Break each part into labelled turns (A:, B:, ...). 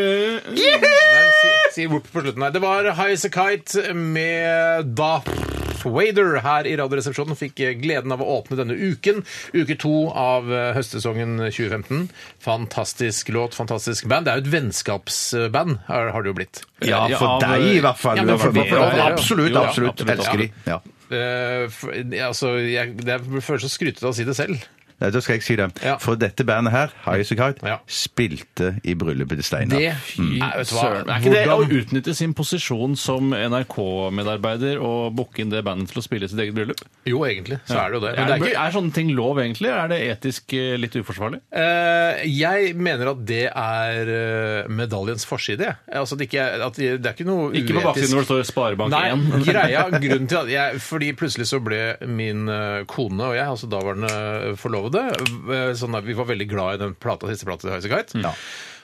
A: Nei, si, si whoop på slutten her. Det var Highasakite med Darth Vader her i Radioresepsjonen. Fikk gleden av å åpne denne uken. Uke to av eh, høstsesongen 2015. Fantastisk låt, fantastisk band. Det er jo et vennskapsband, har har det jo blitt.
B: Ja, for
C: av-
B: deg i hvert fall.
A: Ja, men
B: For-
A: for-
B: for-
A: ja, ja, ja.
B: Absolutt,
A: Jo, ja,
B: absolutt.
A: absolutt,
B: Elsker de. Ja.
A: Eh, for, altså, jeg, det er- jeg føler så skrytete av å si det selv.
B: Nei, Da skal jeg si det.
A: Ja.
B: For dette bandet her, Highasakite,
A: Ja.
B: spilte i bryllupet til Steinar.
A: Det Nei, vet du hva?
C: Søren. Er ikke det å utnytte sin posisjon som NRK-medarbeider og booke inn det bandet til å spille sitt eget bryllup?
A: Jo, egentlig så er det jo det. Men
C: Er,
A: det er ikke,
C: er sånne ting lov, egentlig? Er det etisk eh, litt uforsvarlig?
A: Eh, jeg mener at det er eh, medaljens forside. jeg. Altså, det, ikke, er- at det det er ikke noe
C: Ikke på baksiden hvor det står Sparebank1.
A: Nei, greia, grunnen til at jeg, Fordi plutselig så ble min eh, kone og jeg, altså daværende forlovede, eh, sånn at vi var veldig glad i den plata, siste plata til Highasakite.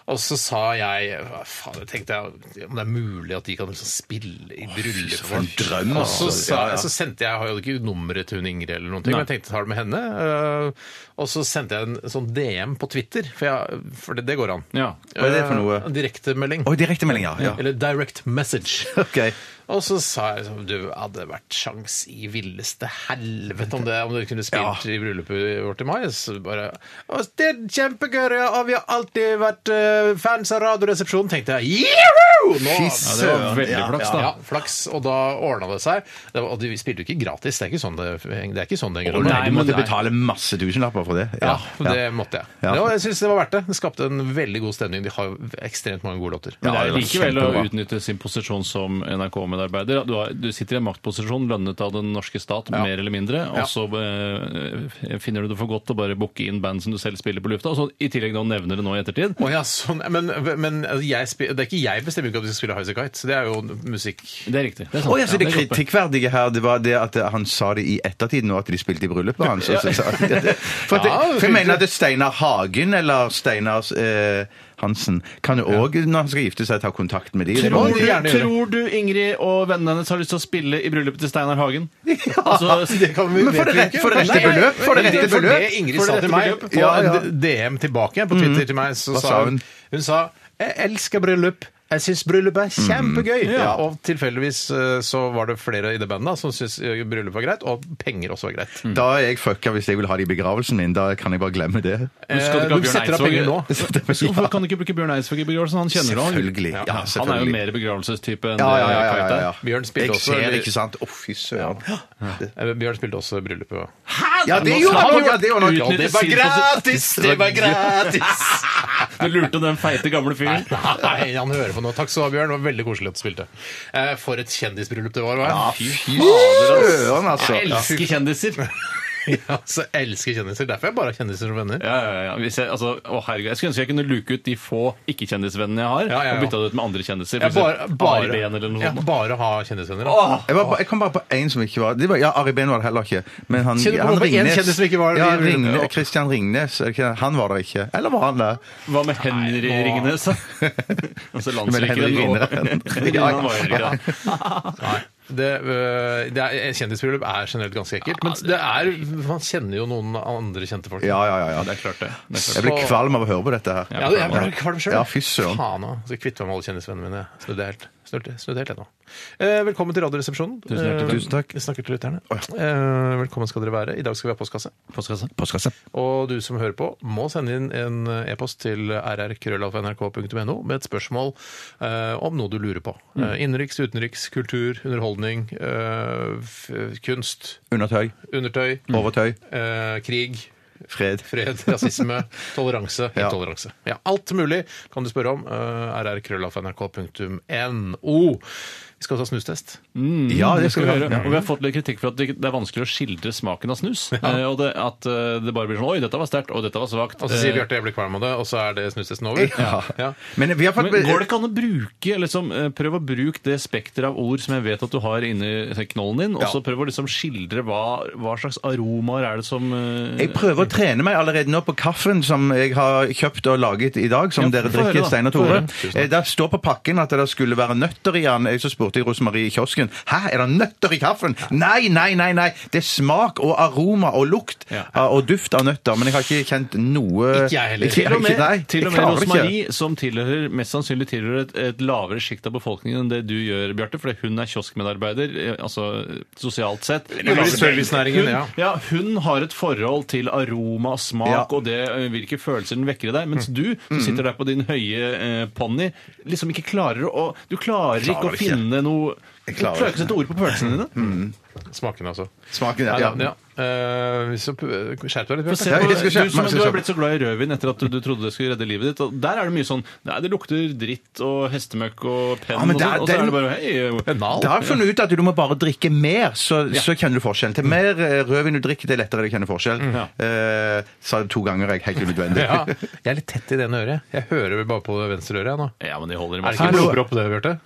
A: Og så sa jeg hva faen, jeg tenkte jeg, om det er mulig at de kan liksom spille i bryllupet vårt.
B: drøm,
A: Og så,
B: altså.
A: sa,
B: Ja, ja.
A: så sendte jeg, jeg har jo ikke nummeret til hun Ingrid eller noen ting, men jeg tenkte ta det med henne. eh, og så sendte jeg en sånn DM på Twitter, for, jeg, for det, det går an.
C: Ja.
B: Hva er det for noe?
A: Eh, Direktemelding.
B: Oi, direktemelding, ja. ja.
A: Eller direct message.
B: Ok.
A: Og så sa jeg sånn Du, hadde det vært sjans i villeste helvete om det om du kunne spilt i bryllupet vårt i mai? Så bare Og det er kjempegøy, og vi har alltid vært eh, fans av Radioresepsjonen, tenkte jeg. Juhu! Nå,
B: Fy
A: ja,
C: det var
B: søren,
C: veldig
B: ja,
C: flaks,
B: ja.
C: da.
A: ja, flaks, og da ordna det seg. Det var, og de spilte jo ikke gratis, det er ikke sånn det, det, er ikke sånn det henger.
B: Å
A: sammen.
B: nei, du
C: men
B: måtte
C: nei.
B: betale masse tusenlapper for det.
A: Ja,
B: ja.
A: det måtte jeg.
B: Ja.
A: Det var, jeg syns det var verdt det. Det skapte en veldig god stemning. De har jo ekstremt mange gode låter.
C: Men det
B: Ja,
C: er
B: det var
C: likevel å
B: kjempebra.
C: utnytte sin posisjon som NRK-medarbeider. Du, har- du sitter i en maktposisjon lønnet av den norske stat, mer eller mindre, og så eh, finner du det for godt å bare booke inn band som du selv spiller på lufta, og så i tillegg da nevner det nå i ettertid.
A: Å ja, sånn. Men, men jeg spi- det er ikke jeg bestemmer ikke at du skal spille Highasakite. så Det er jo musikk
C: Det er riktig. Det er
B: Å, ja, så det
C: er godt poeng.
B: kritikkverdige her det var det at han sa det i ettertid nå, at de spilte i bryllupet hans. og så sa han det. For, at det,
A: Ja,
B: for jeg mener at det er Steinar Hagen eller Steinar eh, Hansen kan jo òg, når han skal gifte seg, ta kontakt med de.
C: Tror
A: må du gjerne
C: du,
A: gjøre.
C: tror du Ingrid og vennene hennes har lyst til å spille i bryllupet til Steinar Hagen? Altså,
A: Det kan vi
B: Men for det
A: vet vi
B: rette- for det
A: ikke.
B: rette
A: Nei,
B: beløp, for det
A: men
B: rette
A: For det
B: beløp.
A: Ingrid
B: For det
A: sa
B: rette
A: til meg
B: beløp.
A: på
B: Ja, ja. Mm.
A: en DM tilbake igjen på Twitter til meg, så
B: Hva
A: sa
B: sa
A: hun
B: hun?
A: Hun sa 'Jeg elsker bryllup'. Jeg syns bryllup er
B: Mm.
A: kjempegøy! Ja. Og tilfeldigvis eh, så var det flere i det bandet da, som syntes eh, bryllup var greit, og penger også var greit.
B: Da er jeg fucka hvis jeg vil ha det i begravelsen min. Da kan jeg bare glemme det.
C: Men skal
A: Eh,
C: du ikke ha
A: du
C: Bjørn
A: setter av
C: Eidsvåg?
A: penger nå.
C: Hvorfor kan du ikke bruke Bjørn Eidsvåg i begravelsen? Han kjenner du han.
B: Selvfølgelig. Ja,
C: Han er jo
B: selvfølgelig.
C: mer begravelsestype enn
B: Ja, ja, ja, ja, ja, ja.
A: Bjørn spilte
B: jeg
A: også-
B: ser, ikke sant? Å, fy søren.
A: Eh, Bjørn spilte også bryllupet. og-
B: Ja, det
C: Nå skal
B: gjorde han!
C: han
B: Ja, det gjorde han.
C: utnytte
B: Det var
C: sin
B: gratis! Det var gratis!
C: Du lurte den feite gamle fyren.
A: Nei, han hører på nå. Takk skal du ha, Bjørn. Det var veldig koselig at du spilte. Eh, For et kjendisbryllup det var. Ja,
B: Fy søren, altså.
C: Jeg elsker kjendiser.
A: altså, jeg elsker kjendiser. Derfor er jeg bare har kjendiser som venner.
C: Ja, ja, ja. Hvis jeg, altså, å, herregud. jeg skulle ønske jeg kunne luke ut de få ikke-kjendisvennene jeg har,
A: Ja, ja, ja.
C: og bytta det ut med andre kjendiser.
A: Jeg
C: for
A: bare,
C: eksempel Ari
A: bare,
C: Behn eller noe
A: ja,
C: sånt.
A: bare ha kjendisvenner. da.
B: Jeg, var, jeg kom bare på én som ikke var, det var Ja, Ari Behn var det heller ikke. Men han,
A: Kjenner du på
B: han
A: noen på én kjendis som ikke var det?
B: ja,
A: Vi-
B: Ringnes, Christian Ringnes, er det ikke det? han var der ikke. Eller var han der?
C: Hva med Henry Ringnes? altså
B: Men Henry
C: landsvikeren og
B: Ringnes.
C: Ja, han var jo ikke det.
A: Det, øh, det er, kjendisbryllup er generelt ganske ekkelt. Men det er, man kjenner jo noen andre kjente folk.
B: Ja, ja, ja. ja.
C: Det er klart, det. det er klart.
B: Jeg ble kvalm av å høre på dette her.
A: Ja, jeg ble kvalm sjøl.
B: Ja, fy søren.
A: Faen òg. Skal kvitte meg med alle kjendisvennene mine. Snudde helt. Snudde, snudde helt jeg nå. Eh, velkommen til Radioresepsjonen. Tusen
C: hjertelig.
B: Tusen takk.
A: Vi snakker til lytterne. Eh, velkommen skal dere være. I dag skal vi ha postkasse.
C: Postkasse.
A: Og du som hører på, må sende inn en e-post til rrkrøllalfa.nrk.no med et spørsmål eh, om noe du lurer på. Eh, innenriks, utenriks, kultur, underholdning, eh, f kunst,
B: Undertøy,
A: undertøy,
B: overtøy,
A: eh, krig,
B: fred.
A: fred, rasisme, toleranse,
B: Ja.
A: intoleranse. Ja, alt mulig kan du spørre om. Eh, rrkrøllalfa.nrk.no. Vi skal også ha snustest.
B: Ja,
C: det
B: det
C: skal vi gjøre.
B: Ja.
C: Og vi har fått litt kritikk for at det det er vanskelig å skildre smaken av snus. Eh, Og det, at eh, det bare blir sånn Oi, dette var sterkt, og dette var svakt. Eh,
A: Og så sier Bjarte jeg blir kvalm av det, og så er det snustesten over.
B: Ja.
A: Ja.
B: Men vi har fått
C: Men går det ikke an å bruke liksom, eh, Prøv å bruke det spekteret av ord som jeg vet at du har inni knollen din, og så prøv å liksom skildre hva, hva slags aromaer er det som eh,
B: Jeg prøver å trene meg allerede nå på kaffen som jeg har kjøpt og laget i dag, som
C: Ja,
B: dere
C: få høre
B: drikker,
C: da.
B: Stein og
C: Få
B: Tore.
C: høre.
A: Tusen takk.
B: Eh, Det står på pakken at det skulle være nøtter i den. Jeg så spurte jeg Rosemarie i kiosken Hæ, er det nøtter i kaffen. Nei, nei, nei, nei. Det er smak og aroma og lukt
C: Ja.
B: eh, og duft av nøtter, men jeg har ikke kjent noe
A: Ikke jeg heller.
B: Ikke-
C: Til og med,
B: nei,
C: til
B: jeg
C: og med
B: klarer det ikke.
C: Rosemarie, som tilhører, mest sannsynlig tilhører et, et lavere sjikt av befolkningen enn det du gjør, Bjarte, fordi hun er kioskmedarbeider, eh, altså eh, sosialt sett.
A: Eller i servicenæringen,
C: hun,
A: ja.
C: ja. Hun har et forhold til aroma, smak
B: Ja. Mm.
C: og det, eh, hvilke følelser den vekker i deg, mens du, som sitter der på din høye eh, ponni, liksom ikke klarer å Du klarer, ikke å
B: Klarer ikke.
C: finne noe Du
B: Jeg klarer
C: klarer ikke å sette ord på følelsene dine.
A: Smaken, altså.
B: Smaken, ja.
A: Ja,
B: ja.
A: Eh, så p- Skjerp deg litt.
C: Få
A: Bjarte.
C: se
B: Ja,
C: på,
B: jeg skal kjøpe
C: du som
B: meg-
C: du
B: skal
C: har
B: kjøpe.
C: blitt så glad i rødvin etter at du, du trodde det skulle redde livet ditt. Og der er det mye sånn Nei, det lukter dritt og hestemøkk og penn
B: Ja,
C: og
B: men det er-
C: sånn. Og så
B: den-
C: er det bare Hei.
A: Nal.
B: Da har jeg funnet ut at du må bare drikke mer, så, så kjenner du forskjell.
C: Mm.
B: Til mer eh, rødvin du drikker, til lettere du kjenner forskjell. Eh, sa det to ganger, jeg. Helt unødvendig.
A: Ja. Jeg er litt tett i det ene øret. Jeg hører vel bare på det venstre øret jeg, nå.
C: Ja, men de holder i
A: Er det
C: masse.
A: ikke blodpropp, det, Bjarte?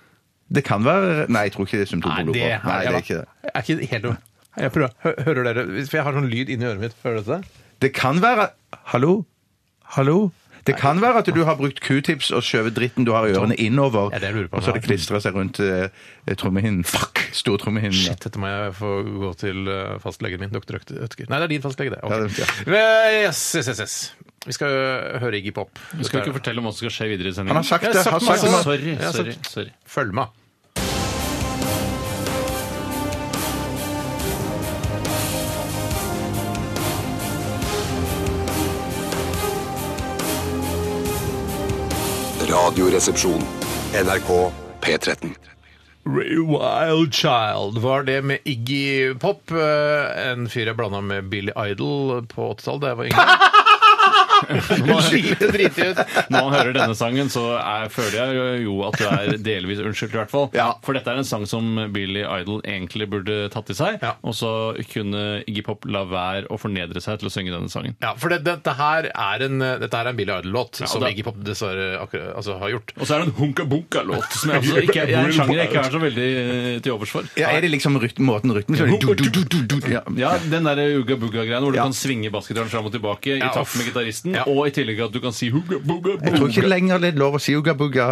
B: Det kan være Nei, jeg tror ikke det er symptom på
A: Nei, det
B: blodpropp. Nei, det er ikke det.
A: Jeg er ikke helt jeg prøver. Hø- Hører dere? For jeg har sånn lyd inni øret mitt. Hører dere det?
B: Det kan være Hallo? Hallo? Det kan være at du har brukt q-tips og skjøvet dritten du har i ørene innover,
A: Ja, det lurer jeg på om
B: og så har
A: jeg
B: det
A: har.
B: klistra seg rundt eh, trommehinnen. Fuck! Stortrommehinnen.
A: Shit, dette må jeg få gå til eh, fastlegen min, doktor Ødker. Nei, det er din fastlege, det. Ok.
B: Ja, det er-
A: Eh, Yes, yes, yes, yes. Vi skal eh, høre Iggy Pop.
C: Du skal ikke fortelle om hva som skal skje videre i
B: Han
C: sendingen. Altså,
B: har sagt
A: Jeg har
B: det.
A: sagt
B: Har sagt
A: masse.
B: det.
C: Sorry,
A: Jeg har
C: sorry,
A: sagt-
C: sorry.
A: Følg med.
D: Radioresepsjon. NRK P13.
A: Wild Child var det med Iggy Pop. eh, En fyr jeg blanda med Billy Idol på 80-tallet da jeg var yngre. Drite driti ut.
C: Når man hører denne sangen, så er, føler jeg jo at du er delvis unnskyldt, i hvert fall.
B: Ja.
C: For dette er en sang som Billy Idol egentlig burde tatt i seg,
A: Ja.
C: og så kunne Iggy Pop la være å fornedre seg til å synge denne sangen.
A: Ja, for det, dette, her er en, eh, dette her er en Billy Idol-låt som
C: det-
A: Iggy Pop dessverre akkurat, altså, har gjort.
C: Og så er det en hunka-bunka-låt, som jeg altså ikke, jeg er en sjanger jeg ikke er så veldig eh, til overs for.
B: Ja, er det liksom rytm, måten rytmen så er det du, du, du, du, du. Ja.
C: Ja, den der ugga-bugga-greien hvor du
B: Ja.
C: kan svinge basketballen fram og tilbake i
A: Ja,
C: takt
A: uff.
C: med gitaristen,
A: Ja.
C: og i tillegg at du kan si
B: Jeg tror
C: hugga-bugga-bugga.
B: ikke lenger det er lov å si uga-bugga.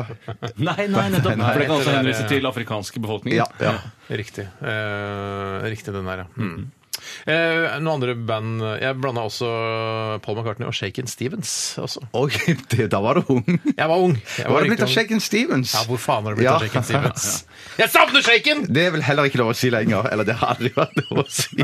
C: Nei, nei, nettopp.
B: nei.
C: For det kan også
A: Det der,
C: henvise
A: ja.
C: til afrikanske befolkninger.
B: Ja, ja.
A: Riktig. Eh, riktig den der, ja. Mm. Eh, noen andre band Jeg blanda også Paul McCartney og Shaken Stevens. Også.
B: Og det, da var du ung.
A: Jeg var ung. Jeg
B: Hva har det
A: riktig
B: blitt av
A: ung.
B: Shaken Stevens?
A: Ja, hvor faen har det blitt av
B: Ja.
A: Shaken Stevens? Jeg savner Shaken!
B: Det er vel heller ikke lov å si lenger. Eller det har aldri vært lov å si.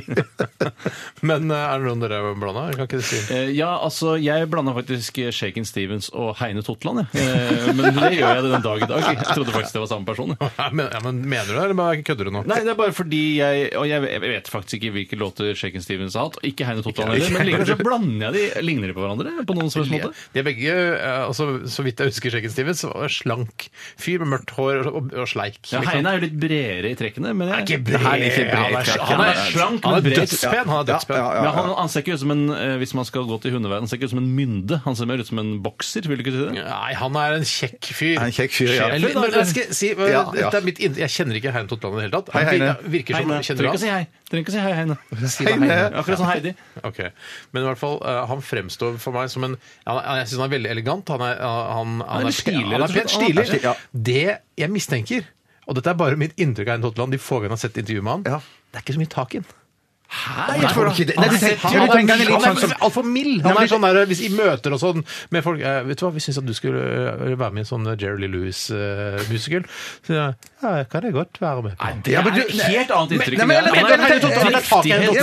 A: Men eh, er det noen dere er blanda? Jeg kan ikke si
C: Eh, Ja, altså, jeg blanda faktisk Shaken Stevens og Heine Totland, jeg. Eh, Men det gjør jeg den dag i dag. Jeg trodde faktisk det var samme person. jeg.
A: ja, men, ja, men Mener du det, eller bare kødder du nå?
C: Nei, det er bare fordi jeg Og jeg jeg vet faktisk ikke hvilke låter Shaken Stevens har hatt. og Ikke Heine Totland heller, men likevel så blander jeg de. Ligner de på hverandre på noen som helst måte?
A: De er begge, eh, altså, så vidt jeg husker Shaken Stevens, så var det slank fyr med mørkt hår og, og, og sleik.
C: Ja,
A: liksom.
C: Heine er jo litt bredere i trekkene. Men jeg,
A: bred.
B: Han er ikke bred.
A: Han er, han er slank,
C: Han er
A: men bred.
C: dødspen.
A: Han er dødspen.
B: Ja, ja, ja.
C: men han, han ser ikke ut som en eh, hvis man skal gå til hundeverden, han ser ikke ut som en mynde. Han ser mer ut som en bokser. vil du ikke si det?
A: Nei, han er en kjekk fyr.
B: Han er en kjekk fyr, ja.
A: Sjefen, Men, men jeg skal si, eh,
B: Ja, ja.
A: Dette er mitt indre Jeg kjenner ikke Heine Totland i det hele tatt. Han
B: Hei, Heine.
A: vir- virker som
C: Heine.
A: kjenner
C: Trenger
A: du
C: ikke å si hei. Trenger ikke å si hei, Heine.
A: han?
B: Heine.
C: Akkurat som Heidi.
A: Ok, Men i hvert fall, eh, han fremstår for meg som en han, han- Jeg syns han er veldig elegant. Han er, han, han,
C: litt
A: er,
C: stilig,
A: han er
C: rett og
A: pent
C: slett. Han er
A: stilig.
B: pent stilig, ja.
A: Det jeg mistenker, og dette er bare mitt inntrykk av Heine Totland de få gangene jeg har sett intervjuet med han,
B: Ja.
A: det er ikke så mye tak i han.
B: Nei, jeg tror ikke det. Nei, du tenker,
A: Han
B: du
A: er, liksom
B: tenker han er litt sånn som
A: altfor mild. Han
B: Nei,
A: er
B: men-
A: sånn der, Hvis i møter og sånn med folk eh, Vet du hva, vi syns at du skulle eh, være med i en sånn Jerry Lee Lewis-musical. Så sier jeg, ja, det kan jeg godt være med. på.
C: Det
B: Ja,
C: er
B: men
C: et
B: du-
C: helt annet
B: Men-
C: inntrykk.
B: nei,
C: enn
B: men-
C: jeg.
B: men-
C: Han er-
B: men-
C: han er
B: men-
C: riktighet-
B: Ja,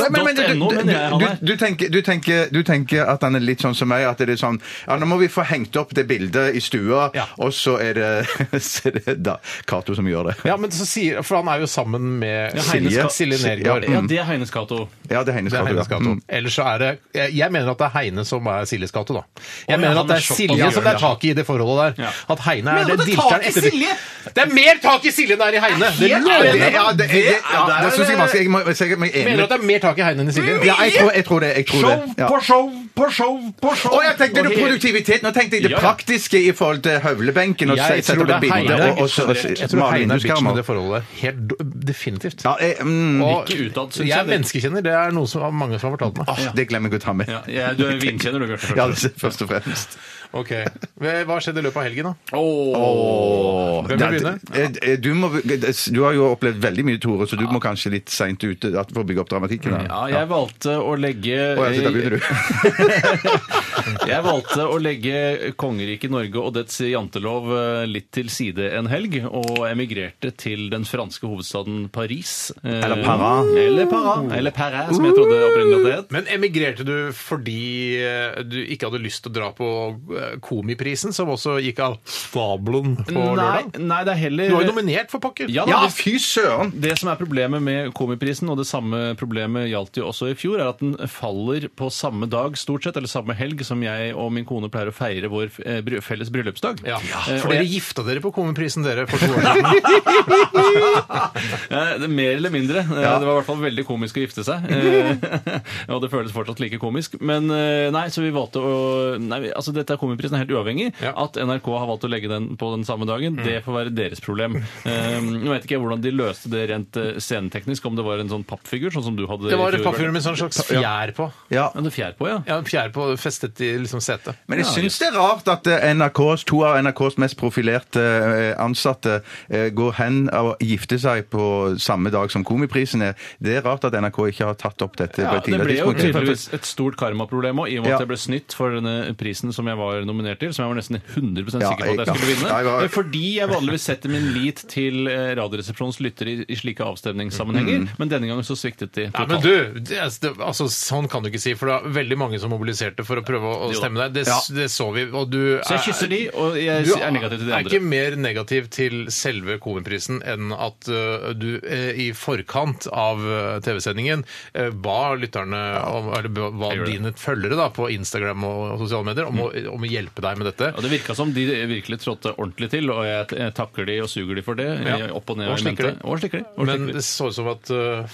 B: men- men-
C: dot
B: du-
C: no,
B: du-
C: mener jeg han
B: du-
C: er.
B: du tenker- Du tenker- du tenker at han er litt sånn som meg, at det er sånn ja, Nå må vi få hengt opp det bildet i stua,
A: Ja.
B: og så er det, så er det da Cato som gjør det.
A: Ja, men så sier, For han er jo sammen med
C: Ja, Heine
A: Silje,
C: skal-
A: Silje Nergård.
C: Ja, det er Heines Cato Cato.
B: Ja, det er Heines
A: Det er
B: Cato, ja.
A: Heines Cato.
B: Mm.
A: Ellers så er det Jeg jeg mener at det er Heine som er Siljes Cato, da. Jeg
C: Å, ja,
A: mener
C: han
A: at det
C: er
A: er
C: såpass
A: Silje som det er
C: gjørende.
A: tak i det forholdet der.
C: Ja.
A: At Heine er
E: Men
A: det
E: det er
A: dilteren
E: tak i
A: etter
E: Silje!
A: Det er mer tak i Silje enn det er i Heine! Det
E: helt
A: lover jeg
E: enig.
A: deg.
B: Ja, det, jeg, jeg, ja,
E: Ja, der
B: det
E: er
B: syns jeg
E: det-
B: vanskelig. Jeg må jeg er sikkert meg enig
A: Mener du at
B: med
A: det er mer tak i Heine enn i Silje?
B: ja, jeg, tror, jeg tror det. Jeg tror det.
E: Show
B: Ja.
E: på show på show på show!
B: Å, jeg tenkte det produktivitet. Nå tenkte jeg det
C: Ja, ja.
B: praktiske i forhold til høvlebenken. Og
A: Jeg
B: sette
A: tror det
B: opp
A: er
B: et bilde
A: Heine.
B: og- og- og-
A: Jeg tror
B: male
A: Heine er
B: vinduskarmer.
A: bitchen i det forholdet der. Helt do- definitivt.
B: Ja, jeg, mm,
A: Og
C: Ikke utad, synes
A: jeg
C: jeg
A: er
C: det.
A: menneskekjenner. Det er noe som mange som har fortalt meg.
B: åh, det glemmer jeg å ta med.
C: Ja, jeg, du er vinkjenner, du, Bjarte.
B: Ja, det er først og fremst.
A: Ok, Hva skjedde i løpet av helgen, da?
B: Åh,
A: Hvem vil begynne?
B: eh, eh, Du, må, du har jo opplevd veldig mye, Tore, så du må kanskje litt seint ute at- for å bygge opp dramatikken. her.
C: Ja, jeg valgte å legge
B: Å, ja, så da begynner du.
C: Jeg valgte å legge kongeriket Norge og dets jantelov eh, litt til side en helg, og emigrerte til den franske hovedstaden Paris. Eh,
B: Eller Parra.
C: Eller Paris, eller Paris, som jeg trodde opprinnelig at det het.
A: Men emigrerte du fordi eh, du ikke hadde lyst til å dra på eh, Komiprisen, som også gikk av stabelen på
C: Nei,
A: lørdag?
C: nei, det er heller
A: Du var jo nominert, for pokker!
C: Ja, da,
B: Ja,
C: det-
B: fy søren!
C: Det som er problemet med Komiprisen, og det samme problemet gjaldt jo også i fjor, er at den faller på samme dag stort sett, eller samme helg, som jeg og min kone pleier å feire vår eh, bry- felles bryllupsdag.
A: Ja,
C: Eh,
A: for
C: og
A: dere
C: jeg-
A: gifta dere på Komiprisen, dere, for to år siden.
C: Eh, det er Mer eller mindre. Eh, Det var i hvert fall veldig komisk å gifte seg. Eh, og det føles fortsatt like komisk. Men eh, nei, så vi valgte å nei, vi- altså Dette er Komiprisen er helt uavhengig.
A: Ja. Mm.
C: At NRK har valgt å legge den på den samme dagen, det får være deres problem. Eh, Nå vet ikke jeg hvordan de løste det rent eh, sceneteknisk, om det var en sånn pappfigur, sånn som du hadde
A: Det var
C: i
A: et
C: fjor,
A: papir
C: Bjørn.
A: med sånn slags fjær på.
B: Ja.
C: Ja, det er fjær på, ja.
A: Ja, en fjær på festet i liksom setet.
B: Men jeg syns det er rart at eh, NRKs, to av NRKs mest profilerte eh, ansatte eh, går hen og gifter seg på samme dag som Komiprisen er. Det er rart at NRK ikke har tatt opp dette på
C: Ja,
B: et
C: det ble
B: tidligere
C: jo
B: tidspunkt.
C: tydeligvis et stort karmaproblem òg, i og med
B: Ja.
C: at jeg ble snytt for denne prisen som jeg var nominert til, som jeg var nesten 100
B: Ja,
C: sikker på at jeg
B: ja.
C: skulle vinne.
B: Ja, jeg var-
C: Eh, Fordi jeg vanligvis setter min lit til eh, Radioresepsjonens lyttere i- i slike avstemningssammenhenger, men denne gangen så sviktet de
A: Mm. Ja, men
C: totalt.
A: du, det, altså, det- altså, Sånn kan du ikke si, for det var veldig mange som mobiliserte for å prøve å, å
C: Jo da.
A: stemme deg. Det, s- det så vi. Og du
C: Så jeg kysser de, og jeg
A: Du
C: er negativ til de
A: er
C: andre.
A: ikke mer negativ til selve Komiprisen enn at ø, du ø, i forkant av ø, TV-sendingen ø, ba lytterne, om, eller ba- ba
C: Jeg gjorde
A: dine følgere da, på Instagram og, og sosiale medier om, å, om å hjelpe deg med dette.
C: Og Det virka som de virkelig trådte ordentlig til, og jeg jeg takker de og suger de for det.
A: Ja.
C: eh, Opp og ned
A: Og
C: i
A: slikker
C: mente.
A: de.
C: Og slikker de. Og
A: Men
C: slikker de.
A: det så ut som at ø,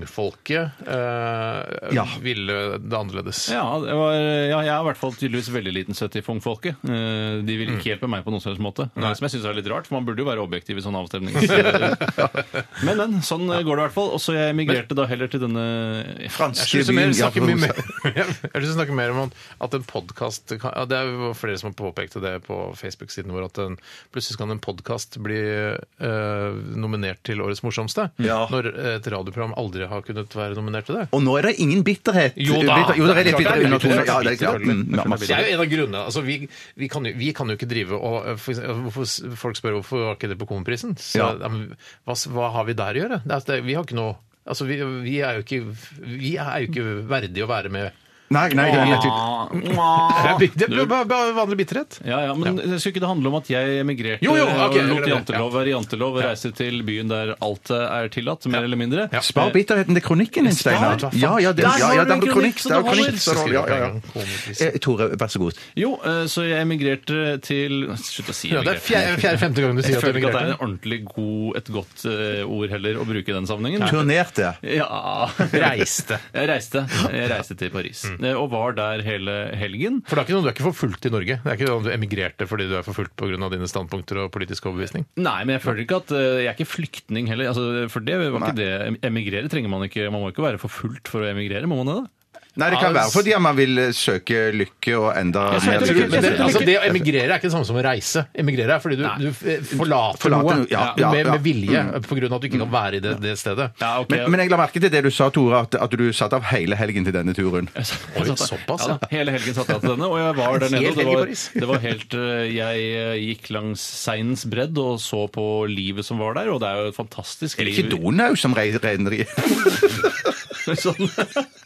A: fungfolket ø,
B: Ja.
A: ville det annerledes.
C: Ja, det var, ja, jeg er i hvert fall tydeligvis veldig liten støtte i fungfolket. Eh, De vil
A: Mm.
C: ikke hjelpe meg på noen som helst måte. Som jeg syns er litt rart, for man burde jo være objektiv i sånne avstemninger. men, men. Sånn eh, går det i hvert fall. Og så jeg emigrerte da heller til denne
B: Franske
A: Jeg syns mer,
B: vin-
A: snakker mye
B: ja,
A: mer, jeg synes vi snakker mer om at en podkast ja, Det er jo flere som har påpekt det på Facebook-siden vår, at en, plutselig kan en podkast bli eh, nominert til Årets morsomste.
B: Ja.
A: Når et radioprogram aldri har kunnet være nominert til det.
B: Og nå er det ingen bitterhet.
A: Jo da.
B: Bitter, jo, det er litt
A: Klart det er
B: bitter undertone.
A: bitterhet.
B: Ja, det er klart.
A: Selvfølgelig.
B: Mm, ja, masse.
A: Det er jo en av grunnene. Altså, vi, vi, kan jo, vi kan jo ikke drive og eh, for eksempel, hvorfor, s- Folk spør hvorfor var ikke det på Komiprisen. Så,
B: Ja.
A: ja, men hva, s- hva har vi der å gjøre? Det er, at det, vi har ikke noe Altså, vi, vi, er jo ikke, vi er jo ikke verdige å være med.
B: Nei, nei, det er nettopp.
A: Det er
C: Frank
A: bi- Det er bare- bare vanlig bitterhet.
C: ja, ja, men Skulle ikke det handle om at jeg emigrerte
A: Jo, jo, ok,
C: og
A: jeg
C: lot
A: glemmer.
C: jantelov være jantelov og reiste til byen der alt er tillatt, mer eller mindre?
B: Spar bitterheten til kronikken din, Steinar.
A: Spar-
B: Ja, ja, det,
C: Der
B: ja,
C: har
B: ja,
C: du
B: det er
C: en kronikk
B: kronikk.
C: som
B: Det er
C: du holder.
B: kronikk. står det. Ja, ja, ja. Eh, Tore, vær så god.
C: Jo, eh, så jeg emigrerte til Slutt å si
A: Ja, det er
C: emigrerte.
A: fjerde-femte gang du sier
C: Jeg
A: at du
C: føler ikke at det er
A: emigrerte.
C: en ordentlig god, et godt eh, ord heller å bruke i den sammenhengen.
B: Turnerte.
C: Ja
A: Reiste.
C: Jeg reiste. Jeg reiste til Paris. Eh, Og var der hele helgen.
A: For det er ikke noe, du er ikke forfulgt i Norge. Det er ikke noe du emigrerte fordi du er forfulgt pga. dine standpunkter og politisk overbevisning.
C: Nei, men jeg føler ikke at eh, Jeg er ikke flyktning heller. Altså, for det var ikke det. Emigrere trenger man ikke. Man må ikke være forfulgt for å emigrere, må man det? da?
B: Nei, det kan
A: Ja,
B: være fordi at man vil eh, søke lykke og enda
C: Jeg
B: mer
C: søker
B: lykke.
C: lykke.
A: Men det,
C: Jeg
A: altså, det å emigrere er ikke det samme som å reise. Emigrere er fordi du, du eh, forlater
B: Forlater
A: noe
B: noe, ja, ja,
A: med,
B: ja.
A: med vilje pga. at du ikke kan være i det, det stedet.
C: Ja, ok.
B: Men, men jeg la merke til det du sa, Tore, at, at du satte av hele helgen til denne turen.
C: Jeg
A: Oi,
C: satt der.
A: såpass,
C: ja. da. Hele helgen satt jeg til denne, og jeg var der nede.
A: Hel
C: og Det
A: helg i
C: var,
A: Paris.
C: det var helt eh, Jeg eh, gikk langs Seinens bredd og så på livet som var der, og det er jo et fantastisk
B: Er det
C: liv.
B: ikke Donau som reiser i?
C: Sånn.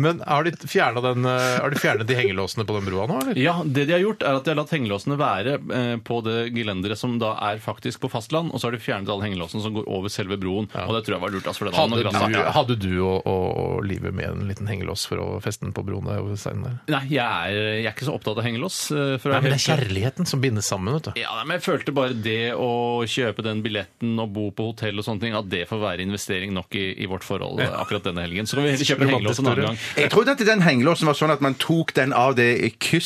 A: Men har de fjernet den, eh, har de fjernet de hengelåsene på den brua nå, eller?
C: Ja, det de har gjort er at de har latt hengelåsene være eh, på det gelenderet som da er faktisk på fastland, og så har de fjernet alle hengelåsene som går over selve broen. Og det tror jeg var lurt. Altså, for den
A: Hadde
C: hadde
A: du,
C: glasset-
A: hadde du og, og, og livet med en liten hengelås for å feste den på broen der over steinen der?
C: Nei, jeg er, jeg er ikke så opptatt av hengelås. eh, For å
A: Nei,
C: være
A: men det
C: helt-
A: er kjærligheten som bindes sammen, vet du.
C: Ja, nei, men jeg følte bare det å kjøpe den billetten og bo på hotell og sånne ting, at det får være investering nok i, i vårt forhold eh, akkurat denne helgen. Så kan vi heller kjøpe en hengelås
A: Romantisk
C: en annen
A: historie.
C: gang.
B: Jeg trodde at den hengelåsen var sånn at man tok den av det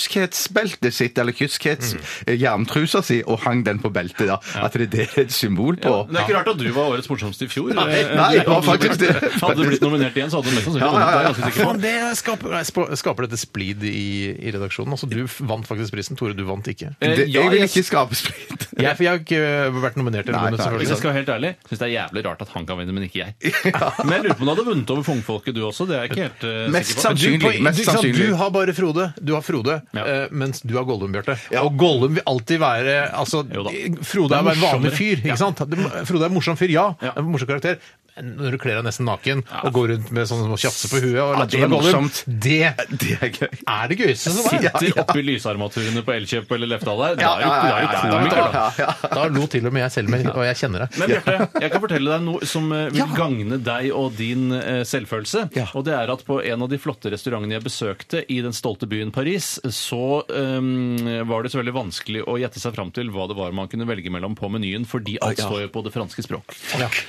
B: kyskhetsbeltet sitt, eller kyskhets
C: Mm.
B: eh, jerntrusa si, og hang den på beltet. da. At det er det et symbol på.
C: Det er ikke rart at du var årets morsomste i fjor.
B: Nei,
C: Eh,
B: nei, det var
C: hadde du
B: faktisk
C: blitt-
B: det.
C: Hadde du blitt nominert igjen, så hadde du mest sannsynlig
B: Ja, ja,
C: vunnet.
B: ja,
C: det er
B: ja.
C: jeg ganske sikker på.
A: Faen, det skaper, nei, sp- skaper dette splid i, i redaksjonen. Altså, du f- vant faktisk prisen. Tore, du vant ikke.
C: Eh,
B: Det,
C: ja,
B: jeg vil
C: jeg-
B: ikke skape splid.
A: Jeg, for jeg har ikke øh, vært nominert til
B: Nei,
A: noen,
B: nei,
C: Hvis jeg
A: selvfølgelig.
C: skal være helt ærlig, syns det er jævlig rart at han kan vinne, men ikke jeg. Men jeg lurer på om du hadde vunnet over fungfolket, du også. Det er jeg ikke helt eh,
B: Mest
C: sikker på.
B: sannsynlig.
A: Du, på, du,
B: mest
A: ikke sant,
B: sannsynlig.
A: du har bare Frode, du har Frode
C: Ja.
A: eh, mens du har Gollum, Bjarte. Og Gollum vil alltid være altså,
C: Jo da.
A: Frode er bare en vanlig
C: morsommere.
A: fyr. ikke sant? Det, Frode er en morsom fyr, ja.
C: Ja.
A: En morsom karakter. Men Når du kler deg nesten naken og går rundt med sånn tjafse på huet og
B: Ja,
A: later som du
B: det er
A: er Gollum,
B: morsomt.
A: det
B: Det er gøy.
A: er det gøyeste som er.
C: Sitter oppi lysarmaturene på Elkjøp eller Lefdal der. Da
B: Ja,
C: er jo,
B: ja,
C: da er jo
B: ja, ja, ja,
C: komiker, da.
B: ja, ja.
A: Da lo til og med jeg selv meg, og jeg kjenner deg.
C: Men Bjarte, jeg kan fortelle deg noe som eh, vil gagne deg og din eh, selvfølelse. Og det er at på en av de flotte restaurantene jeg besøkte i den stolte byen Paris, så eh, var det så veldig vanskelig å gjette seg fram til hva det var man kunne velge mellom på menyen, fordi alt står jo på det franske språk.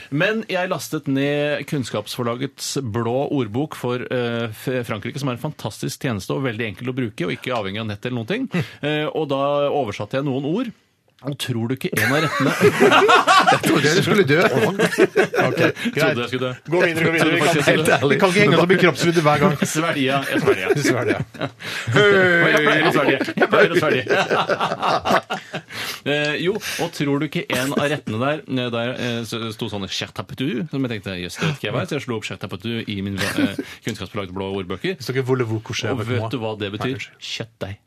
C: Men jeg lastet ned Kunnskapsforlagets blå ordbok for eh, F- Frankrike, som er en fantastisk tjeneste og veldig enkel å bruke, og ikke avhengig av nett eller noen ting. Eh, og da oversatte jeg noen ord. Og tror du ikke en av rettene
B: Trodde jeg du skulle dø.
C: Trodde jeg skulle dø.
A: Gå videre, gå videre. Vi kan,
C: Helt
A: helt vi kan ikke henge oss opp i kroppsvidde hver gang.
C: Svelja. Jeg svelja.
A: Du svelger, ja.
C: Og Jeg pleier å svelge. Jeg pleier å svelge. Eh, jo, og tror du ikke en av rettene der eh, Der eh, så- sto sånn Chertapetu, som jeg tenkte jøss, det vet ikke jeg hva er. Så jeg slo opp Chertapetu i min eh, kunnskapsbelagte blå ordbøker.
A: Så ikke voulez-vous coucher
C: Og
A: avec moi?
C: vet du hva det betyr? Kjøttdeig.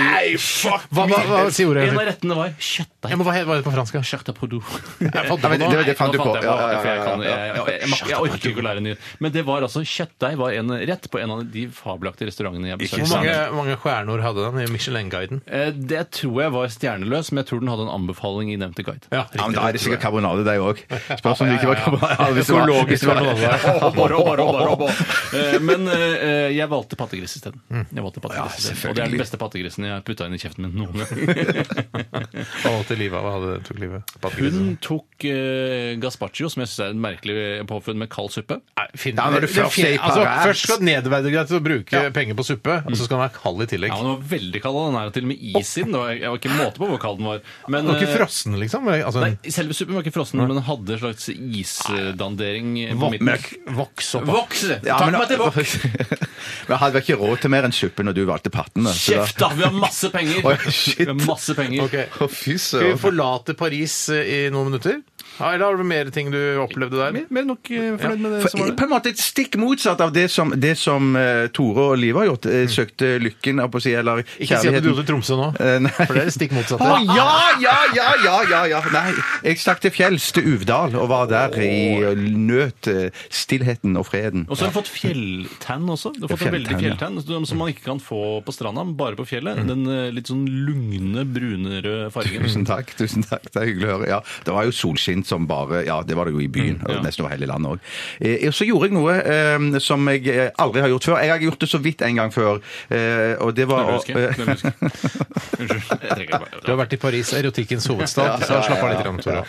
A: Hva, hva, hva sier ordet?
C: En av
A: Henrik?
C: rettene var
A: Ja,
C: kjøttdeig.
A: men hva heter hva heter det på fransk? da?
C: Chertapetu.
B: Ja, men det, det fant du
C: Nå
B: på.
C: fant jeg
B: Ja, ja,
C: for jeg
B: ja,
C: kan-
B: ja, ja.
C: jeg- jeg- jeg- Jeg jeg orker ikke å lære en ny. Men det var altså kjøttdeig var en rett på en av de fabelaktige restaurantene jeg besøkte.
A: Hvor mange, mange stjerner hadde den i Michelin-guiden?
C: Eh, Det tror jeg var stjerneløs, men jeg tror den hadde en anbefaling i nevnte guide.
A: Ja,
B: Ja, men Da er det sikkert karbonade, deg òg. Spørs om det ikke var karbonade. Ja, hvis det var- hvis
A: Økologisk
B: det var-
A: karbonade.
C: Eh, Men eh, jeg valgte pattegris isteden. Jeg valgte pattegris isteden. Og det er den
B: selvfølgelig.
C: beste pattegrisen jeg har putta inn i kjeften min noen gang.
A: Hva til livet av? Hva hadde tok livet?
C: Hun tok uh, gazpacho, som jeg syns er en merkelig påfunn med kald suppe.
A: Finn,
B: Ja, når du
A: det
B: først
A: fin-
B: er i
A: altså,
B: Paris.
A: først skal det nedverdige deg til å bruke penger på suppe, og så skal den være kald i tillegg.
C: Ja, Den var veldig kald, og den er jo til og med is i den. Det var- Jeg var ikke måte på hvor kald den var. Men,
A: Den var
C: eh,
A: ikke frossen, liksom? Altså,
C: Nei, selve suppen var ikke frossen, men den hadde en slags isdandering på midten.
A: Voks opp.
C: Voks!
B: Ja,
C: Takk
B: men-
C: meg til voks!
B: Men hadde vi ikke råd til mer enn suppe når du valgte pattene? så da-
C: Kjeft, da! Vi har masse penger!
B: Oi, shit.
C: Vi har masse penger.
A: Ok.
B: Å, fy
A: Skal vi
B: søren.
A: forlate Paris eh, i noen minutter? Ja, eller har du mer ting du opplevde der?
C: Mer, mer nok eh, fornøyd med det som
B: For,
C: var
B: på
C: det.
B: en måte et stikk motsatt av det som, det som eh, Tore og Liv har gjort. Eh, søkte lykken, holdt på å si, eller
A: Ikke si at du dro
B: kjærligheten.
A: til Tromsø nå,
B: Eh, nei.
A: for det er det stikk
B: Å
A: motsatte.
B: ja, ja, ja, ja, ja, ja! Nei, jeg stakk til fjells, til Uvdal, og var der i og nøt eh, stillheten og freden.
C: Og så har du fått fjelltann også. Du har fått en
B: Fjelltann, Mm.
C: veldig fjelltann som- Som man ikke kan få på stranda, men bare på fjellet. Den eh, litt sånn lugne, brunere fargen.
B: Tusen takk. tusen takk, Det er hyggelig å høre. Ja, det var jo solskinn som bare Ja, det var det jo i byen, og
C: ja.
B: nesten over hele landet òg. Eh, og så gjorde jeg noe eh, som jeg eh, aldri har gjort før. Jeg har gjort det så vidt en gang før, eh, og det var å-
C: Knøvlehuske. Knøvlehuske. Unnskyld. Jeg trenger bare-
A: Du har vært i Paris, erotikkens hovedstad, så slapp av litt, grann, Tore.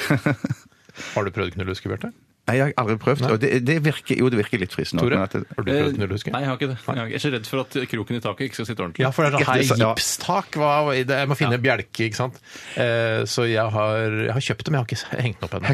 A: Har du prøvd knullehuske, Bjarte?
B: eh, Nei, jeg har aldri prøvd. Og det, det virker, jo, det virker litt fristende.
A: Tore,
B: men at
A: har
B: det-
A: du prøvd knullehuske?
C: Eh, Nei, jeg har ikke det. Jeg har ikke- jeg er så redd for at kroken i taket ikke skal sitte ordentlig.
A: Ja, for det er sånn her
B: Ja.
A: gipstak. Hva, det- jeg må finne bjelke, ikke sant. Eh, så jeg har, jeg har kjøpt det, men jeg har ikke hengt den opp ennå.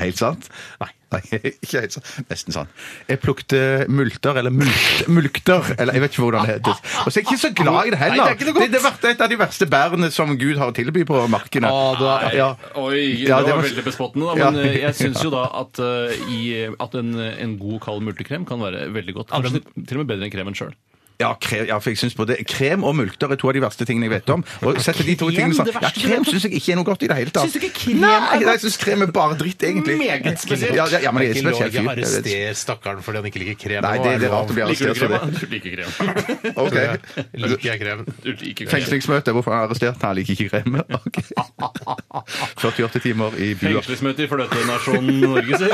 B: Helt sant? Nei. ikke helt sant. Nesten sant. Jeg plukte multer, eller mulkt, mulkter, eller jeg vet ikke hvordan det heter. Og så er jeg ikke så glad i det heller.
A: Nei, det er ikke noe godt.
B: det, det har vært et av de verste bærene som Gud har å tilby på markene.
A: Å, det er-
B: ja.
C: Oi, det,
B: Ja, det
C: var,
B: var-
C: veldig bespottende, da. Men
B: Ja.
C: eh, jeg syns jo da at, eh, i, at en, en god kald multekrem kan være veldig godt. Kanskje til til og med bedre enn kremen sjøl.
B: Ja, krem, ja, for jeg synes både krem og multer er to av de verste tingene jeg vet om. Og setter de to tingene
F: Krem, det
B: sammen Ja,
F: verste du
B: krem
F: vet om?
B: syns jeg ikke er noe godt i det hele tatt.
F: Synes du ikke krem
B: Nei,
F: er godt?
B: nei, jeg syns krem er bare dritt, egentlig.
F: Meget spesielt.
B: Ja, ja, ja, men jeg er
A: ikke lov
B: en spesiell
A: ikke
B: fyr. Jeg vet.
A: arrester stakkaren fordi han ikke liker krem.
B: Nei, det, det er rart å bli
C: Liker du
B: arrestert for
C: krem?
B: det.
C: da? Du liker krem.
B: Ok.
A: Liker jeg krem?
C: Du liker krem.
B: Fengslingsmøte. Hvorfor er han arrestert? Nei, han liker ikke krem. Ok. 48 timer i bua.
C: Fengselsmøte i fløtenasjonen Norge, si.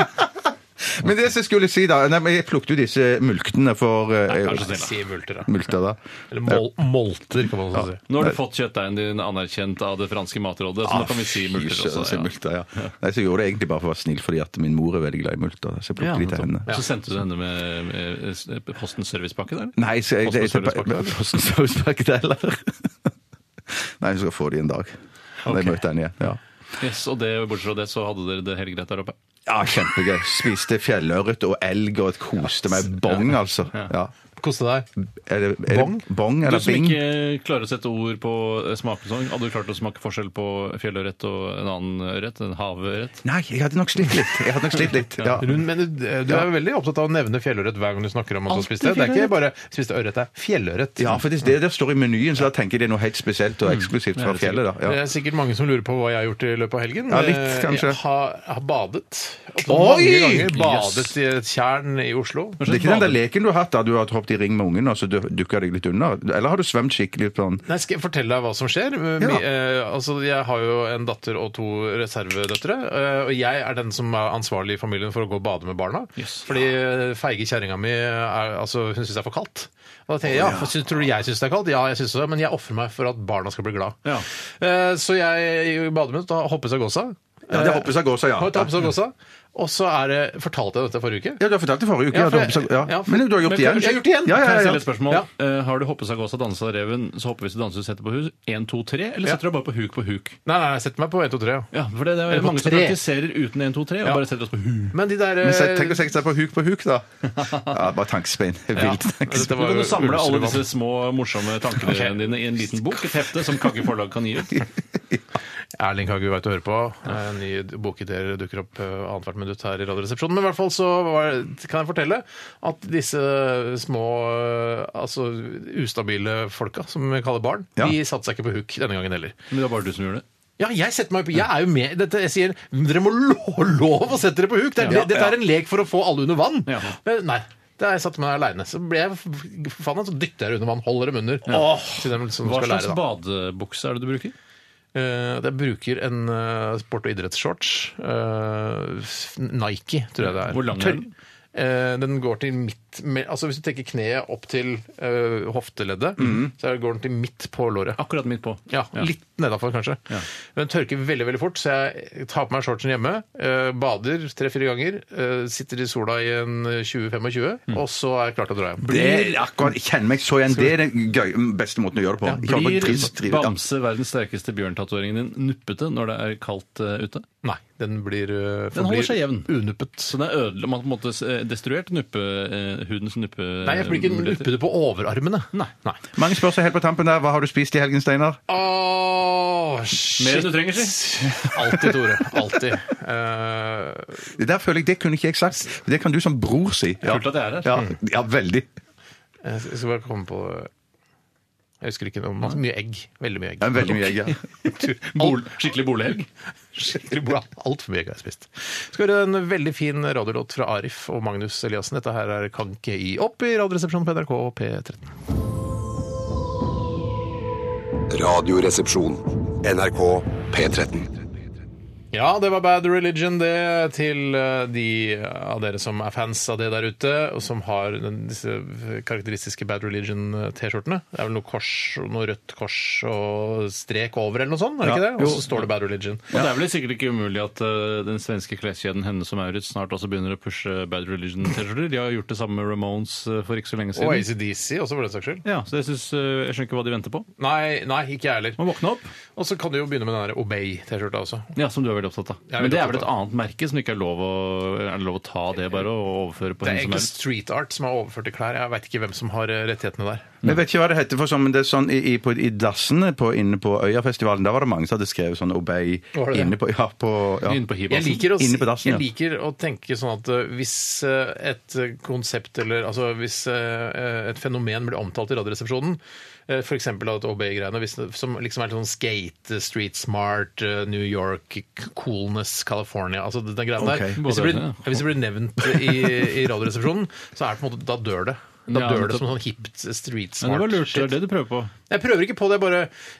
B: Men det som jeg skulle si, da nei, men Jeg plukket jo disse mulktene for eh,
C: Vær så snill. da.
A: Si multer, da.
B: Multer, da.
A: Eller mol molter, kan man også si.
C: Nå har du fått kjøttdeigen din anerkjent av det franske matrådet, så nå kan vi si multer
B: Ah, Fy søren,
C: også.
B: si
C: Ja.
B: multer, ja. Nei, så jeg gjorde det egentlig bare for å være snill, fordi at min mor er veldig glad i multer. Så jeg
C: Ja,
B: plukket litt av henne.
C: nettopp. Så sendte du henne med, med eh, Postens servicepakke der?
B: Nei, så jeg, jeg,
C: Postens
B: jeg,
C: servicepakke.
B: Postens servicepakke til heller. Nei, hun skal få de en dag. Når jeg møter henne igjen. Ja.
C: Yes, og det, bortsett fra det, så hadde dere det helt greit der oppe?
B: ja, kjempegøy. Spiste fjellørret og elg og koste meg bong, altså. Ja.
A: Koste deg.
B: Er det, er
A: Bong?
B: Det bong
C: Du
B: eller
C: som
B: bing?
C: ikke klarer å sette ord på eh, smakesong, hadde du klart å smake forskjell på fjellørret og en annen ørret? En havørret?
B: Nei, jeg hadde nok slitt litt. Jeg hadde nok slitt litt. Ja.
A: Rund, men du, du er jo veldig opptatt av å nevne fjellørret hver gang du snakker om at du
B: Alltid
A: spiste. Det er ikke bare spiste ørret, det er fjellørret.
B: Ja, for det, det der står i menyen, så da tenker jeg det er noe helt spesielt og eksklusivt fra fjellet. da.
A: Mm. Det
B: Ja.
A: er sikkert mange som lurer på hva jeg har gjort i løpet av helgen.
B: Ja, litt,
A: Eh,
B: kanskje.
A: Jeg har, har badet. Opptil Mange
B: Oi!
A: ganger badet
C: Yes.
A: i et tjern i Oslo.
B: Det er ikke den der leken du har hatt da du har hoppet i ring med ungen og så dukka deg litt unna? Eller har du svømt skikkelig sånn? på den?
A: Nei, Skal jeg fortelle deg hva som skjer? Mi- eh, altså, jeg har jo en datter og to reservedøtre. eh, og jeg er den som er ansvarlig i familien for å gå og bade med barna. Fordi eh, feige kjerringa mi er, altså, hun syns det er for kaldt. Og da tenker jeg, ja, for, synes, Tror du jeg syns det er kaldt? Ja, jeg syns det, men jeg ofrer meg for at barna skal bli glad.
C: Ja.
A: Eh, så jeg bader med henne, hoppet seg gåsa.
B: Ja,
A: Eh,
B: det hoppet seg gåsa, ja.
A: Har tapt seg gåsa. Og så er det Fortalte jeg dette forrige uke?
B: Ja, du har fortalt det forrige uke. Ja,
A: Ja,
B: du har
A: for-
B: hoppet seg- ja.
A: ja, for-
B: Men du har gjort det
A: Men
B: igjen.
A: jeg har gjort det igjen.
B: Ja, ja,
C: Kan jeg
B: ja,
C: stille et
B: ja.
C: spørsmål?
A: Ja.
C: Eh, har du hoppesagåsa, dansa reven, så hoppes du danser, setter på hus? 1, 2, 3? Eller
A: Ja.
C: setter du bare på huk på huk?
A: Nei, nei, jeg setter meg på 1, 2, 3. Ja.
C: Ja, for det, det
A: Eller
C: er
A: på
C: mange som
A: tre.
C: praktiserer uten 1, 2, 3, og
A: Ja.
C: bare setter oss på huk.
A: Men de der
B: Mm. Men se-
A: eh, altså,
B: tenk å sette seg på huk på huk, da. Ja, bare tankespein. Vilt
A: dette
B: tankespein.
C: Du
A: var
C: kan jo
A: jo
C: samle alle disse
A: Ulvsrud-vann.
C: små, morsomme tankene dine i en liten bok, et hefte, som Kagge forlag kan gi ut.
A: Erling Kagge veit å høre på. Eh, Nye bokidéer dukker opp eh, annethvert minutt her i Radioresepsjonen. Men i hvert fall så var, kan jeg fortelle at disse små, eh, altså ustabile folka, som vi kaller barn,
B: Ja.
A: de satte seg ikke på huk denne gangen heller.
C: Men det var bare du som gjorde det.
A: Ja, jeg setter meg på Jeg er jo med i dette. Jeg sier dere må lo lov å sette dere på huk. Det er, det, dette er en lek for å få alle under vann.
C: Ja.
A: Men nei. Da jeg satte meg aleine, så ble jeg for faen så dytter jeg dere under vann. Holder dem under. Åh, til dem som
C: Hva
A: skal
C: slags
A: lære, da.
C: badebukse er det du bruker?
A: Eh, at jeg bruker en eh, sport- og idrettsshorts. eh, f- Nike, tror jeg det er.
C: Hvor lang er den?
A: Eh, den går til midt me- Altså Hvis du tenker kneet opp til eh, hofteleddet,
C: Mhm.
A: så går den til midt på låret.
C: Akkurat midt på.
A: Ja, Litt nedafor, kanskje. Men Den tørker veldig veldig fort, så jeg tar på meg shortsen hjemme, eh, bader tre-fire ganger, eh, sitter i sola i en 20-25,
C: Mm.
A: og så er jeg klar til å dra hjem.
B: Det er akkurat, jeg kjenner meg så igjen. Det er den gøy, beste måten å gjøre det på. Ikke hoppe
C: Blir
B: trist, trist, ja.
C: bamse verdens sterkeste bjørntatoveringen din nuppete når det er kaldt eh, ute?
A: Nei, den blir eh,
C: Den holder
A: forblir
C: seg jevn.
A: Unuppet.
C: Så den er ødele, man har på en måte eh, destruert nuppe, eh, hudens nuppe...
A: Nei, jeg blir ikke nuppete på overarmene.
C: Nei.
B: Mange spør seg helt på tampen der. Hva har du spist i helgen, Steinar?
A: Åh, shit.
C: Mer enn du trenger, si.
A: Alltid, Tore. Alltid. Eh,
B: Det der føler jeg, det kunne ikke jeg sagt. Det kan du som bror si. Ja,
C: Kult at jeg er her.
B: ja, ja veldig.
A: jeg skal bare komme på Jeg husker ikke noe. Masse- Mye egg. Veldig mye egg.
B: Ja, veldig mye egg, ja.
C: Bol, skikkelig bolighelg.
A: Altfor mye egg har jeg spist. Skal høre en veldig fin radiolåt fra Arif og Magnus Eliassen. Dette her er Kanke i Opp i Radioresepsjonen på NRK og P13.
D: Radioresepsjon. NRK P13.
A: Ja, det var Bad Religion, det, til eh, de av dere som er fans av det der ute, og som har den, disse karakteristiske Bad Religion-T-skjortene. Det er vel noe kors, og noe rødt kors og strek over eller noe sånt, er det ikke det? Og så står det Bad Religion.
C: Og det er vel sikkert ikke umulig at eh, den svenske kleskjeden Hennes og Maurits snart også begynner å pushe Bad Religion-T-skjorter. De har gjort det samme med Ramones eh, for ikke så lenge
A: Og
C: siden.
A: ACDC også, for den saks skyld.
C: Ja, så jeg, synes, eh, jeg skjønner ikke hva de venter på.
A: Nei, nei, ikke jeg heller.
C: Må våkne opp.
A: Og så kan du jo begynne med den der Obey-T-skjorta også.
C: Ja, som du er veldig opptatt av.
A: Jeg er
C: Men det
A: veldig
C: er vel et
A: opptatt
C: annet merke som ikke er lov å, er det lov å ta det bare og overføre på
A: Det er
C: hvem som
A: egentlig
C: helst?
A: street art som er overført til klær. Jeg veit ikke hvem som har eh, rettighetene der.
B: Men jeg vet ikke hva det heter for sånn, men det er sånn i, i, på, i dassene på, inne på Øyafestivalen, der var det mange som hadde skrevet sånn Obey
A: Var det det?
B: inne på, ja, på, ja.
C: Inne på
A: Jeg
C: hibasen.
A: liker, å, si-
B: Inne på dassen, ja.
A: jeg liker å tenke sånn at eh, hvis eh, et konsept eller altså hvis eh, et fenomen blir omtalt i Radioresepsjonen, eh, for eksempel at OB-greiene, hvis det- som liksom er litt sånn skate, street smart, eh, New York, k- coolness, California, altså den greia der.
B: Ok.
A: Hvis det blir,
C: Både-
A: hvis det blir nevnt i, i Radioresepsjonen, så er det på en måte, da dør det. Da
C: Ja,
A: dør
C: nettopp.
A: det som sånn hipt, street
C: Men det
A: smart
C: var lurt. Det er det du prøver på.
A: Jeg prøver ikke på det, bare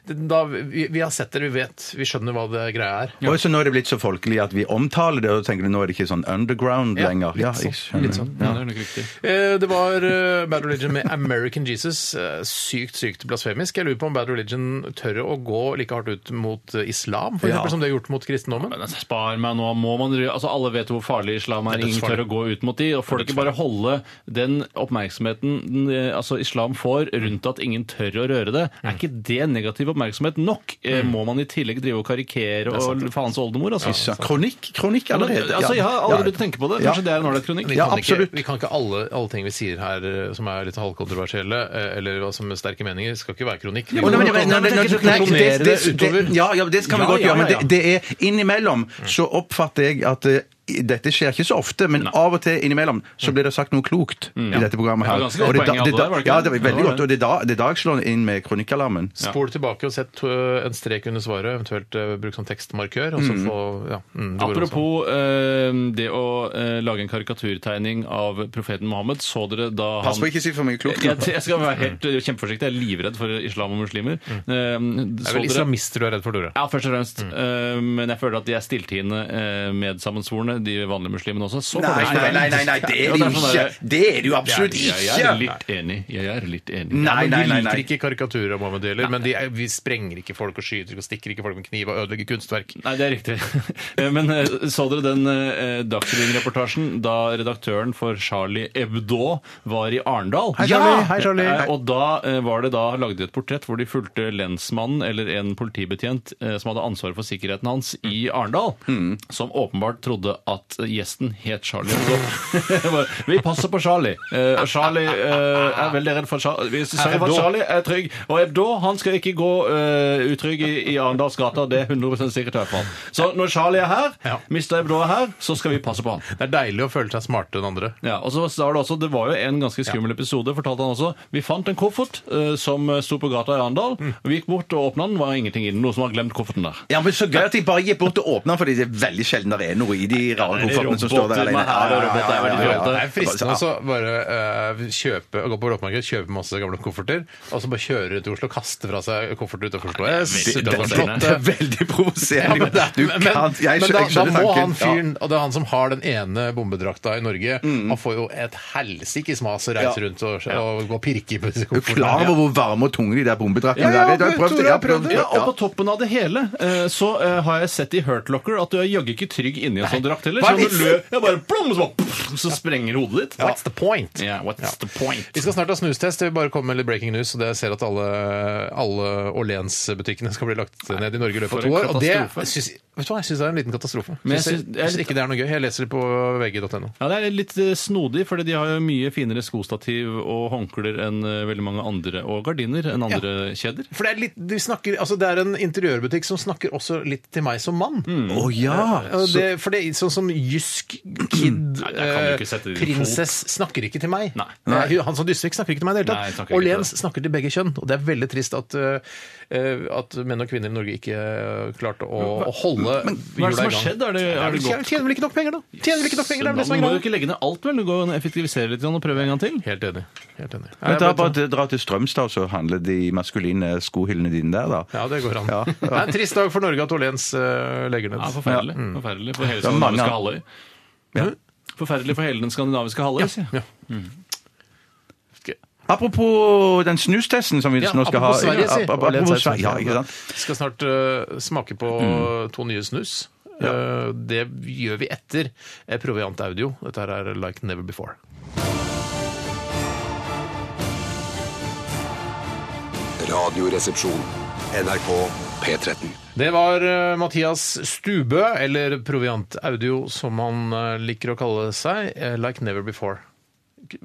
A: det- da, vi, vi har sett det, vi vet, vi skjønner hva det greia er.
B: Og så nå er det blitt så folkelig at vi omtaler det, og tenker du nå er det ikke sånn underground
A: Ja,
B: lenger.
A: litt
B: Ja,
A: sånn,
B: jeg skjønner.
A: litt sånn.
C: Ja. Det er nok riktig.
A: Eh, Det var eh, Bad Religion med American Jesus. Eh, Sykt, sykt blasfemisk. Jeg lurer på om Bad Religion tør å gå like hardt ut mot eh, islam, for
B: Ja.
A: eksempel, som de har gjort mot kristendommen.
C: Men altså, Spar meg nå, må man ry- altså Alle vet hvor farlig islam er.
A: Det er
C: Ingen
A: dødsfarlig.
C: tør å gå ut mot de. Og får de ikke bare holde den oppmerksomheten den, eh, altså islam får rundt at ingen tør å røre det?
B: Mm.
C: Er ikke det negativ oppmerksomhet nok? Eh, Må man i tillegg drive og karikere og faens oldemor? Altså?
B: Så, kronikk, kronikk allerede. ja.
C: altså, jeg har
B: Ja.
C: aldri begynt å tenke på det.
B: Ja.
C: Kanskje det er en ålreit kronikk?
A: Vi
B: Ja,
A: kan,
C: altså.
A: ikke,
B: absolutt.
A: vi kan ikke alle, alle ting vi sier her eh, som er litt halvkontroversielle, eh, eller hva som er sterke meninger, skal ikke være kronikk.
B: Å, nei, men- nei, nei, nei, nei,
A: Nei,
B: det- det- det-
A: utover.
B: det- Ja, ja, det skal vi
A: Ja,
B: godt
A: ja,
B: gjøre, men
A: ja, ja.
B: det, det er innimellom så oppfatter jeg at eh, i- dette skjer ikke så ofte, men av og til innimellom så blir det sagt noe klokt i dette programmet.
C: Det
B: her.
C: var ganske godt
B: Og Mm. det
C: poeng jeg
B: er da- det er
C: hadde
B: da-
C: der, var det ikke det?
B: Ja, det var
C: Det
B: veldig
C: var
B: godt, og det er da- det er da jeg slår inn med kronikkalarmen.
A: Spol tilbake og sett eh, en strek under svaret, eventuelt eh, bruk som tekstmarkør, og så få ja, mm, det går også.
C: Apropos eh, det å eh, lage en karikaturtegning av profeten Mohammed. Så dere da han
B: Pass på ikke å si for mye klokt.
C: Jeg, jeg skal være helt eh, kjempeforsiktig. Jeg er livredd for islam og muslimer.
B: Mm.
C: Eh,
A: Det
C: så
A: er vel
C: dere-
A: islamister du er redd for, Tore?
C: Ja, først og fremst. Eh, men jeg føler at de er stilltiende eh, medsammensvorne, de vanlige muslimene også. Så
B: Nei,
C: fordomsfulle
B: nei,
C: er
B: nei,
C: de.
B: nei, nei, det er
C: Og
B: det jo
C: sånn
B: ikke.
C: der-
B: Det er det jo absolutt
A: Det er-
B: ikke.
C: Jeg er litt enig. Jeg er litt enig.
B: Nei,
A: Men
B: nei,
A: vi
B: nei.
A: liker
B: nei.
A: ikke karikaturer av Mohammed heller, men de er, vi sprenger ikke folk og skyter ikke og stikker ikke folk med kniv og ødelegger kunstverk.
C: Nei, det er riktig. Eh, Men eh, så dere den eh, Dagsrevyen-reportasjen da redaktøren for Charlie Hebdo var i Arendal?
B: Hei, Charlie. Hei, Charlie.
C: Eh, Og da eh, var det da lagd et portrett hvor de fulgte lensmannen eller en politibetjent eh, som hadde ansvaret for sikkerheten hans i Arendal,
B: Mm.
C: som åpenbart trodde at gjesten het Charlie Hebdo. Vi passer på Charlie. Eh, og Charlie eh, er veldig redd for Charlie. Vi sier at
A: Hebdo.
C: Charlie er trygg, og Hebdo han skal ikke gå eh, utrygg i, i Arendals gater. Det er 100 sikkert. i hvert fall. Så når Charlie er her,
A: Ja.
C: Mr. Hebdo er her, så skal vi passe på han.
A: Det er deilig å føle seg smartere enn andre.
C: Ja, og så sa det også, det var jo en ganske skummel episode, fortalte han også. Vi fant en koffert eh, som sto på gata i Arendal.
A: Mm.
C: Vi gikk bort og åpna den, var ingenting i den. Noen som har glemt kofferten der.
B: Ja, men Så gøy at de bare gikk bort og åpna den, fordi det er veldig sjelden det er noe i de rare koffertene som står
C: roboter
B: der alene.
C: med her, og roboter er veldig
B: Ja, ja, ja, ja.
C: roboter.
A: Det er fristende å bare eh, kjøpe, gå på loppemarked, kjøpe masse gamle kofferter, og så bare kjøre rundt i Oslo og kaste fra seg kofferter utenfor Oslo S.
B: Det,
A: utenfor
B: det, det, det er
A: Slottet.
B: veldig provoserende.
A: Men, det er-
B: Du
A: men,
B: kan, jeg,
A: men da,
B: skjønner- jeg
A: da
B: skjønner
A: må
B: tanken.
A: han
B: Ja.
A: fyren, og det er han som har den ene bombedrakta i Norge, han får jo et helsikes mas å reise
B: Mm. Ja.
A: rundt og, og gå og pirke i disse
B: Er du klar
A: koffertene.
B: over hvor varme og tunge de der bombedraktene
A: Ja, ja,
B: der er? Du har
A: men
B: prøvd
A: Tore
B: det, jeg
A: har
B: har prøvd
A: prøvd
B: det.
C: Ja, og på toppen av det hele eh, så eh, har jeg sett i Hurt Locker at du er jaggu ikke trygg inni en sånn drakt heller.
A: Hva er
C: Så når du
A: vitsen?
C: løper, ja, bare plom, så, bare, pff, så sprenger hodet ditt.
A: What's the point?
C: Ja, what's the point?
A: Vi skal snart ha snustest. Jeg vil bare komme med litt breaking news. og det Jeg ser at alle, alle Åhléns-butikkene skal bli lagt ned i Norge i løpet
C: for
A: av to
C: en
A: år. Og det,
C: katastrofe.
A: synes, vet du hva, jeg syns det er en liten katastrofe.
C: Men jeg
A: Synes jeg
C: synes- jeg-
A: syns ikke det er noe gøy. Jeg leser det på vg.no.
C: Ja, Det er litt eh, snodig, for de har jo mye finere skostativ og håndklær enn eh, veldig mange andre, og gardiner enn andre kjeder.
A: For det er, litt, de snakker, altså det er en interiørbutikk som snakker også litt til meg som mann.
B: Å ja!
A: Og Det, for det er sånn som Jysk Kid
C: Nei, der kan du ikke sette din fot.
A: Prinsess snakker ikke til meg.
C: Nei.
A: Nei, Han som Dysvik snakker ikke til meg i det
C: Nei,
A: hele
C: snakker
A: tatt.
C: ikke
A: Og
C: til
A: Lens snakker til begge kjønn. Og det er veldig trist at, eh, eh, at menn og kvinner i Norge ikke eh, klarte å, å holde
C: Hva er det
A: hjula
C: som
A: i
C: har
A: gang.
C: skjedd? Er det,
A: Nei,
C: er det
A: vel,
C: godt?
A: Tjener vel ikke nok penger, da? Tjener vel ikke nok penger, det er vel det som
C: Man
A: er
C: må jo
A: greia.
C: ikke legge ned alt, vel? Du går og effektiviserer litt grann og prøver en gang til.
A: Helt enig. Helt enig.
B: Men da bare dra til Strømstad, så handler de maskuline skohyllene dine der, da.
A: Ja, det går an.
B: Ja.
A: Det er en trist dag for Norge at Åhléns eh, legger ned.
C: Ja, forferdelig. Forferdelig for hele
B: er mange
C: skandinaviske
B: an-
C: halvøy. Forferdelig for hele den skandinaviske halvøy. sier jeg.
A: Ja.
B: Apropos den snustesten som vi
A: Ja,
B: nå skal ha.
A: apropos Sverige, si.
B: Ap- ap-
A: Åhléns er
B: Apropos Sverige, ja,
A: Sverige,
B: ikke sant? Mm.
A: skal snart eh, smake på to nye snus. Eh, det gjør vi etter eh, Proviant Audio. Dette her er Like Never Before.
D: Radioresepsjon. NRK P13.
A: Det var eh, Mathias Stubø, eller Proviant Audio, som han eh, liker å kalle seg. eh, Like never before. K-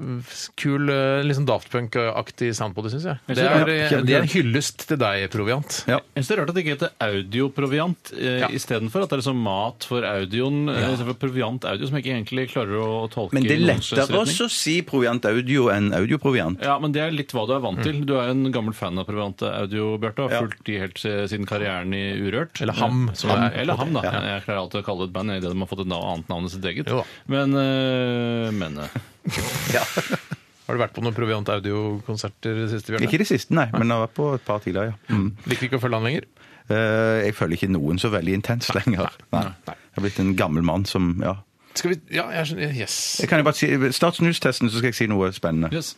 A: Kul, eh, litt sånn Daft Punk-aktig sound på det, syns jeg. Det
C: synes
A: er,
C: det
B: er
A: eh,
B: kjempegøy.
A: det er en hyllest til deg, Proviant.
B: Ja.
C: Jeg synes det er rart at det ikke heter audioproviant eh,
A: Ja.
C: istedenfor. At det er liksom mat for audioen eh, istedenfor proviant audio, som jeg ikke egentlig klarer å tolke
B: Men det
C: i
B: er
C: noen slags
B: lettere
C: retning.
B: også å si proviant audio enn audioproviant.
C: Ja, men det er litt hva du er
A: Mm.
C: vant til. Du er en gammel fan av Proviant Audio, Bjarte. Har
B: Ja.
C: fulgt de helt se- siden karrieren i Urørt.
A: Eller Ham, som det er.
C: Eller Ham, da. Jeg klarer alltid å kalle det et band i det de har fått et nav- annet navn enn sitt eget.
A: Jo da.
C: Men, eh, men eh,
A: Har du vært på noen Proviant Audio-konserter siste
B: Ikke
A: bjørn?
B: i det siste, nei, men jeg har vært på et par tidligere. ja. Mm.
A: Liker ikke å følge han lenger?
B: Eh, Jeg følger ikke noen så veldig intenst lenger. Nei. Jeg er blitt en gammel mann som ja.
A: Skal vi Ja, jeg skjønner. Yes.
B: Jeg kan jo bare si, Start snustesten, så skal jeg si noe spennende.
C: yes.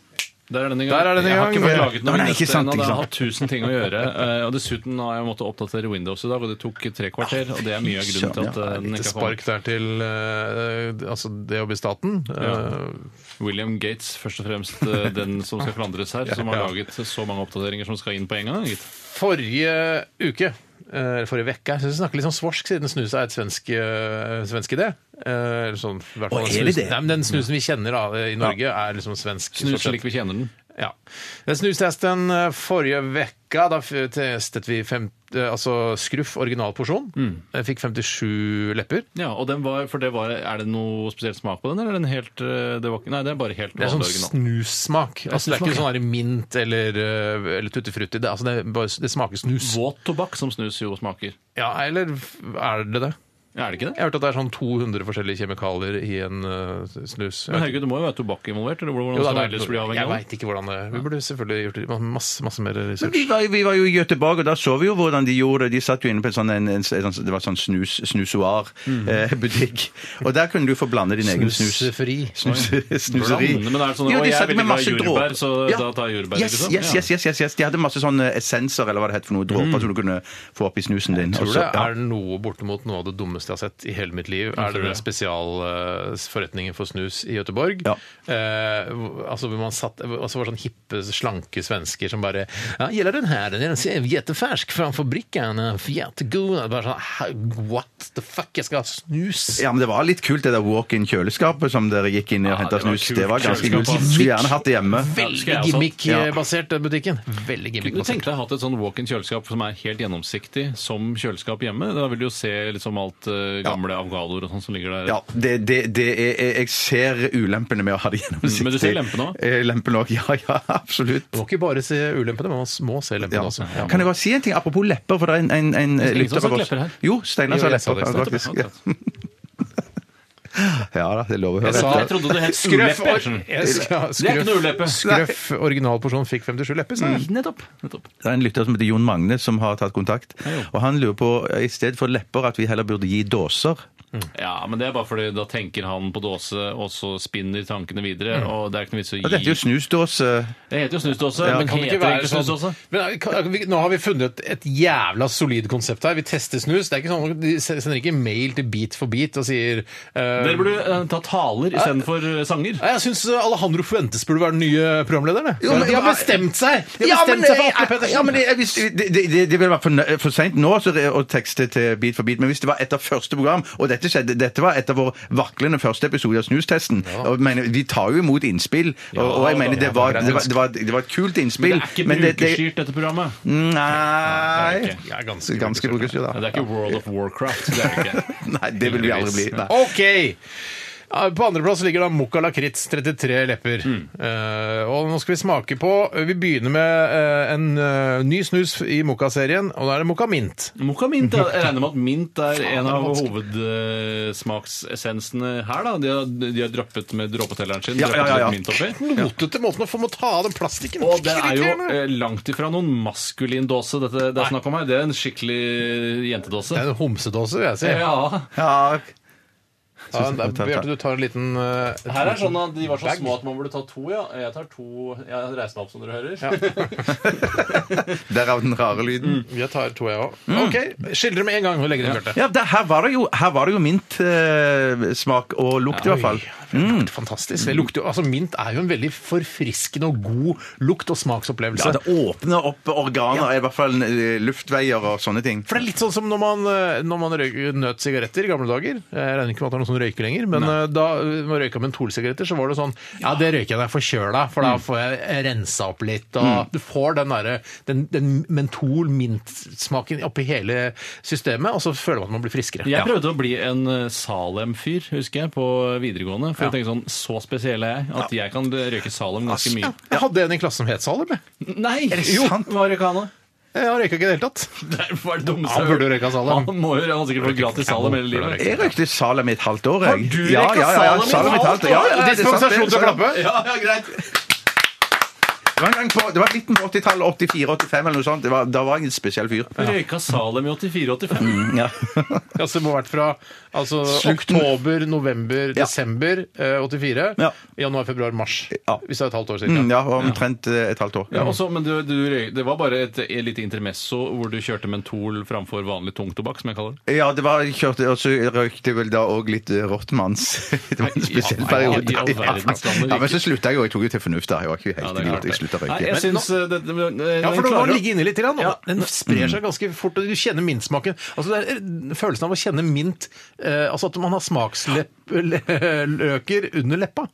C: Der er den i gang.
A: Der er den i
C: jeg har
A: gang.
C: ikke fått laget
B: Nei,
C: noe
B: nei, ikke sant,
C: ennå.
B: ikke
C: Jeg har
B: sant.
C: hatt tusen ting å gjøre. eh, Og dessuten har jeg måttet oppdatere Windows i dag, og det tok tre kvarter. Og det er mye av grunnen til at eh, den
A: Lite
C: ikke har kommet.
A: spark der til eh, altså det å bli staten. Eh,
C: William Gates, først og fremst eh, den som skal klandres her, som har laget så mange oppdateringer som skal inn på en gang. gitt.
A: Forrige uke eh, eller forrige vekk, Jeg syns vi snakker litt sånn svorsk, siden snus er et svensk, eh, svensk idé. Eh, Eller sånn, i hvert fall
B: Å,
A: den
B: er det
A: snusen-
B: det?
A: Nei, men Den snusen vi kjenner da, i Norge, er liksom svensk.
C: Snus
A: stort sett.
C: slik vi kjenner den.
A: Ja. Den snustesten eh, forrige vekka, da f- testet vi fem, eh, altså skruff originalporsjon. Jeg fikk 57 lepper.
C: Ja, og den var, for det var, Er det noe spesiell smak på den? eller er den helt, eh, det var, ikke- Nei, det er bare helt
A: Det er sånn
C: vanlig original.
A: snussmak. Altså, det er ikke sånn der mint eller, eh, eller tuttefrutti. Det, altså, det, er bare, det smaker snus.
C: Våt tobakk som snus jo smaker.
A: Ja, eller f- er det det?
C: Er det ikke det?
A: Jeg har hørt at det er sånn 200 forskjellige kjemikalier i en eh, snus.
C: Men herregud, det må jo være tobakk involvert? eller hvordan
A: Jo da,
C: skal det
A: det er-
C: ellers bli avhengig
A: jeg
C: av det?
A: veit ikke hvordan det Vi burde selvfølgelig gjort det- masse, masse mer
B: Men
A: research.
B: vi var, vi var jo i Göteborg, og da så vi jo hvordan de gjorde det. De satt jo inne på en sånn, en, en, en, det var sånn snus,
C: Mm.
B: snusoar-butikk. og der kunne du få blande din egen snus.
A: Snusfri.
B: Snus, snuseri.
C: Blande, men er det sånn,
B: Jo,
C: å,
B: de
C: jeg
B: satt
C: vil
B: med
C: ikke ha
B: masse
C: jordbær,
B: dråper.
C: så
B: Ja.
C: da tar jeg jordbær.
B: Yes,
C: liksom?
B: yes, yes, yes, yes, yes. De hadde masse sånne essenser eller hva det het for noe, dråper
C: Mm.
B: som du kunne få oppi snusen din.
A: Tror
B: og
A: du
B: så-
A: det er noe bortimot noe av det dummeste jeg har sett i hele mitt liv? Er
C: tror
A: det den
C: det.
A: spesialforretningen for snus i Gøteborg?
B: Ja.
A: Eh, hvor- altså hvor man satt altså var det sånn hippe, slanke svensker som bare ja, 'Gjelder den her? Den er jättefärsk framfor brikken. Jättegod.' Bare sånn "Hæ? What the fuck? Jeg skal ha snus!
B: Ja, men det var litt kult det der walk-in-kjøleskapet som dere gikk inn i og
C: Ja,
B: henta
C: det var
B: snus.
C: kult
B: Det var ganske kult.
C: kjøleskap, ass.
B: Skulle gjerne hatt det hjemme.
C: skal jeg også.
A: Veldig gimmickbasert, den butikken. Veldig
C: Kunne du
A: gimmickbasert.
C: tenkt deg å ha hatt et sånn walk-in-kjøleskap som er helt gjennomsiktig som kjøleskap hjemme? Da vil du jo se liksom alt eh, gamle avgadoer og sånn som ligger der.
B: Ja, det, det, det er, jeg- jeg ser ulempene med å ha det gjennomsiktig.
C: Men du ser lempene også?
B: Eh, Lempene òg, ja. ja, Absolutt.
A: Du må ikke bare se ulempene, men man må se lempene
B: Ja.
A: også. altså, Ja.
B: Kan jeg bare si en ting apropos lepper? For det er en, en, en eh,
C: ingen
B: lytter
C: som har
B: av
C: sagt
B: oss
C: lepper her.
B: Jo, Steinar sa
A: Jo, jeg sa
B: lepper.
A: det,
B: ja, faktisk.
C: Nettopp,
B: Ja. ja da, det er lov å høre.
A: sa-
B: etter.
C: Jeg trodde det het
A: Skrøff,
C: uleppe.
A: or
C: Eriksen. Det er ikke noe
A: skrøff,
C: uleppe.
A: skrøff originalporsjon fikk 57 lepper,
B: Mm.
A: sa jeg.
C: Nettopp. Nettopp.
B: Det er en lytter som heter Jon Magne, som har tatt kontakt. Og han lurer på, eh, i stedet for lepper, at vi heller burde gi dåser.
C: Ja, men det er bare fordi da tenker han på dåse, og så spinner tankene videre.
B: Mm.
C: Og det er ikke noe vits å gi
B: Og dette er jo snusdåse.
C: Det heter jo snusdåse,
B: Ja,
C: men
A: Kan
C: heter
A: det ikke
C: det
A: være
C: ikke snusdåse?
A: sånn? Men kan, vi, nå har vi funnet et jævla solid konsept her. Vi tester snus. Det er ikke sånn, at De sender ikke mail til Beat for beat og sier eh,
C: Dere burde eh, ta taler istedenfor eh, sanger.
A: Nei, Jeg syns Alejandro Fuentes burde være den nye programlederen. jeg.
B: men-
A: De har
B: ja,
A: bestemt seg! De
B: Ja,
A: har
B: men,
A: bestemt seg for Atle
B: jeg- ja, men
A: Pettersen.
B: jeg- hvis- det, det, det, det vil være for, nø- for seint nå så det- å tekste til Beat for beat, men hvis det var etter første program, og dette skjedde, dette var etter vår vaklende første episode av Snustesten og jeg mener, Vi tar jo imot innspill, og, og jeg mener det var, det, var, det, var, det var et kult
C: Det
B: innspill,
C: er ikke
B: men det, det
C: brukerstyrt, dette programmet.
B: Nei
C: det er ikke.
A: Jeg er ganske
B: Ganske brukerstyrt, da.
C: Det er ikke World of Warcraft. Det er det ikke.
B: Nei, det vil vi aldri bli. Nei.
A: OK! Ja, På andreplass ligger da Mocca Lakrits 33 lepper. Eh, og nå skal vi smake på Vi begynner med eh, en eh, ny snus i Mocca-serien, og da er det Mocca Mint.
C: Mokka mint, ja. jeg regner med at mint er en av
A: det er
C: hovedsmaksessensene her. da. De har, de har droppet med dråpetelleren sin.
B: Ja, ja, ja, ja.
C: droppet litt mint oppi.
A: Knotete måten å få med å ta av den plastikken
C: Og det er jo
A: Irriterende.
C: eh, langt ifra noen maskulin dåse dette det er snakk om her. Det er en skikkelig
A: Det
C: jentedåse.
A: er en homsedåse, vil jeg si.
C: Ja,
B: Ja,
A: Ja, det er- Bjarte, du tar en liten eh,
C: Her er sånn at De var så
A: Bag.
C: små at man burde ta to, ja. Jeg tar to Jeg reiser meg opp, som dere hører.
B: Derav den rare lyden.
A: Jeg tar to, jeg òg. OK. Skildre med en gang og legge det, Bjarte.
B: Ja, det, her, var det jo, her var det jo mintsmak og lukt, i hvert fall.
A: Mm. Fantastisk. Det lukter jo, altså Mint er jo en veldig forfriskende og god lukt- og
B: Ja,
A: smaksopplevelse.
B: det åpner opp organer, i hvert fall eh, luftveier og sånne ting.
A: For det er litt sånn som når man, eh, når man røy- nøt sigaretter i gamle dager. Jeg regner ikke med at det er noen som røyker lenger, men eh, da eh, man røyka mentolsigaretter, så var det sånn Ja, det røyker jeg når jeg er forkjøla, for da får jeg rensa opp litt. Og du får den derre den, den mentol-mint-smaken oppi hele systemet, og så føler man at man blir friskere.
C: Jeg prøvde å bli en eh, Salem-fyr, husker jeg, på videregående. For
A: Ja.
C: jeg tenkte sånn Så spesiell er jeg at jeg kan røyke Salem ganske mye.
A: Jeg hadde en i klassen som het Salem. jeg.
C: Nei!
B: Er det
C: jo,
B: sant?
C: Marikana.
A: Jeg røyka ikke i det hele tatt.
C: Nei, hva er det dummeste
A: Han
C: jeg har
A: burde
C: hørt?
A: røyka Salem.
C: Han må jo han har sikkert fått gratis Salem hele livet.
B: Jeg røykte salam i et halvt år, jeg.
C: Har du
B: ja,
C: røyka
B: ja, ja, ja,
C: salam i et
B: salam i et halvt år? Ja, ja, det er sant, det er
A: Dispensasjon til å
B: sant.
A: klappe.
C: Ja, ja, greit.
B: Det var en gang på, det var midten på 80-tallet, 84-85 eller noe sånt. Det var, da var jeg en spesiell fyr.
C: Røyka Salem i 84-85.
B: Ja.
A: Ja, så det må ha vært fra altså,
B: Slutten.
A: oktober, november,
B: Ja.
A: desember eh, 84.
B: Ja.
A: Januar, februar, mars.
B: Ja.
A: Hvis det er et halvt år siden.
B: Mm, ja, omtrent eh, et halvt år.
C: Ja, også, men du, du, røy- det var bare et, et lite intermesso hvor du kjørte mentol framfor vanlig tungtobakk, som jeg kaller det.
B: Ja, det var kjørt, og så røykte jeg vel da òg litt eh, rottmanns. Det var en
C: Ja,
B: spesiell
C: nei,
B: periode.
C: i all verdens land, det
B: Ja, men så slutta jeg jo. Jeg tok jo til fornuft da. Jeg var ikke helt idiot. Jeg slutta å
C: Nei,
B: røyke.
C: jeg
B: Men-
C: syns eh, det, det, det,
A: Ja, for
C: den
A: nå må
C: klarer
A: den
C: å-
A: ligge inne litt. Grann, og Den sprer
B: Mm.
A: seg ganske fort, og du kjenner mintsmaken. Altså, det er følelsen av å kjenne mint eh, Altså at man har smaksløker under leppa.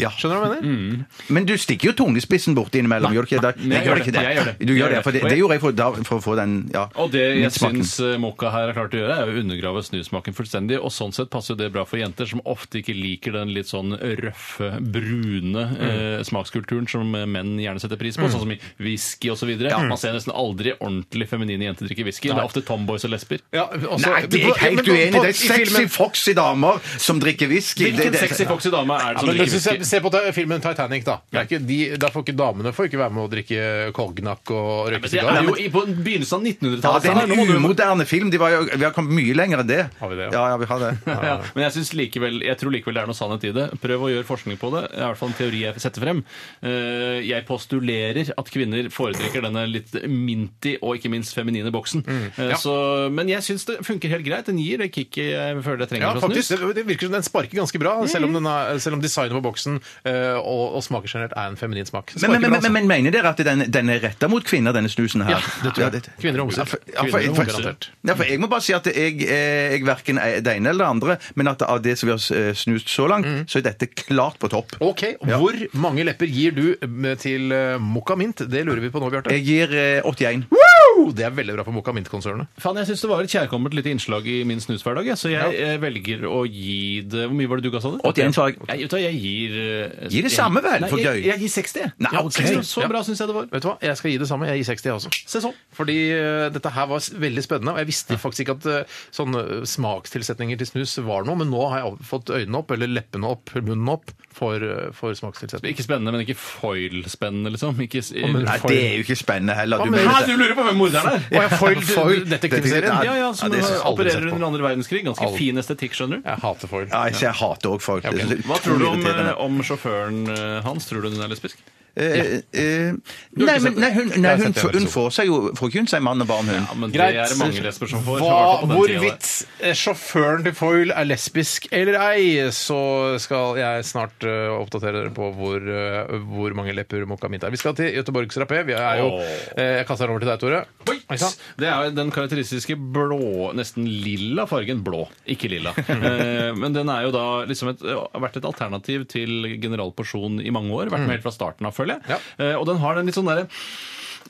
B: Ja.
A: Skjønner du hva jeg
B: Mm.
A: mener?
B: Men du stikker jo tungespissen borti innimellom, gjør du ikke det?
C: nei, jeg gjør det.
B: ikke
C: Jeg gjør det.
B: Du
C: Jeg
B: gjør det,
C: gjør
B: for det,
C: det.
B: det gjorde jeg for, da, for å få den ja,
C: Og det jeg
B: mintsmaken.
C: syns eh, Mokka her har klart å gjøre, er å undergrave snusmaken fullstendig. Og sånn sett passer jo det bra for jenter som ofte ikke liker den litt sånn røffe, brune
B: Mm.
C: eh, smakskulturen som eh, menn gjerne setter pris på, sånn som i whisky osv. videre Man ser nesten aldri ordentlig feminine jenter drikke whisky. Det er ofte tomboys og lesber.
A: Ja, altså-
B: Nei, det er jeg
A: Ja, men
B: helt
A: på-
B: uenig i. Det er
A: i filmen-
B: sexy foxy damer som drikker whisky. Det-
C: Hvilken
B: det-
C: sexy foxy dame er det
A: Ja,
C: som
A: men
C: drikker
A: hvis vi
C: whisky?
A: ser på ta- filmen Titanic, da. Det er ikke de, der får ikke damene får ikke være med å drikke cognac og
C: Men
A: røyke
C: det er
A: sigar.
C: jo i- på begynnelsen av
B: Ja, det
C: 1900-tallet.
B: er
C: Steinar. Nå må
B: en
C: du-
B: umoderne film. De var jo, vi har kommet mye lenger enn det.
A: Har vi det, ja?
B: Ja, ja, vi har det.
C: ja. Men jeg, synes likevel, jeg tror likevel det er noe sannhet i det. Prøv å gjøre forskning på det. Det er i hvert fall en teori jeg setter frem. Eh, Jeg postulerer at kvinner foretrekker denne litt minty og ikke minst feminine boksen.
B: Mm.
C: Eh, Så, men jeg syns det funker helt greit. Den gir det kicket jeg føler jeg trenger
A: Ja,
C: fra
A: faktisk.
C: snus.
A: Det, det virker som den sparker ganske bra, selv om, den er, selv om designet på boksen eh, og, og smaker generelt er en feminin smak.
B: Men, men,
A: Sparker
B: men,
A: bra, altså.
B: men, men mener dere at den, den er retta mot kvinner, denne snusen her?
A: Ja, det tror jeg. Kvinner og homser.
B: Ja, for- ja,
A: Kvinner
B: for-
A: og
B: for-
A: homser, garantert.
B: Ja, for jeg må bare si at jeg, eh, jeg verken er det ene eller det andre, men at av det som vi har eh, snust så langt,
C: Mm.
B: så er dette klart på topp.
A: altså. Ok, Hvor mange lepper gir du eh, til uh, Mokka Mint? Det lurer vi på nå, Bjarte.
B: Jeg gir eh, 81.
A: Woo! Det er veldig bra for Mokka Mint-konsernet.
C: Faen, jeg syns det var et kjærkomment lite innslag i min snushverdag, jeg, så jeg eh, velger å gi det Hvor mye var det du ga, sa du?
B: 81 sa jeg.
C: Jeg, vet du hva, jeg gir eh,
B: Gi det
C: jeg-
B: samme vel,
C: Nei,
B: for
C: jeg-
B: gøy.
C: Jeg gir 60, jeg.
B: Nei,
C: Ja,
B: ok.
C: 60. Så
A: Ja.
C: bra syns jeg det var.
A: Vet du hva? Jeg skal gi det samme. Jeg gir 60, jeg også.
C: Se sånn.
A: Fordi eh, dette her var s- veldig spennende, og jeg visste faktisk ikke at eh, sånne smakstilsetninger til snus var noe, men nå har jeg fått øynene opp, eller leppene opp, eller munnen opp, for, eh, for smakstilsetning.
C: Ikke spennende, men ikke foil-spennende, liksom. Ikke, s-
A: men-
B: Nei, det er jo ikke spennende heller. Du
A: men-
B: mener
C: Hæ,
B: det.
C: du lurer på hvem morderen er?
A: Og jeg foil,
B: Foil,
A: detektivserien.
B: detektiv-
C: Ja, ja, som
B: Ja, det synes jeg aldri
C: opererer
B: sett på.
C: under andre verdenskrig. Ganske
A: Aldri.
C: fin estetikk, skjønner du.
A: Jeg hater foil.
B: Ja, jeg, jeg hater òg folk. Jeg synes det er
C: Hva tror du om,
B: irriterende.
C: eh, om sjåføren eh, hans? Tror du hun er lesbisk?
B: Eh, eh, Nei, men nei,
A: Jeg
B: hun, nei,
A: har
B: hun,
A: sett det,
B: får- hun
A: episode.
B: får seg jo Får ikke hun seg mann og barn, hun?
C: Ja, men
A: Greit.
C: Det er det mange lesber som får.
A: Hva,
C: som i hvert fall på den tiden der.
A: hvorvidt eh, sjåføren til Foil er lesbisk eller ei, så skal jeg snart eh, oppdatere dere på hvor, eh, hvor mange lepper mokka mint er. Vi skal til Göteborgs Rapé. Vi er jo,
C: Åh.
A: eh, jeg kaster den over til deg, Tore.
C: Oi,
A: Oi, sant?
C: Det er jo den karakteristiske blå, nesten lilla fargen. Blå, ikke lilla. Eh, Men den er jo da liksom et, har vært et alternativ til General Porsjon i mange
A: Mm.
C: år. Vært med helt fra starten av, føler jeg. Eh, Og den har den litt sånn derre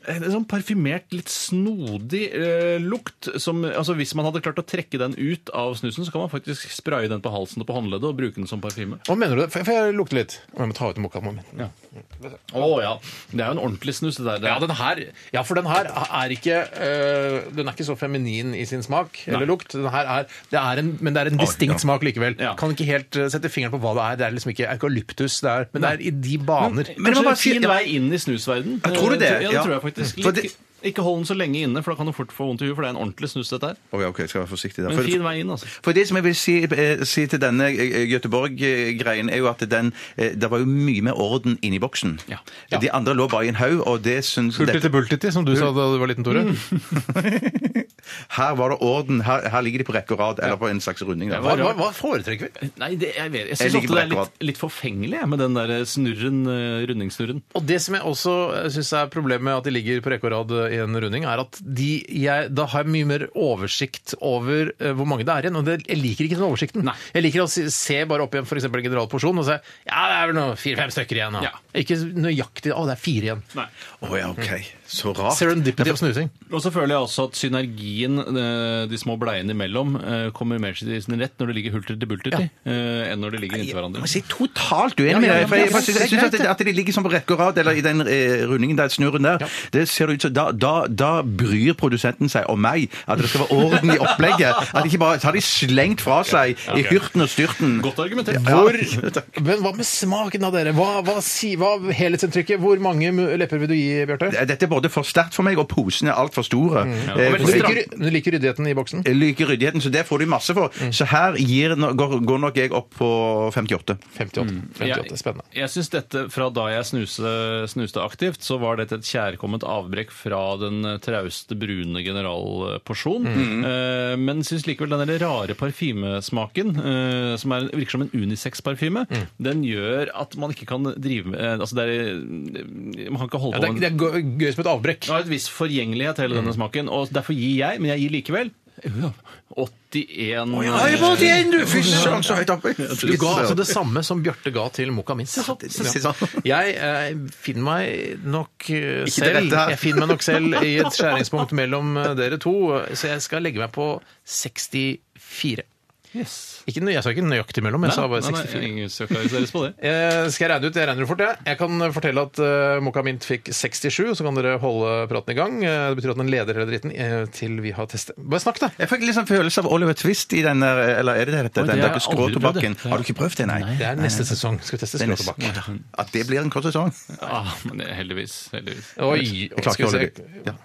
C: en sånn parfymert, litt snodig eh, lukt som altså Hvis man hadde klart å trekke den ut av snusen, så kan man faktisk spraye den på halsen og på håndleddet og bruke den som parfyme.
A: Hva mener du? det? For for jeg lukter litt. Å, Jeg må ta ut mokka
C: Å
A: momenten.
C: ja. Det er jo en ordentlig snus, det der. Det
A: Ja,
C: er-
A: den her, ja, for den her er ikke eh, Den er ikke så feminin i sin smak eller lukt. Den her er, det er en, men det er en distinkt smak likevel.
C: Ja.
A: Kan ikke helt eh, sette fingeren på hva det er. Det er liksom ikke eukalyptus, det er, men det er i de baner.
B: Men jeg
C: Kanskje
B: må bare
C: en
B: si-
C: fin vei inn i snusverden.
B: Ja, tror du det?
C: Ja, det tror jeg faktisk.
B: For det,
C: Litt- Ikke hold den så lenge inne, for da kan du fort få vondt i huet, for det er en ordentlig snus, dette her.
B: Å ja, ok, jeg skal være forsiktig da.
C: Men
B: For,
C: fin vei inn, altså.
B: for det som jeg vil si, eh, si til denne eh, Göteborg-greien, er jo at den, eh, det var jo mye mer orden inni boksen.
C: Ja.
B: De andre lå bare i en haug, og det syns
A: Hultete bultete, som du sa da du var liten, Tore.
B: Her var det orden. Her, her ligger de på rekke og rad, eller på en slags runding. Da.
C: var-
A: Hva, hva foretrekker vi?
C: Nei, det, jeg, vet- jeg
B: Jeg
C: syns
B: liker
C: ofte det er
B: brekkevad.
C: litt, litt forfengelig jeg, med den der snurren, eh, rundingssnurren.
A: Og det som jeg også syns er problemet med at de ligger på rekke og rad eh, i en runding, er at de, jeg, da har jeg mye mer oversikt over eh, hvor mange det er igjen. Og det, jeg liker ikke den oversikten.
C: Nei.
A: Jeg liker å se, se bare opp igjen f.eks. en generalporsjon og si ja, det er vel noe fire-fem stykker igjen. da».
C: Ja.
A: Ikke nøyaktig å, det er fire igjen.
B: Å ja, OK. Så rart.
A: Serendipity og snusing.
C: Og så føler jeg også at synergien eh, de små bleiene imellom eh, kommer mer til sin rett når det ligger hulter til bulter til, eh, enn når de ligger inntil
B: Jeg
C: hverandre.
B: må si totalt uenig med
A: ja,
B: deg.
A: ja,
B: for Jeg,
A: men
B: jeg,
A: det er
B: synes at,
A: greit, det.
B: at de ligger sånn på rekke og rad, eller i den eh, rundingen der, snurren der, det ser det ut som da, da, da bryr produsenten seg om meg. At det skal være orden i opplegget. At ikke bare så har de slengt fra seg i hyrten og styrten.
C: Godt argumentert.
A: Hvor, men hva med smaken av dere? Hva, hva, si, hva helhetsinntrykket? Hvor mange mu- lepper vil du gi, Bjarte?
B: Dette er både for sterkt for meg, og posene er altfor store. Eh,
A: Mm. Men Du
B: for jeg-
A: liker, du liker ryddigheten i boksen?
B: jeg liker ryddigheten, så det får de masse for. Så her gir, no- går, går nok jeg opp på 58.
A: 58. 58. Spennende.
C: Jeg, jeg syns dette, fra da jeg snuse, snuste aktivt, så var dette et kjærkomment avbrekk fra den eh, trauste, brune generalporsjon.
A: Mm.
C: Eh, men syns likevel den der rare parfymesmaken, eh, som er, virker som en unisex-parfyme,
A: Mm.
C: den gjør at man ikke kan drive med eh, Altså, det er eh, Man kan ikke holde
A: Ja,
C: på
A: det, er,
C: med
A: det er Mm. gøy- gøy som et avbrekk.
C: Det har et visst forgjengelighet, hele denne smaken, og derfor gir jeg, men jeg gir likevel 81
B: du! Fy søren, så høyt oppe!
A: Du ga altså det samme som Bjarte ga til Moka Minz. Ja. Jeg eh, finner meg nok eh,
B: Ikke det
A: selv
B: rette her.
A: Jeg finner meg nok selv i et skjæringspunkt mellom eh, dere to, så jeg skal legge meg på 64.
C: Yes.
A: Ikke, nøy- jeg sa ikke nøyaktig mellom, jeg sa bare
C: Nei, nei,
A: 64.
C: ingen søkariseres på det.
A: Eh, skal jeg regne ut? Jeg regner det fort, jeg. Jeg kan fortelle at uh, Mokka Mint fikk 67, så kan dere holde praten i gang. Eh, det betyr at den leder hele dritten eh, til vi har testet. Bare snakk, da!
B: Jeg fikk litt sånn følelse av Oliver Twist i den der Eller er det det heter?
C: Oi, det
B: Den
C: har
B: der
C: jeg aldri
B: skråtobakken.
C: prøvd, det.
B: Har du ikke prøvd det, nei?
A: Det er neste sesong. Skal vi teste
B: Det er nesten-
A: skråtobakk?
B: At det blir en kort sesong?
C: Ah, men det- heldigvis. heldigvis.
A: Oi!
B: Jeg klarer ikke å holde det. Ja.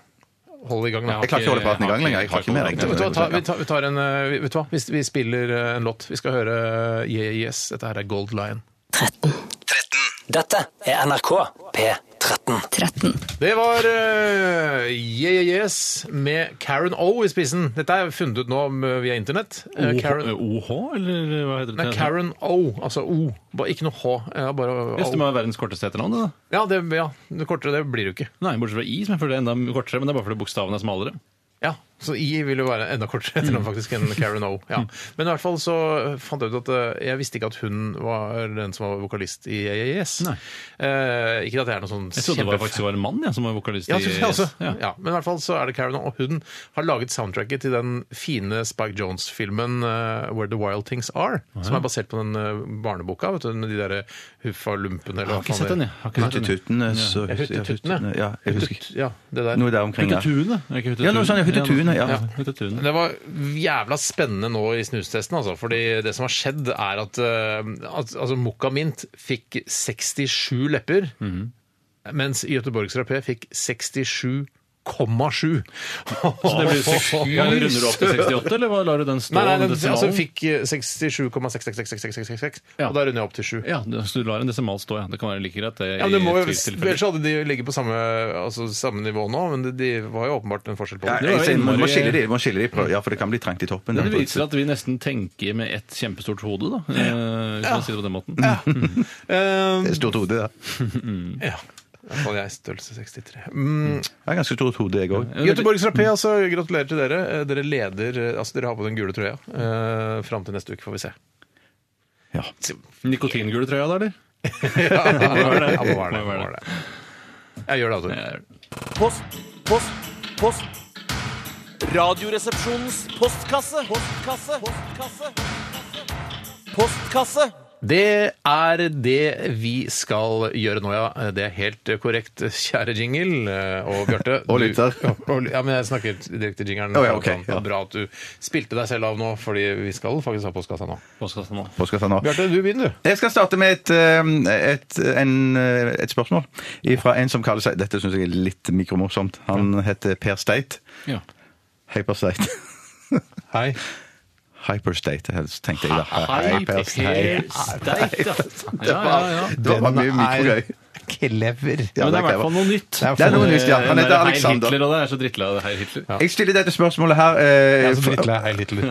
A: Hold i gang, da.
C: Ja.
B: Jeg klarer ikke å holde praten i gang lenger. Jeg har ikke mer.
C: Vet du
A: Vet du hva, ta, vi,
B: egentlig.
A: tar, vi tar en eh, vi- Vet du hva, vi, vi spiller eh, en låt. Vi skal høre eh, Yeah Yes. Dette her er Gold Lion.
F: Dette er NRK P13.
G: 13.
A: Det var eh, Yeah Yes med Karen O i spissen. Dette er funnet ut nå eh, via internett. Eh, Karen,
C: OH, eller hva heter det?
A: Nei, Karen O, altså O. Bare, ikke noe H. Ja, bare
C: Yes, det
A: O.
C: må være verdens korteste etternavn, det da.
A: Ja, det, ja, det kortere det blir det jo ikke.
C: Nei, bortsett fra I, som jeg føler er enda kortere, men det er bare fordi bokstaven er smalere.
A: Ja, Så I vil jo være enda kortere
C: Mm.
A: etternavn faktisk enn Karen O. Ja. Men i hvert fall så fant jeg ut at eh, jeg visste ikke at hun var den som var vokalist i AAS.
C: Nei.
A: Eh, ikke at jeg er noen sånn
C: Jeg trodde det var
A: kjempe-
C: faktisk var en mann ja, som var vokalist
A: Ja, synes jeg også.
C: Ja.
A: Ja. Men i hvert fall så er det Karen, og hun har laget soundtracket til den fine Spike Jones-filmen eh, Where the Wild Things Are, som er basert på den eh, barneboka vet du, med de der eh, Huffa-lumpen eller
C: Jeg har ikke sett den, jeg. Har ikke sett den.
B: Huttetuttene, eh, så
A: Ja, Huttetuttene.
B: Ja, jeg husker ikke.
A: Hutt- Ja, det der.
B: Noe der omkring. ja.
C: Huttetune? er ikke Huttetun?
B: Ja, noe sånt, ja, Huttetune, ja.
C: Huttetune.
A: Det var jævla spennende nå i snustesten, altså. Fordi det som har skjedd, er at, eh, at altså, Mokka Mint fikk 67 lepper,
C: Mhm.
A: mens Göteborgs Rapé fikk 67,7.
C: Så det blir seks- ja, Runder du opp til 68, eller hva lar du den stå?
A: Nei, nei,
C: den
A: den,
C: desimalen?
A: altså fikk eh, 67,66666,
C: Ja.
A: og da runder jeg opp til 7.
C: Ja, så du lar en desimal stå, ja. Det kan være like greit. Det,
A: Ja, men det må jo,
C: i tvilstilfeller.
A: Ellers hadde de ligget på samme, altså, samme nivå nå, men det- de var jo åpenbart en forskjell på
B: Ja,
A: det.
B: jeg sier, man må skille de, man må skille de prøv- ja, for det kan bli trangt i toppen.
C: Men det viser at vi nesten tenker med ett kjempestort hode, da. eh, Hvis man sier det på den måten.
A: Eh,
B: Det er Stort hode, ja. Jeg
A: ja. I hvert fall jeg, størrelse 63. Mm.
B: har ganske stort hode, jeg òg.
A: Göteborgs Rapé, altså, gratulerer til dere. Eh, Dere leder, eh, altså dere har på den gule trøya. Eh, Fram til neste uke får vi se.
B: Ja.
C: Nikotingule trøya, da, eller?
A: Ja, det var det.
C: Ja,
A: det, var det. det, var det. Jeg gjør det, altså.
C: Ja,
F: Post, post, post. Radioresepsjonens postkasse. Postkasse. Postkasse. Postkasse.
A: Det er det vi skal gjøre nå, ja. Det er helt korrekt, kjære Jingle eh, og Bjarte.
B: Og
A: du-
B: lytter.
A: og- Ja, men jeg snakker direkte til jingeren.
B: Å, ja, ok,
A: Det
B: ja.
A: er Bra at du spilte deg selv av nå, fordi vi skal faktisk ha postkassa nå.
C: Hva skal jeg si nå?
B: Hva skal jeg ta nå?
A: Bjarte, du begynner, du.
B: Jeg skal starte med et, eh, et, en, eh, et spørsmål fra en som kaller seg Dette syns jeg er litt mikromorsomt. Han heter Per Steit.
C: Ja.
B: Hei, Per Steit.
A: Hei.
B: Hyperstate, helst, tenkte jeg da. Per Steit.
C: Ja, ja, ja.
B: Det var mye mikrogøy.
A: Clever.
B: Ja,
C: Men det er i
B: clever.
C: hvert fall noe nytt.
B: Det er noe nytt, ja. Han
C: Den
B: heter
C: der Heil
B: Alexander.
C: Hitler, og det er så drittlei av det, Heil Hitler.
B: Jeg stiller dette spørsmålet her eh,
A: Jeg er så
B: for-
A: drittlei Heil Hitler.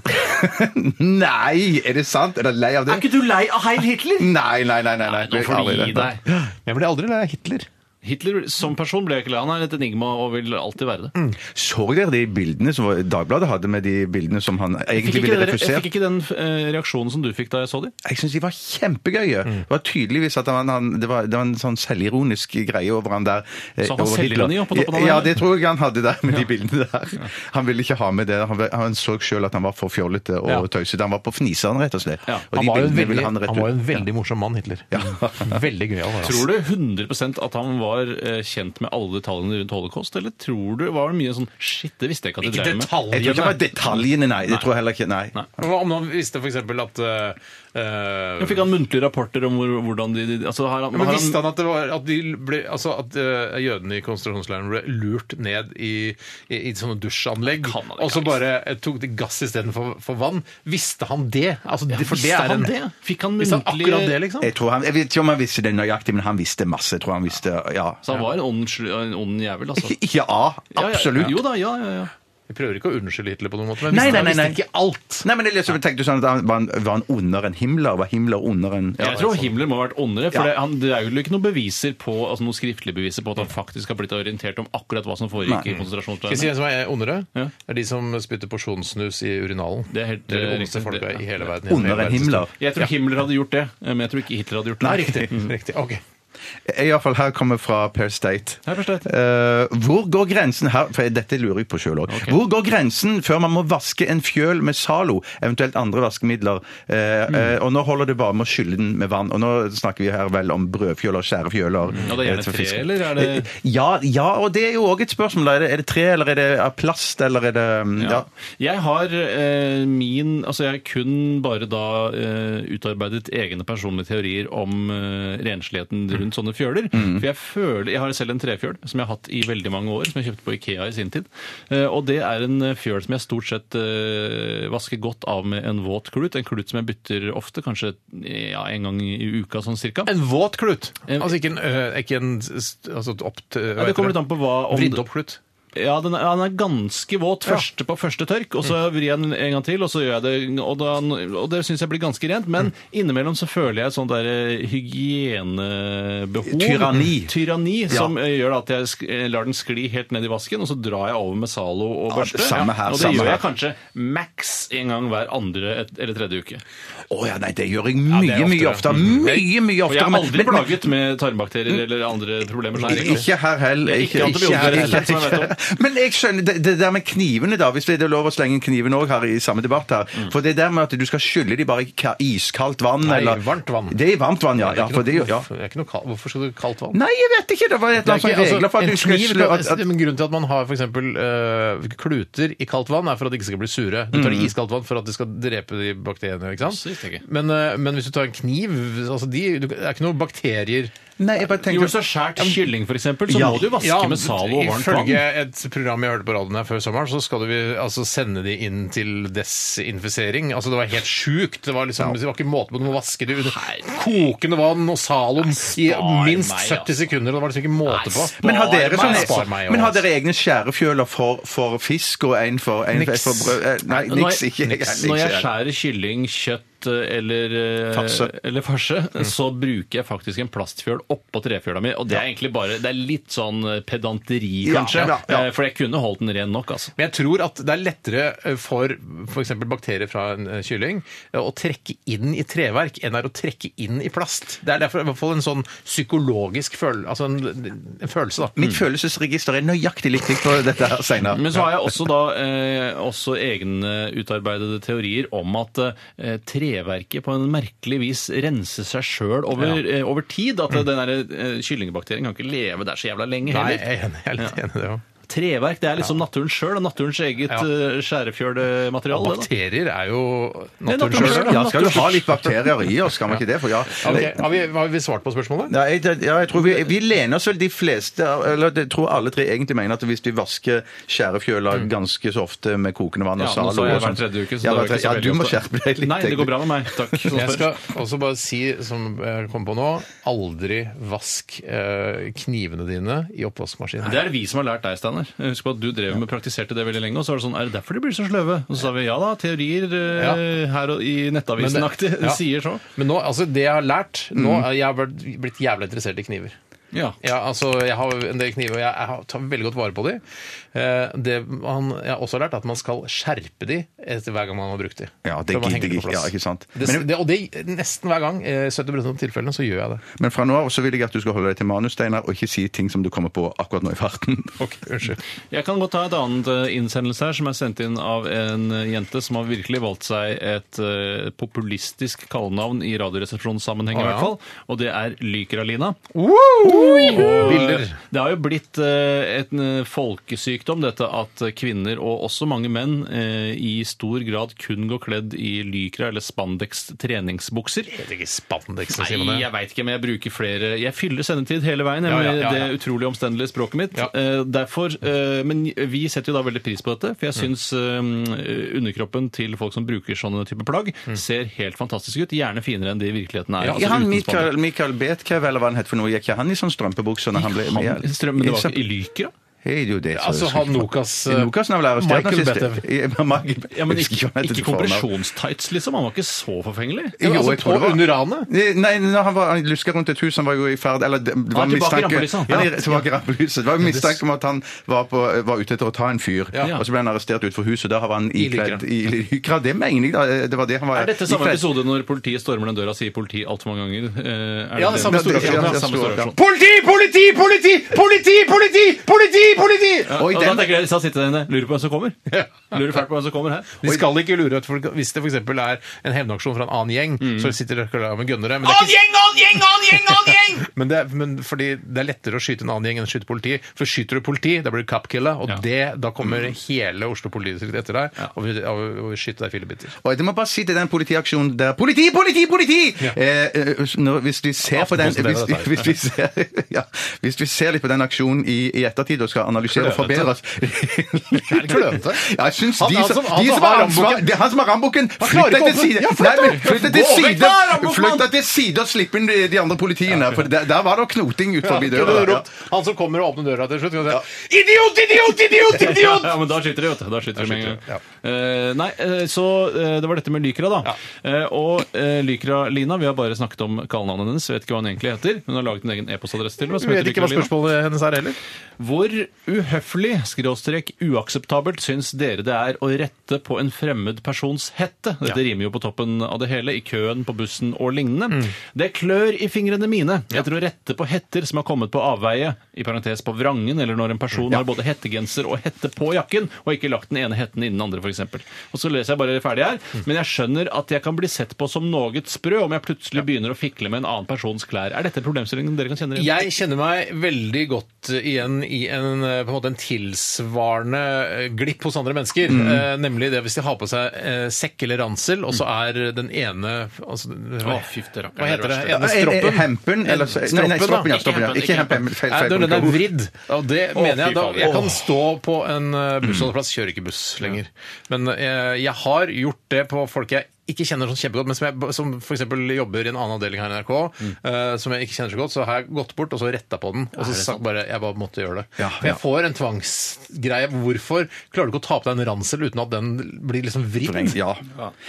B: Nei, er det sant? Er du lei av det?
C: ikke du lei av Heil Hitler?
B: Nei, nei, nei. nei, nei.
C: Nå får du
B: Aldri
C: gi
B: det.
C: deg.
A: Jeg blir aldri lei av Hitler.
C: Hitler som person ble jeg ikke lei. av. Han er et enigma og vil alltid være det.
B: Så dere de bildene som var- Dagbladet hadde med de bildene som han
C: Jeg fikk
B: egentlig
C: ikke,
B: ville
C: det- jeg
B: refusert?
C: fikk ikke den eh, reaksjonen som du fikk da jeg så dem.
B: Jeg syns de var kjempegøye. Det var tydeligvis at han, han, det, var, det var en sånn selvironisk greie over han der. eh,
C: Så han var
B: over Hitler.
C: selvironi på toppen av det?
B: Ja, det tror jeg han hadde der med de bildene der. Han ville ikke ha med det. Han, han så sjøl at han var for fjollete og
A: Ja.
B: tøysete. Han var på fniseren, rett og slett.
C: Ja.
B: Og
A: Han
B: de
A: var jo en
B: bildene ville
A: veldig,
B: han rett
A: han
B: ut.
A: var jo en veldig morsom mann, Hitler. Veldig altså. gøyal. var han.
C: Tror du 100 at han var eh, kjent med alle detaljene rundt holocaust, eller tror du var det mye sånn Shit, det visste jeg ikke at de drev med.
B: Jeg tror ikke det var
A: detaljene.
B: detaljene, nei. Det tror jeg heller ikke. Nei.
C: Nei.
A: Hva Om noen visste f.eks. at eh,
C: Men Fikk han muntlige rapporter om hvor, hvordan de, de altså har han,
A: Ja, Men
C: har
A: visste han at, det var, at, de ble, altså at eh, jødene i konsentrasjonsleiren ble lurt ned i, i, i sånne dusjanlegg,
C: Kan han ikke,
A: og så
C: altså.
A: bare eh, tok de gass istedenfor for vann? Visste han det? Altså,
C: Ja,
A: det- for det
C: visste
A: er
C: han
A: en-
C: det? Fikk han
A: Visste han
C: muntlige-
A: akkurat det, liksom?
B: Jeg, tror han, jeg vet ikke om han visste det nøyaktig, men han visste masse. Jeg tror han visste, ja.
C: Så han var en ond, sl- en ond jævel, altså.
B: Ja,
C: Ja, ja,
B: absolutt.
C: Jo da, ja, ja, ja.
A: Vi prøver ikke å unnskylde Hitler på noen måte, men
B: Nei,
A: visste,
B: nei, nei,
A: han
B: nei.
A: visste ikke alt.
B: Nei, men jeg leser, tenkte du sånn at han var, han- var han under en Himmler? Var Himmler under en
C: Jeg tror Himmler må ha vært åndere, for
B: Ja.
C: det, han, det er jo ikke noen beviser på, altså noen skriftlige beviser på at han faktisk har blitt orientert om akkurat hva som foregikk i
A: Skal jeg si
C: konsentrasjonsleirene.
A: hvem som er ondere?
C: Ja.
A: Det er de som spytter porsjonssnus i urinalen.
C: Det er helt,
A: det
C: eh,
A: ondeste
C: riktig.
A: folka
C: Det-
A: i hele verden.
B: Under en Himmler?
C: Jeg tror Himmler hadde gjort det, eh, men jeg tror ikke Hitler hadde gjort det. Mm.
A: Nei, riktig. riktig. Ok.
B: I hvert fall her kommer fra Per State.
C: Hei, Per State.
B: Eh, hvor går grensen her, for dette lurer jeg på sjøl òg. Hvor går grensen før man må vaske en fjøl med Zalo, eventuelt andre vaskemidler? Eh,
C: Mm.
B: eh, og nå holder det bare med å skylle den med vann. Og nå snakker vi her vel om brødfjøler, skjærefjøler
C: Mm. Og det er
B: eh,
C: gjerne
B: til
C: tre,
B: fisk.
C: eller er det
B: Ja, ja, og det er jo òg et spørsmål. Er det, er det tre, eller er det av plast, eller er det mm, ja.
C: Ja. Jeg har eh, min Altså, jeg har kun bare da eh, utarbeidet egne personlige teorier om eh, rensligheten rundt sånne fjøler.
A: Mm.
C: For jeg føler Jeg har selv en trefjøl som jeg har hatt i veldig mange år, som jeg kjøpte på Ikea i sin tid. Eh, og det er en eh, fjøl som jeg stort sett eh, vasker godt av med en våt klut. En klut som jeg bytter ofte, kanskje ja, en gang i uka sånn cirka.
A: En våt klut?
C: En-
A: Altså ikke en, øh, ikke en st- altså et opp til
C: Ja, det kommer litt an på hva om
A: Vridd opp klut.
C: Ja, den er, ja, den er ganske våt første, på første tørk, og så
B: Mm.
C: vrir jeg den en gang til, og så gjør jeg det, og, da, og det syns jeg blir ganske rent, men
B: Mm.
C: innimellom så føler jeg et sånt der eh, hygienebehov.
B: Tyranni.
C: Tyranni, som eh, gjør at jeg sk eh, lar den skli helt ned i vasken, og så drar jeg over med Zalo og
B: Ja,
C: børste.
B: samme her,
C: og det
B: samme
C: gjør
B: her.
C: jeg kanskje maks en gang hver andre et, eller tredje uke.
B: Å ja, nei, det gjør jeg mye, mye oftere. Mye, mye
C: Mm. Og jeg
B: oftere.
C: er
B: men-
C: aldri
B: men- men-
C: plaget med tarmbakterier eller andre problemer. så jeg-
B: Ikke her heller.
C: Ikke antibiotika
B: her
C: heller, som jeg vet
B: Men jeg skjønner det, det der med knivene, da. Hvis det er lov å slenge kniven òg her i samme debatt her.
C: Mm.
B: For det der med at du skal skylle de bare i ka- iskaldt vann
A: Nei,
B: eller
A: varmt vann.
B: Det er i varmt vann, ja.
A: Det er
B: ja,
A: ikke
B: for
A: noe-
B: det, ja.
A: hvorfor- det er ikke noe kal- Hvorfor skal du kaldt vann?
B: Nei, jeg vet ikke! Det var et
A: Det
B: eller
A: er
B: annet
A: ikke- altså,
B: sånn regler for at
A: en
B: du skal
A: kniv altså,
B: skylle
A: kan-
B: at, at,
A: men Grunnen til at man har f.eks. Øh, kluter i kaldt vann, er for at de ikke skal bli sure. Du tar det i iskaldt vann for at de skal drepe de bakteriene. ikke
C: Så visste jeg
A: sant?
C: Mm. ikke.
A: Men, øh, men hvis du tar en kniv altså de, du, Det er ikke noe bakterier
B: Nei, jeg bare
C: Jo,
B: tenker
C: hvis du har skåret kylling, f.eks., så
B: Ja.
C: må du jo vaske med Zalo og varmt vann.
A: Ifølge et program jeg hørte på radioen her før sommeren, så skal vi altså sende de inn til desinfisering. Altså Det var helt sjukt. Det var liksom, det var ikke måte på du må vaske det under kokende vann og Zalom i
C: spar
A: minst
C: meg, altså.
A: 70 sekunder. og Det var liksom ikke måte på.
B: men har, dere
A: Spar
B: sånne,
A: meg, spar meg,
B: men har
A: altså.
B: dere egne skjærefjøler for, for fisk og en for, en
A: Niks.
B: for brød? Eh, Nei,
C: Når
B: niks.
C: jeg-
B: Ikke jeg.
C: niks.
B: ikke
C: Når jeg
B: jeg.
C: skjærer kylling, kjøtt eh, eller eh,
B: Farse.
C: eller farse, Mm. så bruker jeg faktisk en plastfjøl oppå trefjøla mi. Og det er egentlig bare Det er litt sånn eh, pedanteri,
B: Ja,
C: kanskje.
B: ja, ja.
C: eh, For jeg kunne holdt den ren nok, altså.
A: Men jeg tror at det er lettere eh, for f.eks. bakterier fra en eh, kylling eh, å trekke inn i treverk enn det er å trekke inn i plast. Det er derfor i hvert fall en sånn psykologisk følelse, altså en, en følelse, da.
B: Mitt følelsesregister er nøyaktig likt likt på dette her seinere.
C: Men så har jeg også da eh, også egne utarbeidede teorier om at eh, tre, treverket på en merkelig vis rense seg sjøl over, eh, over tid. At den der eh, kyllingbakterien kan ikke leve der så jævla lenge
A: Nei,
C: heller.
A: jeg er enig, jeg er litt enig i det òg.
C: Treverk det er liksom naturen sjøl, naturens eget
A: Ja.
C: eh, skjærefjølmateriale. det da.
A: Bakterier er jo naturen
C: naturen
A: sjøl.
C: selv,
A: Ja.
B: Ja, skal jo ha litt bakterier i oss, skal man ikke det? For ja.
A: Ok, Har, vi, har vi svart på spørsmålet?
B: Ja, jeg, ja, jeg tror vi, vi lener oss vel de fleste Eller jeg tror alle tre egentlig mener at hvis vi vasker skjærefjøler ganske så ofte med kokende vann og
C: Mm. Ja, nå
B: salo
C: sa jeg
B: og sånn-
C: hver tredje uke, så
B: ja,
C: det var
B: hver tredje-
C: ikke så
B: ja, du
C: veldig
B: må
C: ofte.
B: skjerpe deg litt.
C: Nei, det går bra med meg. Takk. som
A: Jeg
C: spør.
A: skal også bare si, som jeg kom på nå, aldri vask eh, knivene dine i oppvaskmaskinen.
C: Det er vi som har lært deg, Steinar. Husk på at du drev med praktiserte det veldig lenge. Og så var det sånn Er det derfor de blir så sløve? Og så sa vi ja da, teorier eh, her og i Nettavisen-aktig
A: Men det- ja.
C: sier så.
A: Men nå, altså, det jeg har lært
B: Mm.
A: nå, er- Jeg har vært- blitt jævla interessert i kniver.
C: Ja.
A: Ja, altså, jeg har en del kniver, og jeg, jeg har- tar veldig godt vare på de. Eh, Det man, jeg har også lært at man skal skjerpe de etter hver gang man har brukt de.
B: Ja, det
A: For man henger
B: gidder jeg
A: på
B: ikke.
A: plass.
B: Ja, ikke sant.
A: Det,
B: Men,
A: det, og det nesten hver gang. eh, 70 av tilfellene så gjør jeg det.
B: men fra nå av så vil jeg at du skal holde deg til manus, Steinar, og ikke si ting som du kommer på akkurat nå i farten.
A: Ok, unnskyld.
C: Jeg kan godt ta et annet eh, innsendelse her, som er sendt inn av en eh, jente som har virkelig valgt seg et eh, populistisk kallenavn i Radioresepsjonssammenheng,
A: Å,
C: i
A: ja.
C: hvert fall. Og det er Lykralina.
A: Bilder.
C: Det har jo blitt eh, en eh, folkesykdom dette at kvinner, og også mange menn, eh, i stor grad kun går kledd i lykra eller spandex treningsbukser.
A: Jeg vet ikke spandexen, sier
C: Nei,
A: man det.
C: jeg veit ikke, men jeg bruker flere Jeg fyller sendetid hele veien jeg,
A: Ja,
C: med
A: ja, ja, ja.
C: det utrolig omstendelige språket mitt.
A: Ja.
C: Eh, derfor, eh, men vi setter jo da veldig pris på dette, for jeg
A: Mm.
C: syns eh, underkroppen til folk som bruker sånne type plagg, ser helt fantastisk ut. Gjerne finere enn det i virkeligheten er.
A: Mm. Ja,
B: Ja,
C: altså
B: han
C: uten
B: Michael, Michael Betkev, eller hva han het for noe, gikk ikke han i sånn strømpebukse når han ble
C: spandex. Han- Strøm, men det var ikke i lykra?
B: Hei, jo, det, så-
A: Altså, han Nokas, eh,
B: Nokas han ble arrestert
A: Michael
B: nazist.
A: Betev.
B: Ja, men Michael-
C: Ja, men
B: Jeg husker
C: ikke,
B: hva han
C: ikke
B: heter til fornavn.
C: kompresjonstights, liksom. Han var ikke så forfengelig.
B: Jo,
A: altså,
B: jeg
A: på
B: tror det var-
A: under ranet?
B: Nei, når han, var, han luska rundt et hus, han var jo i ferd Eller det det
C: tilbake
B: var
C: i
B: mistanke
C: rampelyset, han.
B: Ja,
C: Ja.
B: det- tilbake i rampelyset. Det var jo mistanke om at han var, på, var ute etter å ta en fyr.
C: Ja.
B: Og så ble han arrestert utenfor huset, og da var han ikledd
A: lykra.
B: i lykra. Det mener jeg, da. Det var det han var
C: Er dette samme
B: ikledd.
C: episode når politiet stormer den døra og sier politi altfor mange ganger? Eh, Er
A: Ja, det er samme
C: den? Ja,
A: store aksjon,
C: det er
B: ja,
C: samme
B: store
C: store aksjon.
B: aksjon.
A: Politi, politi, politi! Politi, politi, politi! politi!
B: Oi,
C: Og da
B: den-
C: tenker jeg, så sitter jeg inne, lurer på hvem som kommer. Lurer fælt på hvem som kommer her.
A: De skal ikke lure ut folk. Hvis det f.eks. er en hevnaksjon fra en annen gjeng,
B: Mm.
A: så sitter dere klar med gønnere. Men, det er ikke... men, det er, men fordi det er lettere å skyte en annen gjeng enn å skyte politi. For skyter du politi, da blir du cupkilla, og
C: Ja.
A: det, da kommer
B: Mm.
A: hele Oslo politidistrikt etter deg og, vil- og, og skyter deg i fillebiter.
B: Og jeg må bare si til den politiaksjonen der Politi, politi, politi! Eh, eh, når, hvis vi ser på den hvis,
A: Aftenposten, det er
B: hvis, vi ser, ja, hvis vi ser litt på den aksjonen i, i ettertid og skal analysere og forbedre oss
A: klønete?
B: Ja, jeg syns
A: Han-
B: de
A: han
B: som,
A: som- han
B: de
A: som
B: som
A: har
B: har ansvar
A: rambukken.
B: Det er han som har rambukken!
A: klarer ikke
B: Flytt deg til
A: å åpne-
B: side!
A: Ja, flytt
B: Nei,
A: deg!
B: men Flytt deg
A: Gå
B: til
A: vekk
B: side!
A: da, rambukmann!
B: Flytt deg til side og slipp inn de, de andre politiene! For der, der var det knoting utenfor døra.
A: Det er
B: Ja.
A: rått. Han som kommer og åpner døra til slutt, kan si Idiot, idiot, idiot! idiot!
C: Ja, men da skyter de, vet du. Da skyter de med en gang.
A: skyter de, ja.
C: Eh, nei, eh, så eh, det var dette med Lykra, da. Eh, og eh, Lykra-Lina, vi har bare snakket om kallenavnet hennes, vet ikke hva hun egentlig heter. Hun har laget en egen e-postadresse til meg
A: Du
C: som
A: vet
C: heter
A: ikke hva
C: Lykra-Lina.
A: spørsmålet hennes er heller.
C: Hvor uhøflig, skråstrek uakseptabelt, syns dere det er å rette på en fremmed persons hette? Dette rimer jo på toppen av det hele, i køen, på bussen og lignende. Det klør i fingrene mine etter å rette på hetter som har kommet på avveie, i parentes på vrangen, eller når en person har både hettegenser og hette på jakken, og ikke lagt den ene hetten innen den andre, f.eks. Og så leser jeg bare ferdig her, men jeg skjønner at jeg kan bli sett på som noe sprø om jeg plutselig begynner å fikle med en annen persons klær. Er dette problemstillingen dere kan kjenne igjen?
A: Jeg kjenner meg veldig godt igjen i en, eh, på en, måte en tilsvarende eh, glipp hos andre mennesker.
C: Mm.
A: Eh, nemlig det hvis de har på seg eh, sekk eller ransel, og så er den ene altså,
C: Mm. Å, fytti rakkeren,
A: Hva heter det?
C: det er det
A: Ene
B: Er- er- er
A: stroppen?
B: eh, Hempen? Eller, nei, nei,
A: Stroppen, da.
B: stroppen, ja. Stroppen, ja.
C: Ikke
B: Ikke hempen. feil-
A: Nei,
B: feil
A: når den
B: bruk
A: er
B: av ord.
A: vridd. Og det mener jeg
C: fy Mm.
A: da.
C: faen.
A: Jeg kan stå på en eh, bussholdeplass, kjører ikke buss lenger. Men eh, jeg har gjort det på folk jeg ikke kjenner sånn kjempegodt, men som, jeg, som for eksempel jobber i en annen avdeling her i NRK,
C: Mm.
A: eh, som jeg ikke kjenner så godt, så har jeg gått bort og så retta på den. Og så sagt bare jeg bare måtte gjøre det.
B: Ja,
A: For
B: ja.
A: jeg får en tvangsgreie. Hvorfor klarer du ikke å ta på deg en ransel uten at den blir liksom vridd?
B: Vrengt, Ja.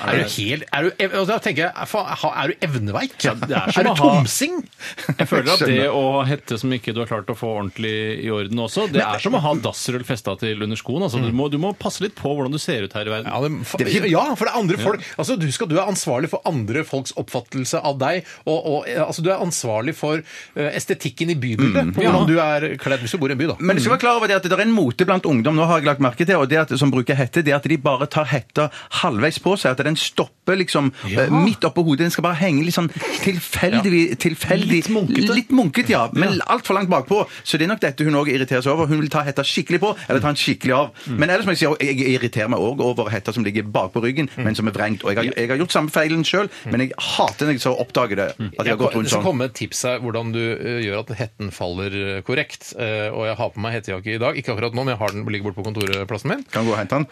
A: Er du helt er du, ev- og da tenker jeg, faen, er du evneveik?
C: det er som
A: er
C: å
A: du
C: ha-
A: tomsing?
C: Jeg føler at
B: Skjønner.
C: det å ha hette som ikke du har klart å få ordentlig i orden også, det er som å ha dassrull
A: Mm.
C: festa til under skoen. Altså, du, må, du må passe litt på hvordan du ser ut her i verden.
A: Ja, det, ja, for det er andre folk. Altså, du du- husk at du er ansvarlig for andre folks oppfattelse av deg. Og, og eh, altså, du er ansvarlig for eh, estetikken i bybildet. På hvordan du er kledd hvis du bor i en by, da.
B: Men du skal være klar over det at det er en mote blant ungdom nå har jeg lagt merke til, og det at, som bruker hette, det er at de bare tar hetta halvveis på seg. At den stopper liksom eh, midt oppå hodet. Den skal bare henge litt sånn tilfeldig. tilfeldig
C: Litt munkete.
B: Litt munket, ja. Men altfor langt bakpå. Så det er nok dette hun òg irriterer seg over. Hun vil ta hetta skikkelig på, eller ta den skikkelig av. Men ellers må jeg si at jeg irriterer meg òg over hetta som ligger bakpå ryggen, men som er vrengt. Og jeg har, jeg har gjort samme feilen sjøl, men jeg hater når jeg så oppdager det. At jeg har gått
A: Det
B: rundt
A: skal
B: sånn.
A: komme et tips her hvordan du eh, gjør at hetten faller eh, korrekt. Eh, og jeg har på meg hettejakke i dag. Ikke akkurat nå, men jeg har den ligger borte på kontorplassen min.
B: Kan gå og hente den.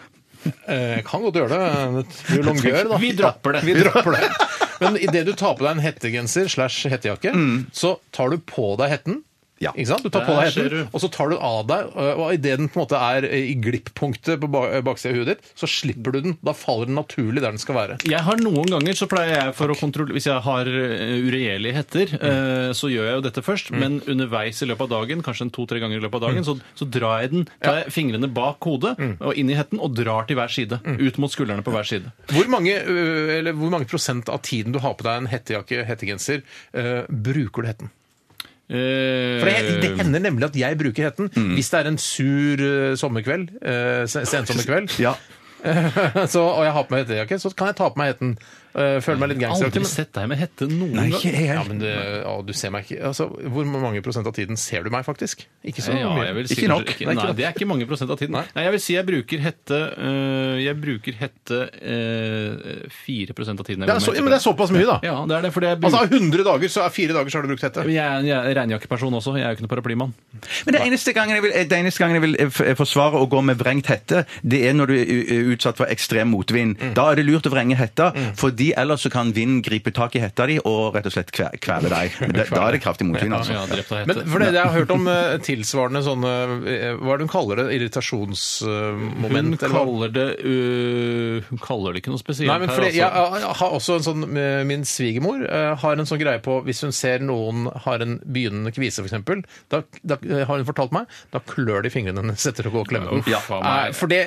A: Eh, kan godt gjøre det. Det blir longør, da.
C: Vi dropper det.
A: Vi dropper det. Men idet du tar på deg en hettegenser slash hettejakke, så tar du på deg hetten.
B: Ja.
A: Ikke sant? Du tar på deg
C: Der ser
A: hetten,
C: du.
A: og så tar du av deg, eh, og idet den på en måte er i glipp-punktet på ba- eh, baksiden av huet ditt, så slipper du den. Da faller den naturlig der den skal være.
C: Jeg har noen ganger så pleier jeg for å kontrollere Hvis jeg har eh, uregjerlige hetter,
A: Mm.
C: eh, så gjør jeg jo dette først. Men underveis i løpet av dagen, kanskje en to-tre ganger i løpet av
A: Mm.
C: dagen, så, så drar jeg den. Tar jeg fingrene bak hodet og inn i hetten og drar til hver side.
A: Mm.
C: Ut mot skuldrene på hver side.
A: Hvor mange, ø, eller hvor mange prosent av tiden du har på deg en hettejakke, hettegenser, ø, bruker du hetten? For det,
C: Eh,
A: det hender nemlig at jeg bruker hetten hvis det er en sur ø, sommerkveld, ø, se- sensommerkveld,
B: Ja.
A: så, og jeg har på meg hettejakke, så kan jeg ta på meg hetten. ø, Føle meg litt
C: jeg har aldri
A: gangsteraktig.
C: sett deg med hette noen
B: Nei,
C: gang.
B: ikke jeg.
A: Ja, men det, å, du ser meg ikke altså, Hvor mange prosent av tiden ser du meg, faktisk? Ikke så
C: Ja, jeg
A: mye.
C: vil si
B: Ikke
C: kanskje-
B: nok.
C: Ikke, nei, det er ikke mange prosent av tiden. Nei, jeg vil si jeg bruker hette øh, Jeg bruker hette øh, 4 av tiden. jeg
A: Det
C: går
A: er, så,
C: med
A: ja, men det er såpass mye, da.
C: Ja, det er det, fordi jeg
A: Altså,
C: bruker
A: Av 100 dager så er fire dager så har du brukt hette.
C: jeg er en jeg er en regnjakkeperson også. Jeg er jo ikke noen paraplymann.
B: Men det eneste gangen jeg vil, det eneste gangen jeg vil eh, f- eh, forsvare å gå med vrengt hette, det er når du er u- u- utsatt for ekstrem motvind.
A: Mm.
B: Da er det lurt å vrenge hetta, fordi ellers så kan vinden gripe tak i hetta di og rett og slett kve- kvele deg. Men det, da er det kraftig motvind,
C: Som jeg
B: altså.
C: har drept av hette.
A: Men for det, Jeg har hørt om eh, tilsvarende sånne eh, Hva er det hun kaller det?
C: Hun
A: Irritasjonsmoment? eller hva?
C: kaller det øh, Hun kaller det ikke noe spesielt
A: Nei, men fordi jeg,
C: her, altså.
A: jeg har også en sånn eh, Min svigermor eh, har en sånn greie på Hvis hun ser noen har en begynnende kvise, f.eks., da, da eh, har hun fortalt meg Da klør de fingrene hennes etter å gå og klemme den.
C: Ja, faen meg.
A: Eh, for det,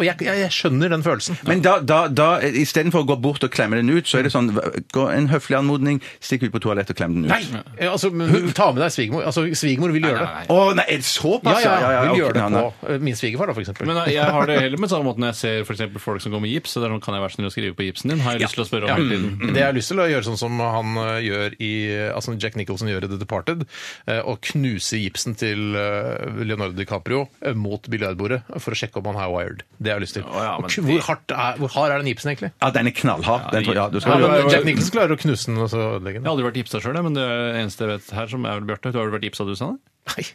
A: og jeg, jeg, jeg skjønner den følelsen.
B: Men da, da, da eh, istedenfor å gå bort og klemme den ut, så er det sånn v- gå en høflig anmodning, stikk ut på toalettet og klem den ut.
A: Nei! eh, Altså, men hun- ta med deg svigermor. Altså, svigermor vil gjøre det.
B: Å, nei, er det
A: Ja,
B: såpass?
A: ja, hun
B: ok,
A: gjør det
B: nei, nei.
A: på eh, min svigerfar, da, for eksempel.
C: Men øh, jeg har det heller med samme måten når jeg ser for eksempel folk som går med gips. Så der kan jeg være snill å skrive på gipsen din, har jeg lyst til å spørre om hele tiden.
A: Det jeg har lyst til å gjøre sånn som han eh, gjør i eh, altså Jack Nicholson gjør i The Departed, eh, å knuse gipsen til eh, Leonardo DiCaprio eh, mot biljardbordet for å sjekke om han er wired. Det har jeg lyst til.
C: Å ja, men
A: Og k- hvor, hardt er, hvor hard er den gipsen egentlig?
B: Ja, den er knallhard. Den tror jeg, ja, du
A: Ja,
B: skal,
A: men Jack Nicholson klarer å knuse den og så ødelegge
C: Jeg
A: den.
C: har aldri vært gipsa sjøl, men det eneste jeg vet her, som er vel Bjarte Du har vel vært gipsa, du, Sanne?
A: Nei,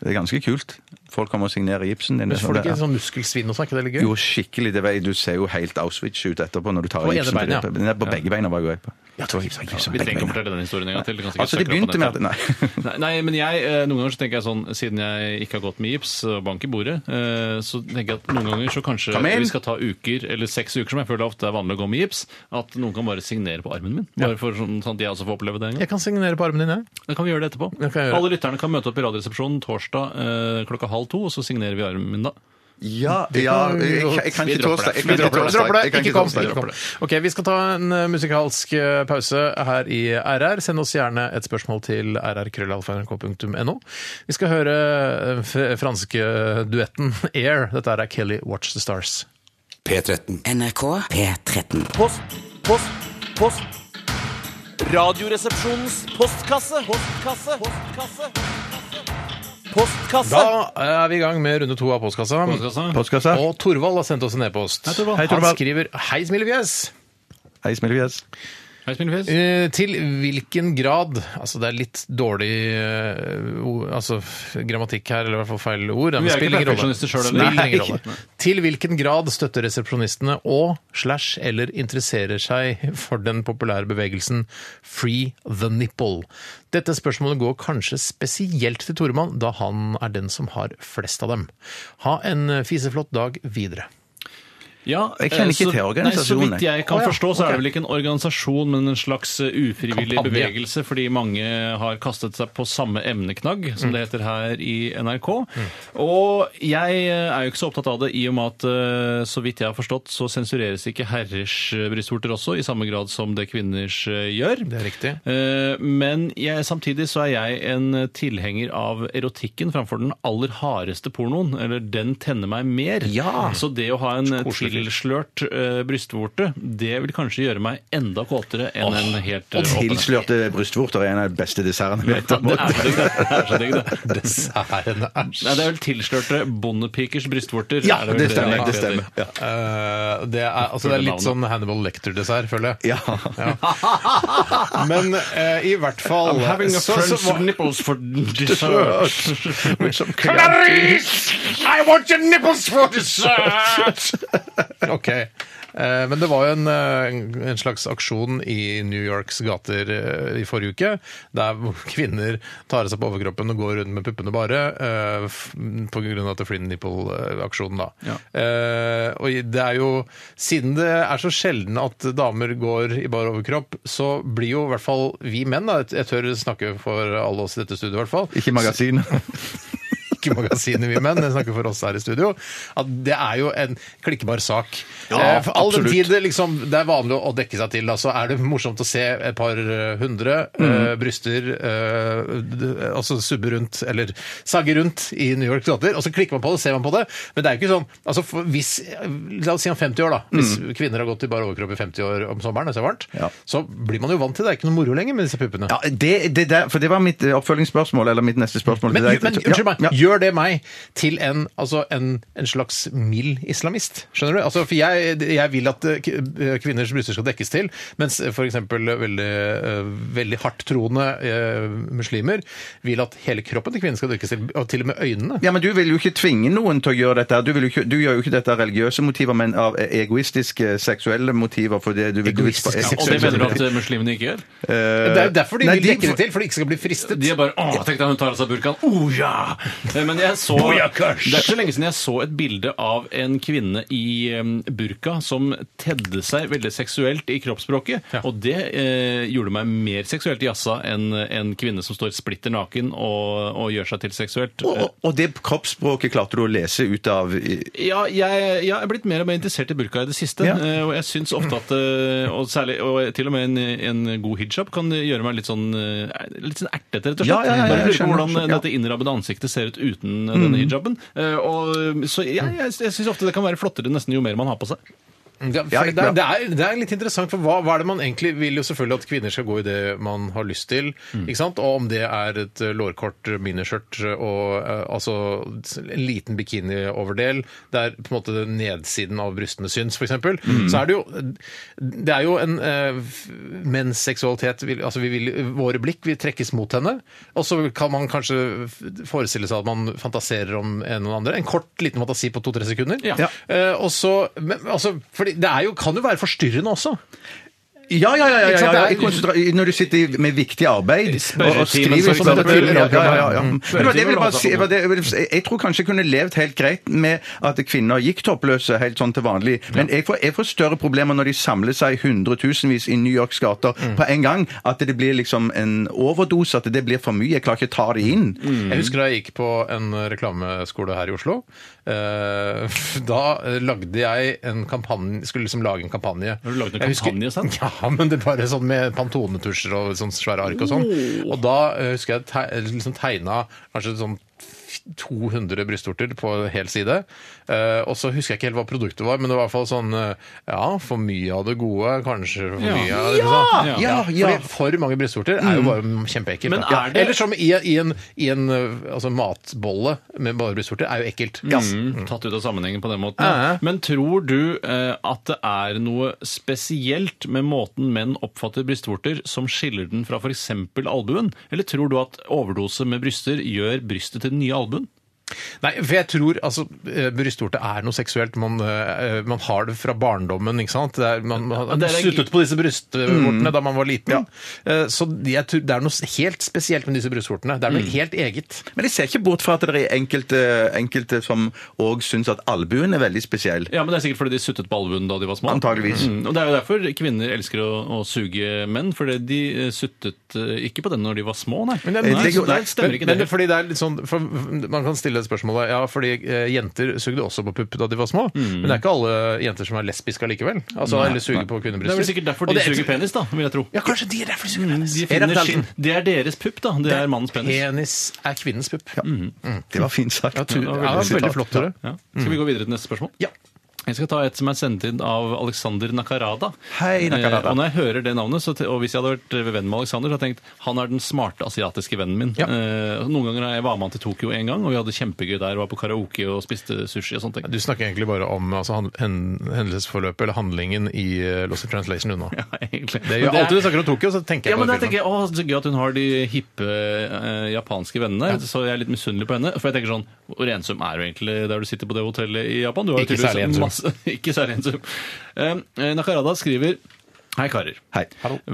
B: det er ganske kult. Folk kommer og signerer gipsen din. liksom.
A: men får du ikke sånn muskelsvinn og sånn? Er ikke det litt gøy?
B: Jo, skikkelig. Det var, du ser jo helt Auschwitz ut etterpå når du tar
A: På
B: gipsen.
A: ene beinet, ja.
B: Nei, på begge beina var jo jeg på. Ja, det var gipsen, gipsen,
C: Vi
B: begge
C: trenger ikke å
B: beina.
C: fortelle den historien en gang til. det kan sikkert
B: Altså, det
C: søke opp på
B: begynte med at
C: nettet.
B: Nei.
C: Nei, nei, men jeg, eh, noen ganger så tenker jeg sånn, siden jeg ikke har gått med gips og bank i bordet, eh, så tenker jeg at noen ganger så kanskje
B: Kom inn!
C: vi skal ta uker, eller seks uker, som jeg føler ofte er vanlig å gå med gips, at noen kan bare signere på armen min. Bare for sånn, sånn at jeg også får oppleve det en gang.
A: Jeg kan signere på armen din, jeg.
C: Da kan vi gjøre det etterpå.
A: Det kan jeg gjøre.
C: Alle lytterne kan møte opp i Radioresepsjonen torsdag eh, klokka halv to, og så signerer vi armen min da.
B: Ja, ja jeg, jeg, jeg kan
C: Vi
B: ikke
C: dropper
B: torsdag.
C: det.
B: Jeg
C: Vi
B: kan ikke
C: dropper det.
A: Dropper det!
B: torsdag. Jeg kan
A: Ikke kom!
B: torsdag.
A: Ikke kom. Ok, Vi skal ta en eh, musikalsk eh, pause her i RR. Send oss gjerne et spørsmål til rrkrøllalfa.nrk.no. Vi skal høre eh, f- franske duetten Air. Dette er Kelly Watch the Stars.
D: P13.
H: NRK P13.
F: Post, post, post. Radioresepsjonens postkasse. Postkasse. Postkasse. Postkasse.
A: Da er vi i gang med runde to av postkassa.
C: Postkassa.
B: Postkassa.
A: Og Torvald har sendt oss en e-post.
C: Hei, Torvald.
A: Han skriver Hei, smilefjes!
B: Hei, Smilefjes.
C: Hei, Smilefjes.
A: Eh, Til hvilken grad Altså, det er litt dårlig eh, o- altså, f- grammatikk her, eller i hvert fall feil ord. men
C: Vi er
A: spiller
C: ikke
A: ingen rolle.
C: perfeksjonister selv, eller?
A: Spiller ingen
C: Nei.
A: rolle. Til hvilken grad støtter resepsjonistene og slash eller interesserer seg for den populære bevegelsen Free the Nipple? Dette spørsmålet går kanskje spesielt til Toremann, da han er den som har flest av dem. Ha en fiseflott dag eh, videre.
C: Ja,
B: Jeg kjenner
C: eh,
B: ikke
C: så-
B: til organisasjonen,
C: Nei, så vidt
B: jeg.
C: jeg kan
B: Å, ja,
C: forstå, så er
B: ok.
C: det vel ikke en organisasjon, men en slags eh, ufrivillig
A: Kampanje.
C: bevegelse, fordi mange har kastet seg på samme emneknagg,
A: Mm.
C: som det heter her i NRK. Og jeg eh, er jo ikke så opptatt av det, i og med at eh, så vidt jeg har forstått, så sensureres ikke herrers eh, brystvorter også, i samme grad som det kvinners eh, gjør.
A: Det er riktig.
C: Eh, Men jeg, samtidig så er jeg en tilhenger av erotikken framfor den aller hardeste pornoen. Eller den tenner meg mer. Så det å ha en eh, tilslørt eh, brystvorte, det vil kanskje gjøre meg enda kåtere enn en helt eh, åpen en.
B: Tilslørte brystvorter er en av de beste dessertene vi vet
C: Ja,
B: om.
C: Det er så digg, det. det. er så digg, det.
A: Desserten, æsj.
C: Nei, det er vel tilslørte bondepikers brystvorter.
B: Ja,
C: er vel
B: det stemmer.
C: egentlig
B: det stemmer.
C: heter.
B: Ja.
A: Eh, det er, altså, det er litt sånn Hannibal Lecter-dessert, føler jeg.
B: Ja.
A: Men eh, i hvert fall
C: I'm having a
A: så- så
C: friend's
A: var-
C: nipples for dessert.
A: sånn Clarice! I want your nipples for dessert! OK. Eh, Men det var jo en, eh, en slags aksjon i New Yorks gater eh, i forrige uke, der hvor kvinner tar av seg på overkroppen og går rundt med puppene bare, eh, f- på grunn av at det er Flynn Nipple-aksjonen, da. Eh, Og det er jo Siden det er så sjelden at damer går i bar overkropp, så blir jo i hvert fall vi menn, da, jeg tør snakke for alle oss i dette studioet i hvert fall,
B: Ikke magasin.
A: ikke magasinet Vi Menn, jeg snakker for oss her i studio, at det er jo en klikkbar sak. Eh, for all den
B: absolutt.
A: tid det liksom, det er vanlig å dekke seg til, da, så er det morsomt å se et par eh, hundre
B: Mm.
A: eh, bryster eh, d- altså subbe rundt, eller sagge rundt i New Yorks gater, og så klikker man på det, ser man på det, men det er jo ikke sånn altså for, hvis, La oss si om 50 år, da. Hvis kvinner har gått i bare overkropp i 50 år om sommeren, det er så varmt,
B: Mm. Ja.
A: så blir man jo vant til det. Det er ikke noe moro lenger med disse puppene.
B: Ja, det, det der, for det var mitt eh, oppfølgingsspørsmål, eller mitt neste spørsmål.
A: Men,
B: til deg.
A: men unnskyld meg,
B: Ja, ja.
A: gjør det meg til en, altså en, en slags mild islamist? Skjønner du? Altså, for jeg, jeg vil at eh, k- eh, kvinners bryster skal dekkes til, mens f.eks. Veldig, eh, veldig hardt troende eh, muslimer vil at hele kroppen til kvinnen skal dekkes til, og til og med øynene.
B: Ja, men Du vil jo ikke tvinge noen til å gjøre dette. her. Du, vil jo ikke, du gjør jo ikke dette av religiøse motiver, men av eh, egoistiske seksuelle motiver. For det, du vil,
A: Egoistiske
B: du vil,
C: Og det mener du at eh, muslimene ikke gjør?
A: Det er jo derfor de
B: nei,
A: vil
B: de-
A: dekke det til, for de ikke skal bli fristet.
C: De er bare Å, tenk deg hun tar av seg burkaen. Å ja! Eh, Men jeg så Det er ikke så lenge siden jeg så et bilde av en kvinne i em, burka som tedde seg veldig seksuelt i kroppsspråket. Og det eh, gjorde meg mer seksuelt jazza enn en kvinne som står splitter naken og, og gjør seg til seksuelt.
B: Og, og- og det kroppsspråket klarte du å lese ut av i-
C: Ja, jeg, jeg er blitt mer og mer interessert i burka i det siste.
B: Ja.
C: eh, Og jeg syns ofte at eh, og særlig, og til og med en, en god hijab kan gjøre meg litt sånn eh, litt sånn ertete, rett og slett.
B: Ja, ja, ja,
C: Bare lurer
B: jeg
C: på
B: skjønner,
C: hvordan eh,
B: skjønner, Mm. ja.
C: dette innrammede ansiktet ser ut uten eh, denne hijaben. Eh, Og, så jeg,
B: Mm.
C: jeg, jeg syns ofte det kan være flottere nesten jo mer man har på seg.
A: Mm, Ja, for
B: Ja,
A: det,
B: bra.
A: er, det, er, det er litt interessant, for hva, hva er det man egentlig vil jo selvfølgelig at kvinner skal gå i det man har lyst til, ikke sant? Og om det er et eh, lårkort eh, miniskjørt eh, og eh, altså en liten bikinioverdel, der på en måte den nedsiden av brystene syns, for eksempel, så er det jo eh, det er jo en eh, f- menns seksualitet vil, altså vi vil, våre blikk vil trekkes mot henne, og så kan man kanskje f- forestille seg at man fantaserer om en eller andre. En kort liten fantasi på to-tre sekunder.
C: Ja.
A: Eh, og så, men, altså, fordi det er jo, kan jo være forstyrrende også.
B: Ja, ja, ja! ja,
A: Ikke
B: ja,
A: sant,
B: ja.
A: det er-
B: I konsentra- i- Når du sitter i- med viktig arbeid og, og
C: Spørretimen, som
B: skriver sånn
C: dette tidligere
B: ja, ja, ja, ja.
C: radioprogram.
B: Men det var det jeg, ville bare si,
C: Spørretimen
B: var det, jeg ville si- jeg tror kanskje jeg kunne levd helt greit med at kvinner gikk toppløse helt sånn til vanlig, men jeg får, jeg får større problemer når de samler seg hundretusenvis i New Yorks gater på en gang, at det blir liksom en overdose, at det blir for mye. Jeg klarer ikke å ta det inn.
A: Jeg husker da jeg gikk på en reklameskole her i Oslo. eh, Da lagde jeg en kampanje, skulle liksom lage en kampanje.
C: Har du lagd en
A: Jeg husker-
C: kampanje, sant?
A: Ja, men det bare sånn med pantonetusjer og sånn svære ark og sånn.
C: Oh.
A: Og da eh, husker jeg teg liksom tegna kanskje sånn 200 brystvorter på en hel side. Eh, og så husker jeg ikke helt hva produktet var, men det var i hvert fall sånn eh, Ja, for mye av det gode, kanskje for mye av det sånn.
C: Ja, Mm.
B: ja, ja.
A: Fordi for mange brystvorter er jo bare kjempeekkelt.
C: Men
A: da. Ja.
C: er det-
A: Eller som i, i en, i en eh, altså matbolle med bare brystvorter er jo ekkelt.
C: Mm, tatt ut av sammenhengen på den måten. ja. Men tror du eh, at det er noe spesielt med måten menn oppfatter brystvorter som skiller den fra f.eks. albuen? Eller tror du at overdose med bryster gjør brystet til den nye albuen?
A: Nei, for jeg tror altså eh, brystvorte er noe seksuelt. Man, eh, man har det fra barndommen, ikke sant? Det er, man man
C: det er en- Mm.
A: suttet på disse brystvortene da man var liten. Eh, Så jeg tror det er noe helt spesielt med disse brystvortene. Det er
C: Mm.
A: noe helt eget.
B: Men jeg ser ikke bort fra at det er enkelte, enkelte som òg syns at albuen er veldig spesiell.
C: Ja, men Det er sikkert fordi de suttet på albuen da de var små.
B: Antageligvis.
C: Mm, og Det er jo derfor kvinner elsker å, å suge menn, fordi de eh, suttet eh, ikke på den når de var små, nei.
A: Men det,
C: nei, så
B: tenker- nei,
C: det stemmer ikke
A: men, men
C: det.
A: det, fordi det er litt sånn, for, Man kan stille det spørsmålet Ja, fordi eh, jenter sugde også på pupp da de var små.
C: Mm.
A: Men det er ikke alle jenter som er lesbiske allikevel. Altså, eller suger på
C: Det er vel
A: kvinnebryster.
C: sikkert derfor
A: Og
C: de
A: det-
C: suger penis, da, vil jeg tro.
A: Ja, kanskje de er derfor de suger
C: Mm,
A: penis.
C: De finner
B: Erektalen.
C: sin, det er deres pupp, da. Det er mannens penis.
A: Penis er kvinnens pupp.
B: Det var fint sagt.
A: Ja, tu- ja, det var
B: Sitat.
A: veldig flott, Tore.
C: Ja. Skal vi gå videre til neste spørsmål?
A: Mm. Ja.
C: Jeg skal ta et som er sendt inn av Alexander Nakarada.
B: Hei, Nakarada.
C: Eh, og når jeg hører det navnet, så, te- og hvis jeg hadde vært venn med Alexander, så hadde jeg tenkt han er den smarte asiatiske vennen min.
A: Ja.
C: Eh, noen ganger jeg var med han til Tokyo en gang, og vi hadde kjempegøy der, var på karaoke og spiste sushi og sånne ting.
A: Du snakker egentlig bare om altså, han- hen- hendelsesforløpet eller handlingen i eh, Lost in Translation unna.
C: Ja, egentlig.
A: Det
C: Men
A: gjør alltid du snakker om Tokyo, så tenker
C: Ja,
A: jeg
C: men
A: på
C: da
A: den
C: tenker
A: filmen.
C: jeg, å, Så gøy at hun har de hippe eh, japanske vennene. Så jeg er litt misunnelig på henne. For jeg tenker sånn, Hvor ensom er du egentlig der du sitter på det hotellet i Japan? Du har jo
A: Ikke
C: tydeligvis
A: særlig ensom.
C: Masse, ikke særlig ensom. Eh, Nakarada skriver Hei, karer.
B: Hei.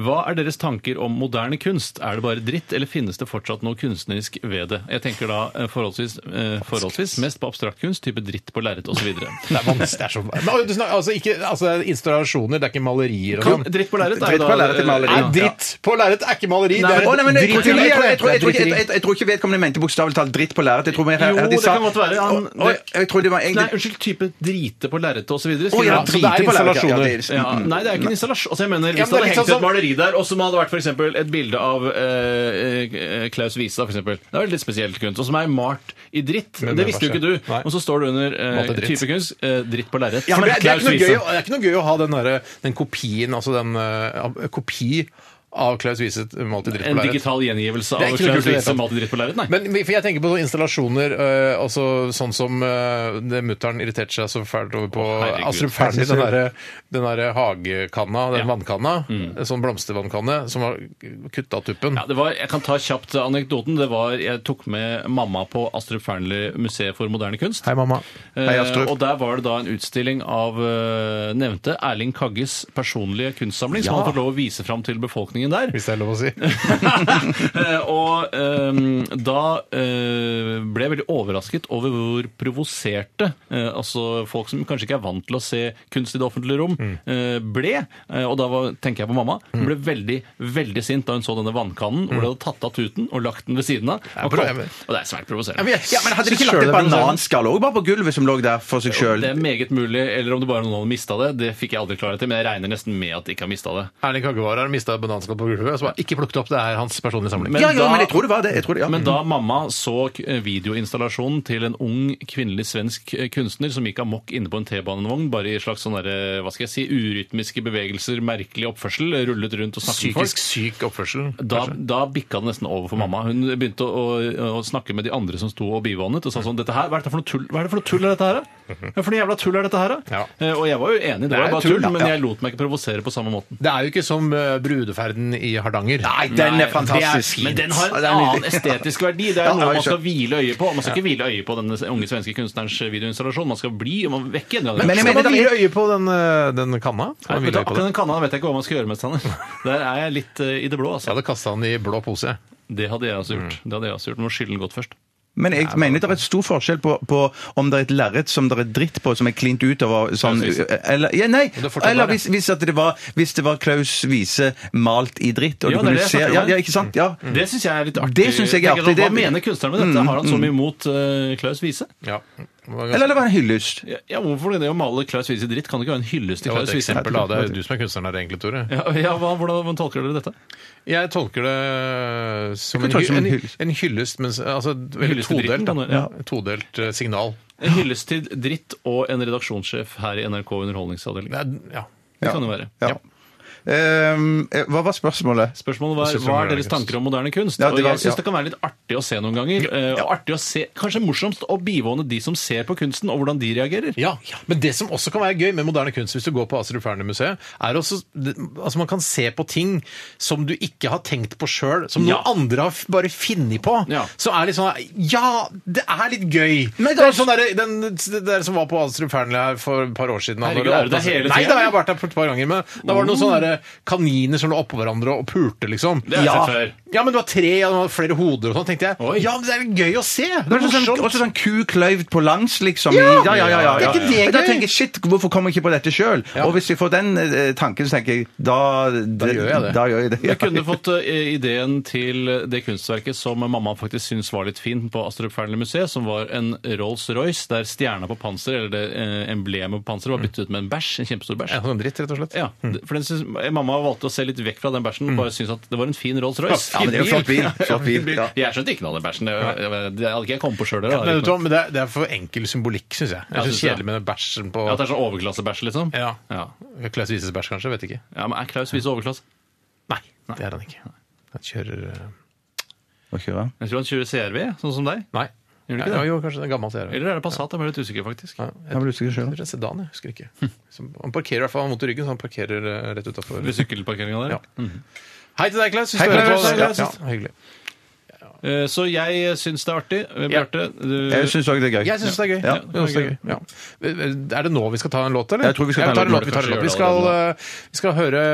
C: Hva er deres tanker om moderne kunst? Er det bare dritt, eller finnes det fortsatt noe kunstnerisk ved det? Jeg tenker da eh, forholdsvis, eh, forholdsvis mest på abstrakt kunst, type dritt på lerret osv.
A: Det er vanskelig, det er så men, oi, du snakker, altså, ikke, altså, det er installasjoner, det er ikke malerier og sånn.
C: Dritt på lerret er jo
B: Dritt på
C: da
B: lerret er maleri.
C: eh,
A: Nei,
B: Ja.
A: dritt på lerret er ikke maleri!
B: Nei,
A: det
B: å,
A: er
B: nei, men jeg tror- jeg tror
A: driteri,
B: ikke-
A: er
B: jeg tror- jeg
A: det. Det er
B: tror ikke- jeg-
A: driteri.
B: jeg tror ikke vedkommende mente bokstavelig talt dritt på lerret. Jeg tror mer-
A: Eh,
C: Jo,
B: at de
C: det
B: sa-
C: kan godt være. Han-
B: Å, å, Jeg tror det var
C: Nei,
B: egentlig
C: unnskyld, type drite på lerretet osv.
A: så det
B: Å ja,
A: er
B: drite på lerret. Ja,
A: installasjoner.
B: det er- Mm.
C: Ja, nei, det er ikke en installasjon. Altså, jeg mener, Hvis
A: Mm, Ja, men
C: det
A: det er
C: hadde
A: litt
C: hengt
A: sånn
C: et maleri der, og som hadde vært for eksempel, et bilde av eh, eh, Klaus Wiestad, f.eks. Det er veldig spesielt kunst. Og som er malt i dritt.
A: Men
C: det
A: det
C: visste jo
A: var
C: ikke du.
A: Nei.
C: Og så står det under eh,
A: Malte dritt.
C: type kunst eh, dritt på lerret.
A: Ja, men det, det, er
C: Klaus
A: ikke noe gøy,
C: Wiestad.
A: å- det er ikke noe gøy å ha den, derre- den kopien, altså den eh, kopi av Klaus Wiset malt i dritt på
C: En
A: lerret.
C: digital gjengivelse
A: Det
C: av
A: er ikke noe kult
C: Klaus
A: i det
C: Wiestad
A: hele
C: malt i dritt på lerret? Nei.
A: Men vi- for jeg tenker på sånne installasjoner, eh, altså sånn som eh, det mutter'n irriterte seg så fælt over på
C: herregud.
A: Astrup Fearnley, den derre den der hagekanna, den
C: Ja.
A: vannkanna, en sånn blomstervannkanne som var kutta av tuppen.
C: Ja, det var, jeg kan ta kjapt anekdoten. Det var, Jeg tok med mamma på Astrup Fearnley-museet for moderne kunst.
A: Hei, mamma.
B: Hei,
C: Eh,
B: Astrup.
C: og der var det da en utstilling av eh, nevnte Erling Kagges personlige kunstsamling, som han får lov å vise fram til befolkningen der.
A: Hvis det er lov å si.
C: Eh, og eh, da eh, ble jeg veldig overrasket over hvor provoserte eh, altså folk som kanskje ikke er vant til å se kunst i det offentlige rom, eh, ble. Eh, og da var, tenker jeg på mamma. Hun ble veldig veldig sint da hun så denne vannkannen hvor de hadde tatt av tuten og lagt den ved siden av. Og,
A: bra,
C: kom,
A: jeg-
C: og det er svært provoserende.
B: Ja, men hadde de ikke
A: Synes selv
B: lagt et
A: det er provoserende.
B: bananskall òg bare på gulvet som lå der for seg sjøl?
C: Det er meget mulig, eller om det bare er noen hadde mista det. Det fikk jeg aldri klarhet i, men jeg regner nesten med at de ikke har mista det.
A: Erling Kaggevare har mista bananskall på gulvet. Så bare ikke plukket opp, det er hans personlige samling.
C: Men
B: Ja, ja,
C: da-
B: men jeg tror det var det. Jeg tror det, ja.
C: Men da mamma så k- videoinstallasjonen til en ung kvinnelig svensk eh, kunstner som gikk amok inne på en T-banevogn, bare i slags sånne der, eh, hva skal jeg si, urytmiske bevegelser, merkelig oppførsel, eh, rullet rundt og snakket med
A: Psykisk
C: folk
A: syk oppførsel.
C: da, da bikka det nesten over for mamma. Hun begynte å, å, å snakke med de andre som sto og bivånet, og sa sånn dette her, Hva er det for noe tull, hva er det for noe tull er dette her, da? Hva for noe jævla tull er dette her, da?
A: Ja.
C: Eh, Og jeg var jo enig, det,
A: er
C: var
A: jo
C: bare
A: tull,
C: tull,
A: da.
C: men
A: Ja.
C: jeg lot meg ikke provosere på samme måten.
A: Det er jo ikke som eh, brudeferden i Hardanger.
B: Nei, den er
C: Nei,
B: fantastisk.
C: det er- Men den har
B: Ja,
C: en
B: det er nydelig.
C: annen estetisk verdi. Det er
B: Ja,
C: noe
B: jeg
C: man skal
B: skjønner.
C: hvile øyet på. Man skal ikke hvile øyet på denne unge svenske kunstnerens videoinstallasjon. Man skal bli og man vekke en eller annen
B: Men jeg
C: reaksjon.
B: mener-
A: Skal man hvile øye på den, eh, den
C: Nei,
A: kanna? Skal man
C: vet
A: hvile
C: du,
A: øye på
C: Akkurat
A: den?
C: den kanna vet jeg ikke hva man skal gjøre med. Steiner. Der er jeg litt eh, i det blå.
A: Jeg
C: altså.
A: hadde kasta den i blå pose.
C: Det hadde jeg også
A: Mm.
C: gjort. Det hadde jeg også gjort. Man må skylle den godt først.
B: Men jeg mener det er et stor forskjell på, på om det er et lerret som det er dritt på, som er klint utover sånn eller, ja, Nei!
A: er fortsatt
B: Eller
A: bare.
B: hvis, hvis, at det var, hvis det var Klaus Wiese malt i dritt. Og
C: Ja,
B: du kunne
C: det er det jeg
B: se,
C: snakker om. Mm.
B: ja, ja, ikke sant? Ja.
C: Det syns jeg er litt artig.
B: Det synes jeg er
C: Tenker
B: artig.
C: sånn, Hva
B: Det- Mm,
C: mener kunstneren med dette? Har han så mye imot eh, Klaus Wiese?
A: Ja. Det var ganske-
B: Eller det var en hyllest.
C: Ja, ja, hvorfor det? det å male Klaus Wiese i dritt kan det ikke være en hyllest til
A: Det var et
C: Klaus Wiese.
A: eksempel, da. Det er jo du som er kunstneren her, egentlig, Tore.
C: Ja, ja, hva, hvordan, hvordan tolker dere dette?
A: Jeg tolker det som
B: Du
A: en,
B: kan ta det som en
A: hy- en,
B: hyllest.
A: en hyllest, men altså veldig
C: Hyllest til dritten,
A: todelt. da.
C: kan du- ja.
A: Ja, Todelt eh, signal.
C: En hyllest til dritt og en redaksonsjef her i NRK Underholdningsavdeling.
A: Det er- Ja.
C: Det kan jo være.
B: Ja. Ehm, eh, hva var spørsmålet?
C: Spørsmålet var hva er deres tanker om moderne kunst?
B: Ja, det
C: og
B: var-
C: jeg syns
B: ja.
C: det kan være litt artig å se noen ganger. eh, Og artig å se, Kanskje morsomst å bivåne de som ser på kunsten, og hvordan de reagerer.
A: Ja, Men det som også kan være gøy med moderne kunst, hvis du går på Astrup Fearnley-museet, er også altså man kan se på ting som du ikke har tenkt på sjøl, som
C: Ja.
A: noen andre har f- bare funnet på.
C: Ja.
A: Så er det litt sånn Ja, det er litt gøy! det, er sånn der, den, det der som var på Astrup Fearnley her for et par år siden da
C: Herregud,
A: var
C: er du der
A: åpnet-
C: hele
A: Nei,
C: tiden?
A: da har jeg vært der for et par ganger. Men da var det noen sånne der eh, kaniner som lå oppå hverandre og pulte, liksom.
C: Det har jeg
A: ja.
C: sett før.
A: ja, men det var tre, ja, det var flere hoder og sånn. tenkte jeg,
C: Oi.
A: ja, men det er jo gøy å se! Det
B: Det
A: er
B: var sånn,
A: morsomt.
B: også sånn ku kløyvd på langs, liksom. i-
C: Det er
A: Ja!
C: ikke
A: det
B: Men Da
A: gøy?
B: tenker jeg shit, hvorfor kommer jeg ikke på dette sjøl? Og hvis jeg får den eh, tanken, så tenker jeg da Da
A: gjør jeg det.
B: Da gjør jeg det.
C: Du kunne fått eh, ideen til det kunstverket som mamma faktisk syntes var litt fint på Astrup Fearnley-museet, som var en Rolls-Royce der stjerna på panser, eller det eh, emblemet på panseret, var byttet ut med en bæsj. En kjempestor bæsj.
A: Ja, sånn dritt, rett og slett.
C: Ja, det-
B: Mm.
C: for den syns- Mamma valgte å se litt vekk fra den bæsjen og bare syntes at det var en fin Rolls-Royce.
B: Ja, men det er jo flott bil. Flott bil. Ja.
C: Jeg skjønte ikke noe av den bæsjen. Det, det hadde ikke jeg kommet på sjøl.
A: Ja, men vet du hva, men det, er, det er for enkel symbolikk, syns jeg.
C: Ja,
A: Jeg synes
C: synes jeg.
A: Kjedelig med den bæsjen på
C: At det er sånn overklassebæsj, liksom?
A: Ja.
C: ja.
A: Klaus Wieses bæsj, kanskje? Vet ikke.
C: Ja, Men er Klaus Wiese overklasse?
A: Nei, det er han ikke. Han kjører eh,
B: Må kjøre.
C: Jeg tror han kjører CRV, sånn som deg.
A: Nei.
C: Gjør han ikke
A: Nei,
C: det?
A: jo, kanskje det er gammel serie.
C: Eller er det Passat? Jeg er litt usikker, faktisk.
A: Ja,
B: Jeg
A: jeg
B: blir usikker
A: jeg
B: sjøl.
A: tror det er sedan, jeg husker ikke. Som, han parkerer i hvert fall, han har vondt i ryggen, så han parkerer eh, rett utafor.
C: Ved sykkelparkeringa der.
A: Ja. Hei til deg, Klaus. hvis
B: Hei,
A: du hører
B: Klaus.
A: på.
B: Hei, Klaus.
A: Ja, ja, hyggelig.
C: Eh, Så jeg syns det er artig. Eh, Bjarte, du
B: Jeg syns òg det er gøy.
A: Jeg syns det er gøy.
B: Ja.
A: Jeg synes det er, gøy. Ja. er det nå vi skal ta en låt, eller?
B: Jeg tror vi skal
A: Ja,
B: ta en
A: tar
B: låt.
A: Vi, tar en låt. Vi, skal, eh, vi skal høre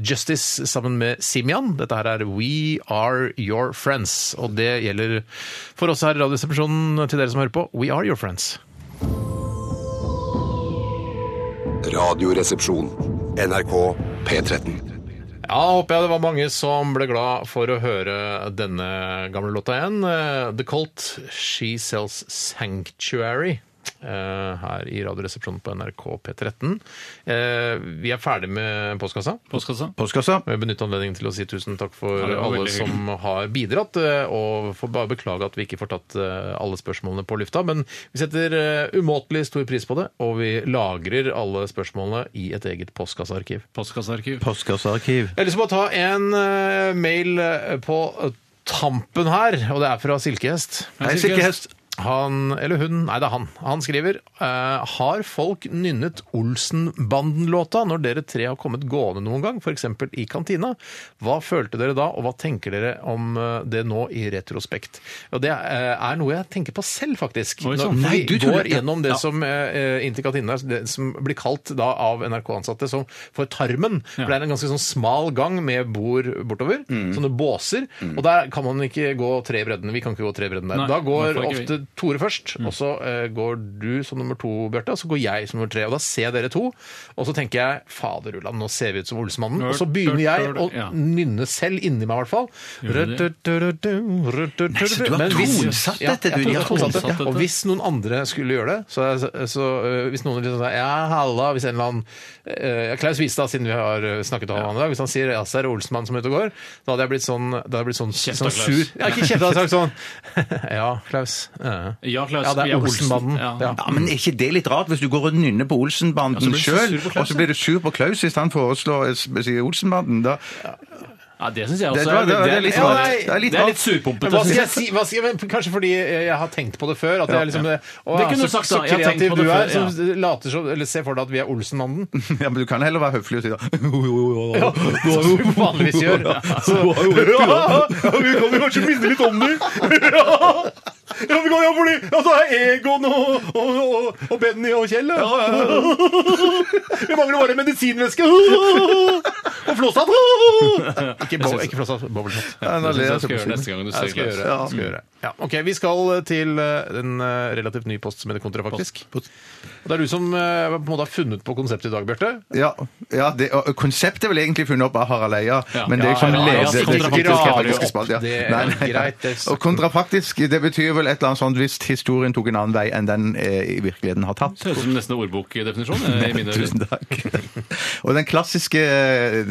A: Justice sammen med Simian. Dette her er We Are Your Friends. Og det gjelder for oss her i Radioresepsjonen til dere som hører på. We Are Your Friends.
D: Radioresepsjon. NRK P13.
A: Ja, håper jeg det var mange som ble glad for å høre denne gamle låta igjen. Eh, The Colt, She Sells Sanctuary. eh, Her i Radioresepsjonen på NRK P13. Eh, Vi er ferdig med postkassa.
C: postkassa?
B: Postkassa.
A: Jeg vil benytte anledningen til å si tusen takk for
C: det var
A: alle
C: veldig hyggelig.
A: som har bidratt. eh, Og får bare beklage at vi ikke får tatt eh, alle spørsmålene på lufta. Men vi setter eh, umåtelig stor pris på det, og vi lagrer alle spørsmålene i et eget postkassearkiv.
C: Postkassearkiv.
B: Postkassearkiv.
A: Jeg har lyst til å bare ta en eh, mail eh, på eh, tampen her, og det er fra Silkehest.
B: Hei, silkehest.
A: Han, eller hun, nei det er han. Han skriver eh, Har folk nynnet Olsenbanden-låta når dere tre har kommet gående noen gang, f.eks. i kantina? Hva følte dere da, og hva tenker dere om eh, det nå i retrospekt? Og Det eh, er noe jeg tenker på selv, faktisk.
C: Oi,
A: Når
C: sånn. Nei,
A: vi
C: du tuller.
A: går gjennom det som eh, inntil kantina, det som blir kalt da av NRK-ansatte som for tarmen. For det er en ganske sånn smal gang med bord bortover, sånne båser. Og der kan man ikke gå tre i bredden. Vi kan ikke gå tre i bredden der.
C: Nei,
A: da
C: det
A: går
C: får ikke vi.
A: ofte Tore først, og så eh, går du som nummer to, Bjarte, og så går jeg som nummer tre. Og da ser dere to, og så tenker jeg faderullan, nå ser vi ut som Olsemannen. Og så begynner jeg å
C: Ja.
A: nynne selv, inni meg i hvert fall.
C: Gjør
A: Nei,
B: så du har tonsatt dette,
A: Ja,
B: du. De
A: jeg
B: har
A: har tonsatt
C: tonsatt
A: det. Og
C: dette.
A: hvis noen andre skulle gjøre det, så, så øh, hvis noen liksom sier ja, halla, hvis en eller annen øh, Klaus Vistad, siden vi har øh, snakket om han i dag, hvis han sier ja, så er det Olsenmann som er ute og går, da hadde jeg blitt sånn, da hadde jeg blitt sånn,
C: Kjeft
A: sånn
C: av Klaus.
A: sur. Ja, ikke kjeft, jeg hadde sagt sånn ja, Klaus. Ja.
C: Ja, Klaus.
A: Ja, det
C: vi
A: er
C: Olsen.
A: Olsenmannen.
C: Ja.
A: Ja.
B: Ja, men Er ikke det litt rart, hvis du går og nynner på
C: Ja, så
B: Olsenbanden
C: blir du så
B: sjøl,
C: sur på Klaus,
B: og så blir du sur på Klaus hvis han foreslår eh, sier Olsenbanden? Da,
C: Ja, Altså, det syns jeg
B: det,
C: også.
B: det, det, det er litt rart.
A: nei,
B: Det er litt
C: Det er litt
B: rart.
C: surpompete.
A: Men hva skal
C: synes
A: jeg si? Hva skal jeg, men kanskje fordi jeg har tenkt på det før. At jeg liksom, å,
C: Det kunne
A: så,
C: du sagt,
A: så
C: da. Jeg har tenkt
A: kreativ
C: på
A: du
C: det
A: er,
C: før,
A: som later som Eller ser for deg at vi er Olsenmannen.
B: Ja, men du kan heller være høflig og si da
A: Som vi vanligvis gjør. Så, ja, vi kan jo kanskje minne litt om det. Ja, ja, vi kan, ja fordi ja, så er Egon og, og, og, og Benny og Kjell. Ja, Vi mangler bare medisinvæske. Og Flåshatt. Ikke, bo- ikke Flåshatt, bobleshot.
B: Ja, nå
C: jeg
B: ler
C: skal
B: jeg så
C: gjøre
B: på
C: neste
B: siden.
C: gang du
A: Jeg
C: ser
A: skal gjøre,
C: Klaus.
A: det, jeg skal gjøre. det. Ja, ok, Vi skal til eh, en eh, relativt ny post som heter Kontra, faktisk. Og det er du som eh, på en måte har funnet på konseptet i dag, Bjarte.
B: Ja, ja det, og konseptet er vel egentlig funnet opp av Harald Eia,
C: Ja.
B: men det er jo
C: Ja,
B: som
C: ja, ja, altså,
B: leder det er ikke
A: kontrafaktisk
B: faktiske spalt, ja.
A: det er
B: Nei, nei, nei.
A: greit, det er-
B: Og kontrafaktisk, det betyr vel et eller annet sånt hvis historien tok en annen vei enn den eh, i virkeligheten har tatt.
C: Høres ut som nesten en ordbokdefinisjon. eh, i mine ører.
B: Tusen takk. Og den klassiske,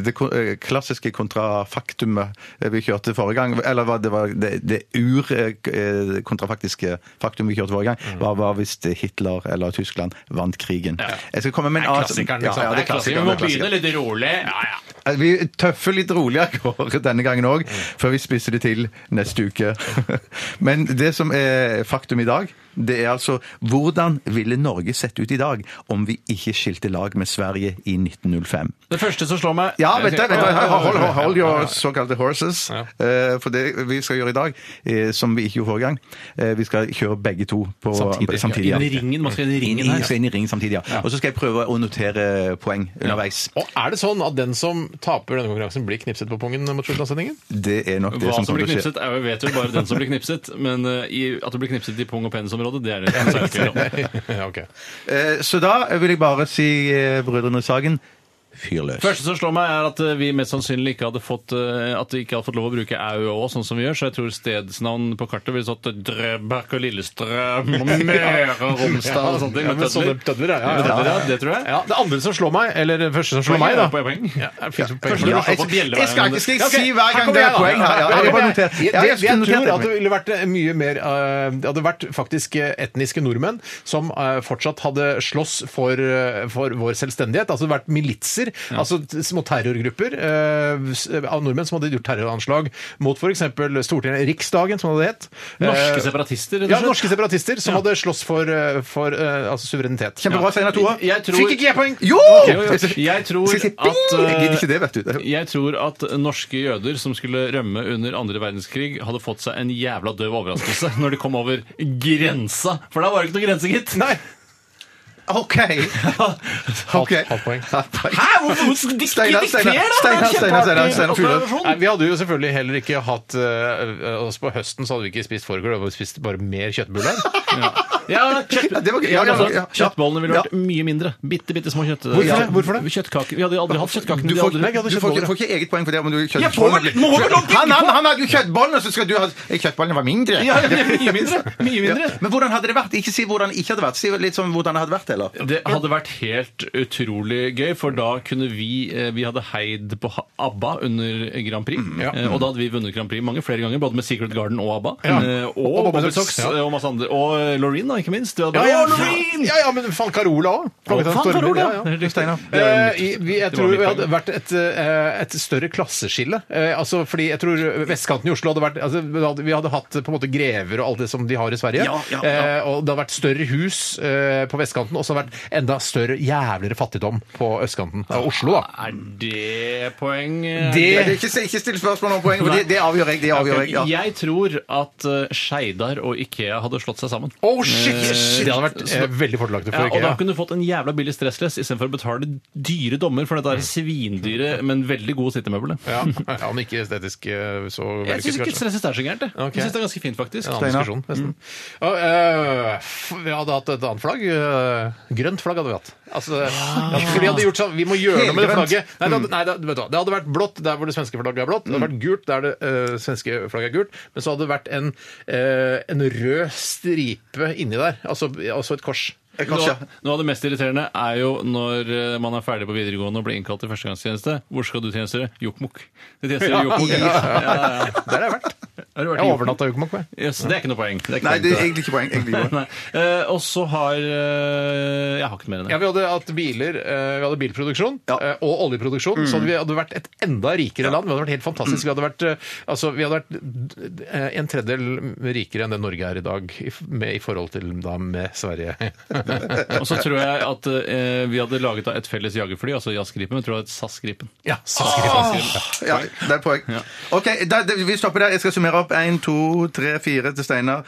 B: det ko- eh, klassiske kontrafaktumet eh, vi kjørte forrige gang, eller hva det var det, det eh, ur-kontrafaktiske faktum vi kjørte forrige gang, var, var hvis Hitler eller Tyskland vant krigen. Jeg skal komme med en
A: Det er
B: annen-
A: klassikeren,
B: Mm. Ja,
A: liksom.
B: ja, det er
C: Klassiker.
B: klassikeren.
C: Vi må
B: det er
C: begynne
B: klassikeren.
C: litt rolig. Ja, ja.
B: Altså, Vi tøffer litt rolig av gårde denne gangen òg, før vi spisser det til neste uke. Men det som er faktum i dag, det er altså hvordan ville Norge sett ut i dag om vi ikke skilte lag med Sverige i 1905?
C: Det første som slår meg
B: Ja, vet du, vet du hold, hold, hold your såkalte horses.
A: Ja.
B: Eh, For det vi skal gjøre i dag, eh, som vi ikke gjorde forrige gang, eh, vi skal kjøre begge to på,
A: Samtidig.
B: samtidig ja.
C: Inn i ringen, man skal inn i
B: Inn
C: ringen
B: i,
C: her.
B: skal inn i ringen samtidig, ja. Og så skal jeg prøve å notere poeng underveis.
A: Og er det sånn at den som taper denne konkurransen, blir knipset på pungen mot slutten av sendingen?
B: Det er nok det
C: Hva
B: som
C: som
B: kommer
C: blir
B: til å skje.
C: knipset, er jo, vet jo bare den som blir knipset. Men eh, i, at det blir knipset i pung- og penisområdet, det er det som er ikke om.
A: ja, ok.
B: Eh, Så da vil jeg bare si eh, Brødrene Sagen fyr løs.
C: første som slår meg, er at eh, vi mest sannsynlig ikke hadde fått eh, at vi ikke hadde fått lov å bruke AUÅ sånn som vi gjør, så jeg tror stedsnavn på kartet ville stått eh, Drøbak og Lillestrøm og Møre og Romsdal og sånne ting.
A: Ja,
C: med
A: men sånne
C: tødler.
A: tødler, ja,
C: Med
A: ja,
C: tødler,
A: ja.
C: ja, det tror jeg.
A: Ja, det andre som slår meg, eller det første som slår
C: Poeng,
A: meg, da
C: ja, poeng.
A: Ja, det finnes jo poeng.
C: Kanskje du
B: Ja,
C: må slå
B: jeg,
C: på
B: jeg,
C: bjelleveien.
B: skal ikke skal jeg
A: Ok,
B: si hver
A: her
B: gang
A: kommer jeg,
B: det
A: da.
B: er poeng her. Ja, jeg,
A: Ja,
B: har bare
A: men
B: notert.
A: jeg-
B: Ja,
A: jeg-
B: jeg skulle
A: jeg
B: notert
A: tror
B: det.
A: at det ville vært eh, mye mer eh, Det hadde vært faktisk eh, etniske nordmenn som eh, fortsatt hadde slåss for, eh, for vår selvstendighet. Altså det hadde vært militser, altså t- små terrorgrupper eh, s- av nordmenn som hadde gjort terroranslag mot f.eks. Stortinget, Riksdagen, som det het. Eh,
C: Norske separatister, rett
A: Ja,
C: og slett.
A: norske separatister som hadde slåss for, eh, for eh, altså, suverenitet.
B: Kjempebra, Steinar Tore.
C: Jeg tror-
B: Fikk ikke jeg poeng? Jo!
C: Jo, jo, jeg tror
B: Skal jeg si ping?
C: at, eh,
B: Jeg gidder ikke det, vet du.
C: Jeg tror at norske jøder som skulle rømme under andre verdenskrig, hadde fått seg en jævla døv overraskelse når de kom over grensa. For da var det ikke noe grense, gitt.
A: Nei!
B: OK. Ok.
A: Halvt- halvt poeng.
B: Halvt poeng.
C: Hæ? Hvorfor hvorfor dik-
B: Steinar, Steinar,
C: dikterer, da?
B: Steinar,
C: Det er
B: Steinar, Steinar,
C: kjempeartig
B: Steinar Furløs.
C: observasjon.
A: Nei, vi hadde jo selvfølgelig heller ikke hatt eh, eh, oss På høsten så hadde vi ikke spist fårikål, vi hadde spist bare mer kjøttbuller.
C: Ja, kjøtt,
B: Ja, det var gøy.
C: Ja,
B: Ja, ja,
C: altså,
B: ja.
C: Kjøttbollene ville
B: Ja.
C: vært mye mindre. Bitte, bitte små kjøtt...
A: Hvorfor det? Hvorfor det?
C: Kjøttkaker. Vi hadde aldri hatt kjøttkaker. men
B: Du
C: de
B: får,
C: hadde aldri-
B: du får, ikke, får ikke eget poeng for det. Men du
C: Jeg får vel- må vel logge
B: han, han, han hadde jo kjøttbollene, så skal du ha Kjøttbollene var mindre.
C: Ja, ja, men mye mindre. Mye mindre.
B: Ja. Men hvordan hadde det vært? Ikke si hvordan det ikke hadde vært. Si litt sånn hvordan det hadde vært, eller?
C: Det hadde vært helt utrolig gøy, for da kunne vi eh, Vi hadde heid på ha- ABBA under Grand Prix.
A: Mm,
C: eh, Og da hadde vi vunnet Grand Prix mange flere ganger, både med Secret Garden og ABBA. eh, Og,
A: Og Bobby
C: Bobby
A: Socks,
C: Socks
A: ja.
C: eh, og masse andre. Og eh, Loreen, da, ikke minst. Det hadde
A: Ja,
C: vært-
A: ja,
C: Å,
A: ja, ja, men Fancarola òg.
C: Fantarola, ja.
A: ja.
C: Det er riktig.
B: Steinar.
C: Det er
A: Eh,
C: mitt-
A: i- vi,
C: det var
A: jeg tror
C: mitt
A: vi
C: poeng.
A: hadde vært et, eh, et større klasseskille. Eh, altså, fordi jeg tror vestkanten i Oslo hadde vært altså, vi hadde- Vi hadde hatt eh, på en måte grever og alt det som de har i Sverige.
B: Ja, ja, ja.
A: Eh, og det hadde vært større hus eh, på vestkanten, og så hadde det vært enda større, jævligere fattigdom på østkanten av Oslo, da.
C: Eh, Er det poeng?
B: Ja, det er ikke, ikke still spørsmål om poeng, for det, det avgjør jeg. Det avgjør jeg ja.
C: Jeg tror at eh, Skeidar og Ikea hadde slått seg sammen.
A: Oh shit! shit. Det hadde vært
C: så-
A: eh, veldig fordelaktig
C: Ja,
A: for
C: og da
A: IKEA.
C: kunne du fått en jævla billig stressless istedenfor å betale dyre dommer for dette er svindyre, men veldig gode sittemøbelet.
A: Mm. Ja, ja, men ikke estetisk eh, så
C: Jeg syns
A: vellykket,
C: ikke
A: kanskje.
C: stresset er så gærent. det.
A: Ok.
C: Jeg synes det er ganske fint, faktisk.
A: En annen
B: Steinar.
A: diskusjon, nesten. Og, eh, f- vi hadde hatt et annet flagg. eh, grønt flagg hadde vi hatt. Altså, ja, for vi hadde gjort sånn, vi må gjøre noe med det
B: Helgrønt.
A: flagget. Nei, det hadde, nei, det, vet du, hva, det hadde vært blått der hvor det svenske flagget er blått. Det hadde vært gult der det eh, svenske flagget er gult. Men så hadde det vært en, eh, en rød stripe inni der. Altså, altså et kors.
B: Jeg kan
C: Nå,
B: ikke-
C: noe av det mest irriterende er jo når eh, man er ferdig på videregående og blir innkalt til førstegangstjeneste. Hvor skal du tjeneste? Jokkmokk. Du tjenester i Jokkmokk. Ja, ja, ja.
A: Der har jeg vært.
C: Har du vært i
A: Jeg
C: Jokkmokk?
A: overnatta i Jokkmokk. jeg.
C: Yes, det er ikke noe poeng. Det er ikke
B: Nei,
C: poeng til
B: det er egentlig ikke poeng. Egentlig ikke poeng.
C: Nei. Eh, og så har eh, Jeg har ikke mer enn
A: Ja,
C: det.
A: vi hadde hatt biler, eh, vi hadde bilproduksjon eh, og oljeproduksjon, så hadde vi hadde vært et enda rikere land. Vi hadde vært helt fantastisk. Vi hadde vært, eh, altså, vi hadde vært eh, en tredjedel rikere enn det Norge er i dag, i, f- med, i forhold til da med Sverige.
C: Og så tror jeg at eh, vi hadde laget da et felles jagerfly, altså Jazz Gripen. men Jeg tror det var et SAS Gripen.
A: ja, så skriver jeg skriver.
B: Ja, det er poeng. OK, da, da, vi stopper der. Jeg skal summere opp. Én, to, tre, fire til Steinar.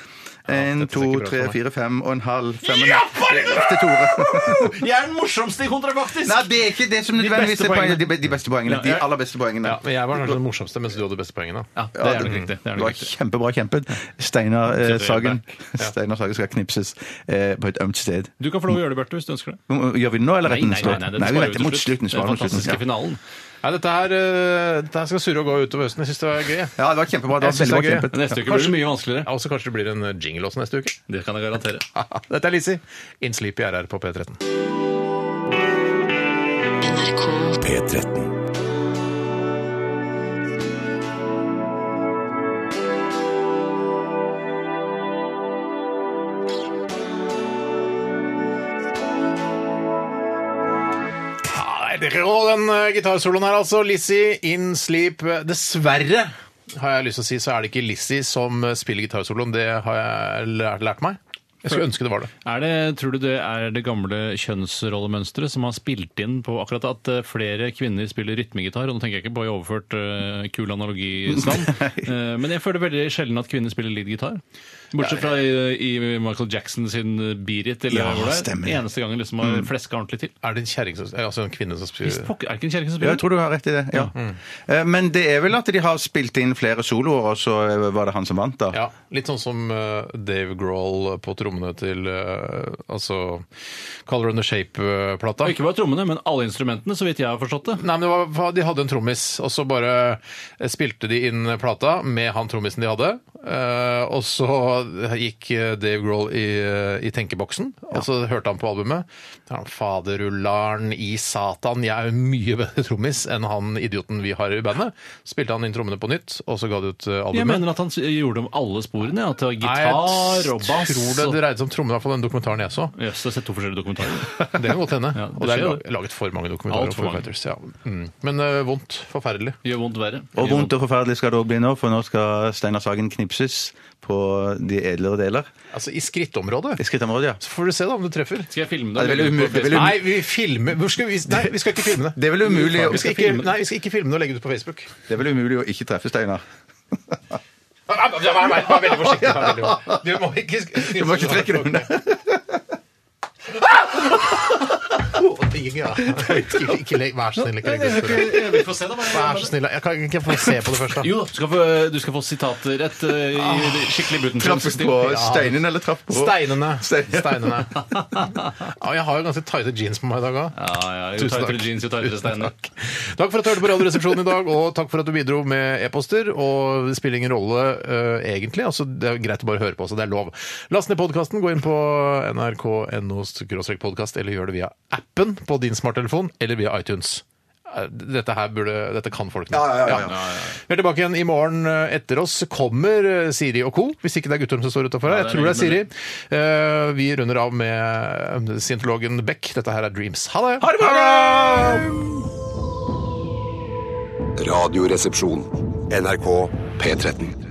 B: Én,
A: ser
B: to,
A: ikke bra ut
B: tre,
A: for meg.
B: fire, fem og en halv. Fem og en halv. til Tore.
C: Jeg er den morsomste i kontraktisk!
B: Nei, det er ikke det som nødvendigvis
C: beste
B: er poenget.
C: poengene.
B: De, be- de beste poengene. De aller beste poengene.
A: Ja, men jeg var kanskje den morsomste, mens du hadde best poengene.
C: Ja, det er nok riktig. Det er
B: Det
C: nok
B: var
C: riktig.
B: kjempebra kjempet. Steinar eh, Sagen
A: Ja.
B: Steinar Sagen skal knipses eh, på et ømt sted.
C: Du kan få lov å gjøre det, Bjarte, hvis du ønsker det.
B: Gjør vi det nå, eller
C: Nei,
B: retten
C: nei, nei, nei,
B: slutt?
C: den
B: Nei,
C: sparer
B: vi
C: vi
B: venter
C: til
B: mot
C: slutt.
B: slutten.
C: Den
B: Sparer mot slutten.
C: fantastiske
B: Ja.
C: finalen.
A: Nei, dette, her, eh, dette her skal surre og gå utover høsten. Jeg syns det var gøy. jeg.
B: ja, det var kjempebra. Det
A: Jeg
B: var
A: synes
B: veldig bra
A: det er gøy.
B: kjempet.
C: Neste uke blir det mye vanskeligere.
A: Ja, Og så kanskje det blir en eh, jingle også neste uke.
C: Det kan jeg garantere.
A: Dette er Lizzie. In Sleep i RR på P13.
G: NRK
I: P13.
A: Nei, det rå, det den eh, gitarsoloen her, altså. Lizzie in sleep. Dessverre har jeg lyst til å si, så er det ikke Lizzie som eh, spiller gitarsoloen. Det har jeg lært, lært meg. Jeg skulle ønske det var det.
C: Er det, tror du det er det gamle kjønnsrollemønsteret som har spilt inn på akkurat at eh, flere kvinner spiller rytmegitar? Og nå tenker jeg ikke på i overført eh, kul analogistand. Eh, men jeg føler veldig sjelden at kvinner spiller leadgitar. Bortsett fra i, i Michael Jackson sin Beat It, eller
B: Ja,
C: hvor det er.
B: stemmer.
C: Eneste gangen liksom har fleska ordentlig til.
A: Er det en kjerring som Altså en kvinne som
C: Hvis
A: spiller
C: pokker, er det ikke en kjerring som
B: Ja,
C: spiller?
B: jeg tror du har rett i det. ja.
A: Mm.
B: Eh, Men det er vel at de har spilt inn flere soloer, og så eh, var det han som vant, da.
A: Ja, litt sånn som eh, Dave Grohl på trommene til eh, altså Color and the eh, Shape-plata.
C: Og Ikke bare trommene, men alle instrumentene, så vidt jeg har forstått det.
A: Nei, men det var, De hadde en trommis, og så bare eh, spilte de inn plata med han trommisen de hadde. Eh, og så gikk eh, Dave Grohl i, eh, i tenkeboksen, og så hørte han på albumet. Da er han, Faderullaren i Satan, jeg er jo mye bedre trommis enn han idioten vi har i bandet. Spilte han inn trommene på nytt, og så ga de ut eh,
C: Jeg
A: albumet.
C: mener at han s- gjorde om alle sporene. ja, At det var
A: Nei,
C: gitar
A: jeg
C: og bass.
A: tror det,
C: og-
A: det dreide seg om trommene, i hvert fall den dokumentaren jeg så.
C: Jøss, jeg har sett to forskjellige dokumentarer.
A: Det kan godt hende.
C: Ja, det
A: og det er
C: skjer
A: lag- laget for mange dokumentarer.
C: Alt for
A: om Foo
C: mange.
A: Fighters, Ja. Mm. Men eh, vondt. Forferdelig.
C: Gjør vondt verre.
B: Og
C: Gjør
B: vondt og forferdelig skal det òg bli nå, for nå skal Steinar Sagen knipses på de edlere deler.
A: Altså, i skrittområdet
B: I skrittområdet, ja.
A: Så får du se da om du treffer.
C: Skal jeg filme
B: Ja,
C: deg?
B: det er veldig umulig- det er veldig-
A: Nei, vi filmer Hvor skal vi... Nei, vi skal ikke filme det.
B: Det er vel umulig,
A: Vi skal ikke... Nei, vi skal ikke filme det og legge det ut på Facebook.
B: det er vel umulig å ikke treffe Steinar.
A: Vær veldig forsiktig. Vær veldig forsiktig. Du må ikke
B: Du må ikke trekke det unna.
A: Ikke, ikke legg Vær så snill, ikke legg det ut. på det.
C: Jeg vil få se det, bare.
A: Vær så snill. Jeg kan ikke få se på det først, da.
C: Jo da, du skal få, du skal få sitater et eh, i skikkelig
B: Traff
C: Butenschøn-stil.
B: på steinen eller traff på
A: Steinene.
B: Stein-
A: Steinene. Ja, jeg har jo ganske tighte jeans på meg i dag òg.
C: Ja, ja, jo
A: Tusen
C: tightere
A: takk.
C: jeans, jo tightere steiner.
A: Takk. takk for at du hørte på Radioresepsjonen i dag, og takk for at du bidro med e-poster. Og det spiller ingen rolle eh, egentlig, altså det er greit å bare høre på, så det er lov. Last ned podkasten, gå inn på nrk.no podkast, eller gjør det via appen på din smarttelefon, eller via iTunes. Eh, Dette her burde, dette kan folk nå.
B: Ja, ja, ja, ja.
A: Vi er tilbake igjen i morgen. eh, Etter oss kommer eh, Siri og co. Hvis ikke det er Guttorm som står utafor her.
C: Ja,
A: Jeg
C: det er
A: tror det er Siri.
C: ingen
A: Eh, Vi runder av med eh, scientologen Beck. Dette her er Dreams. Ha det!
D: Radioresepsjon. NRK P13.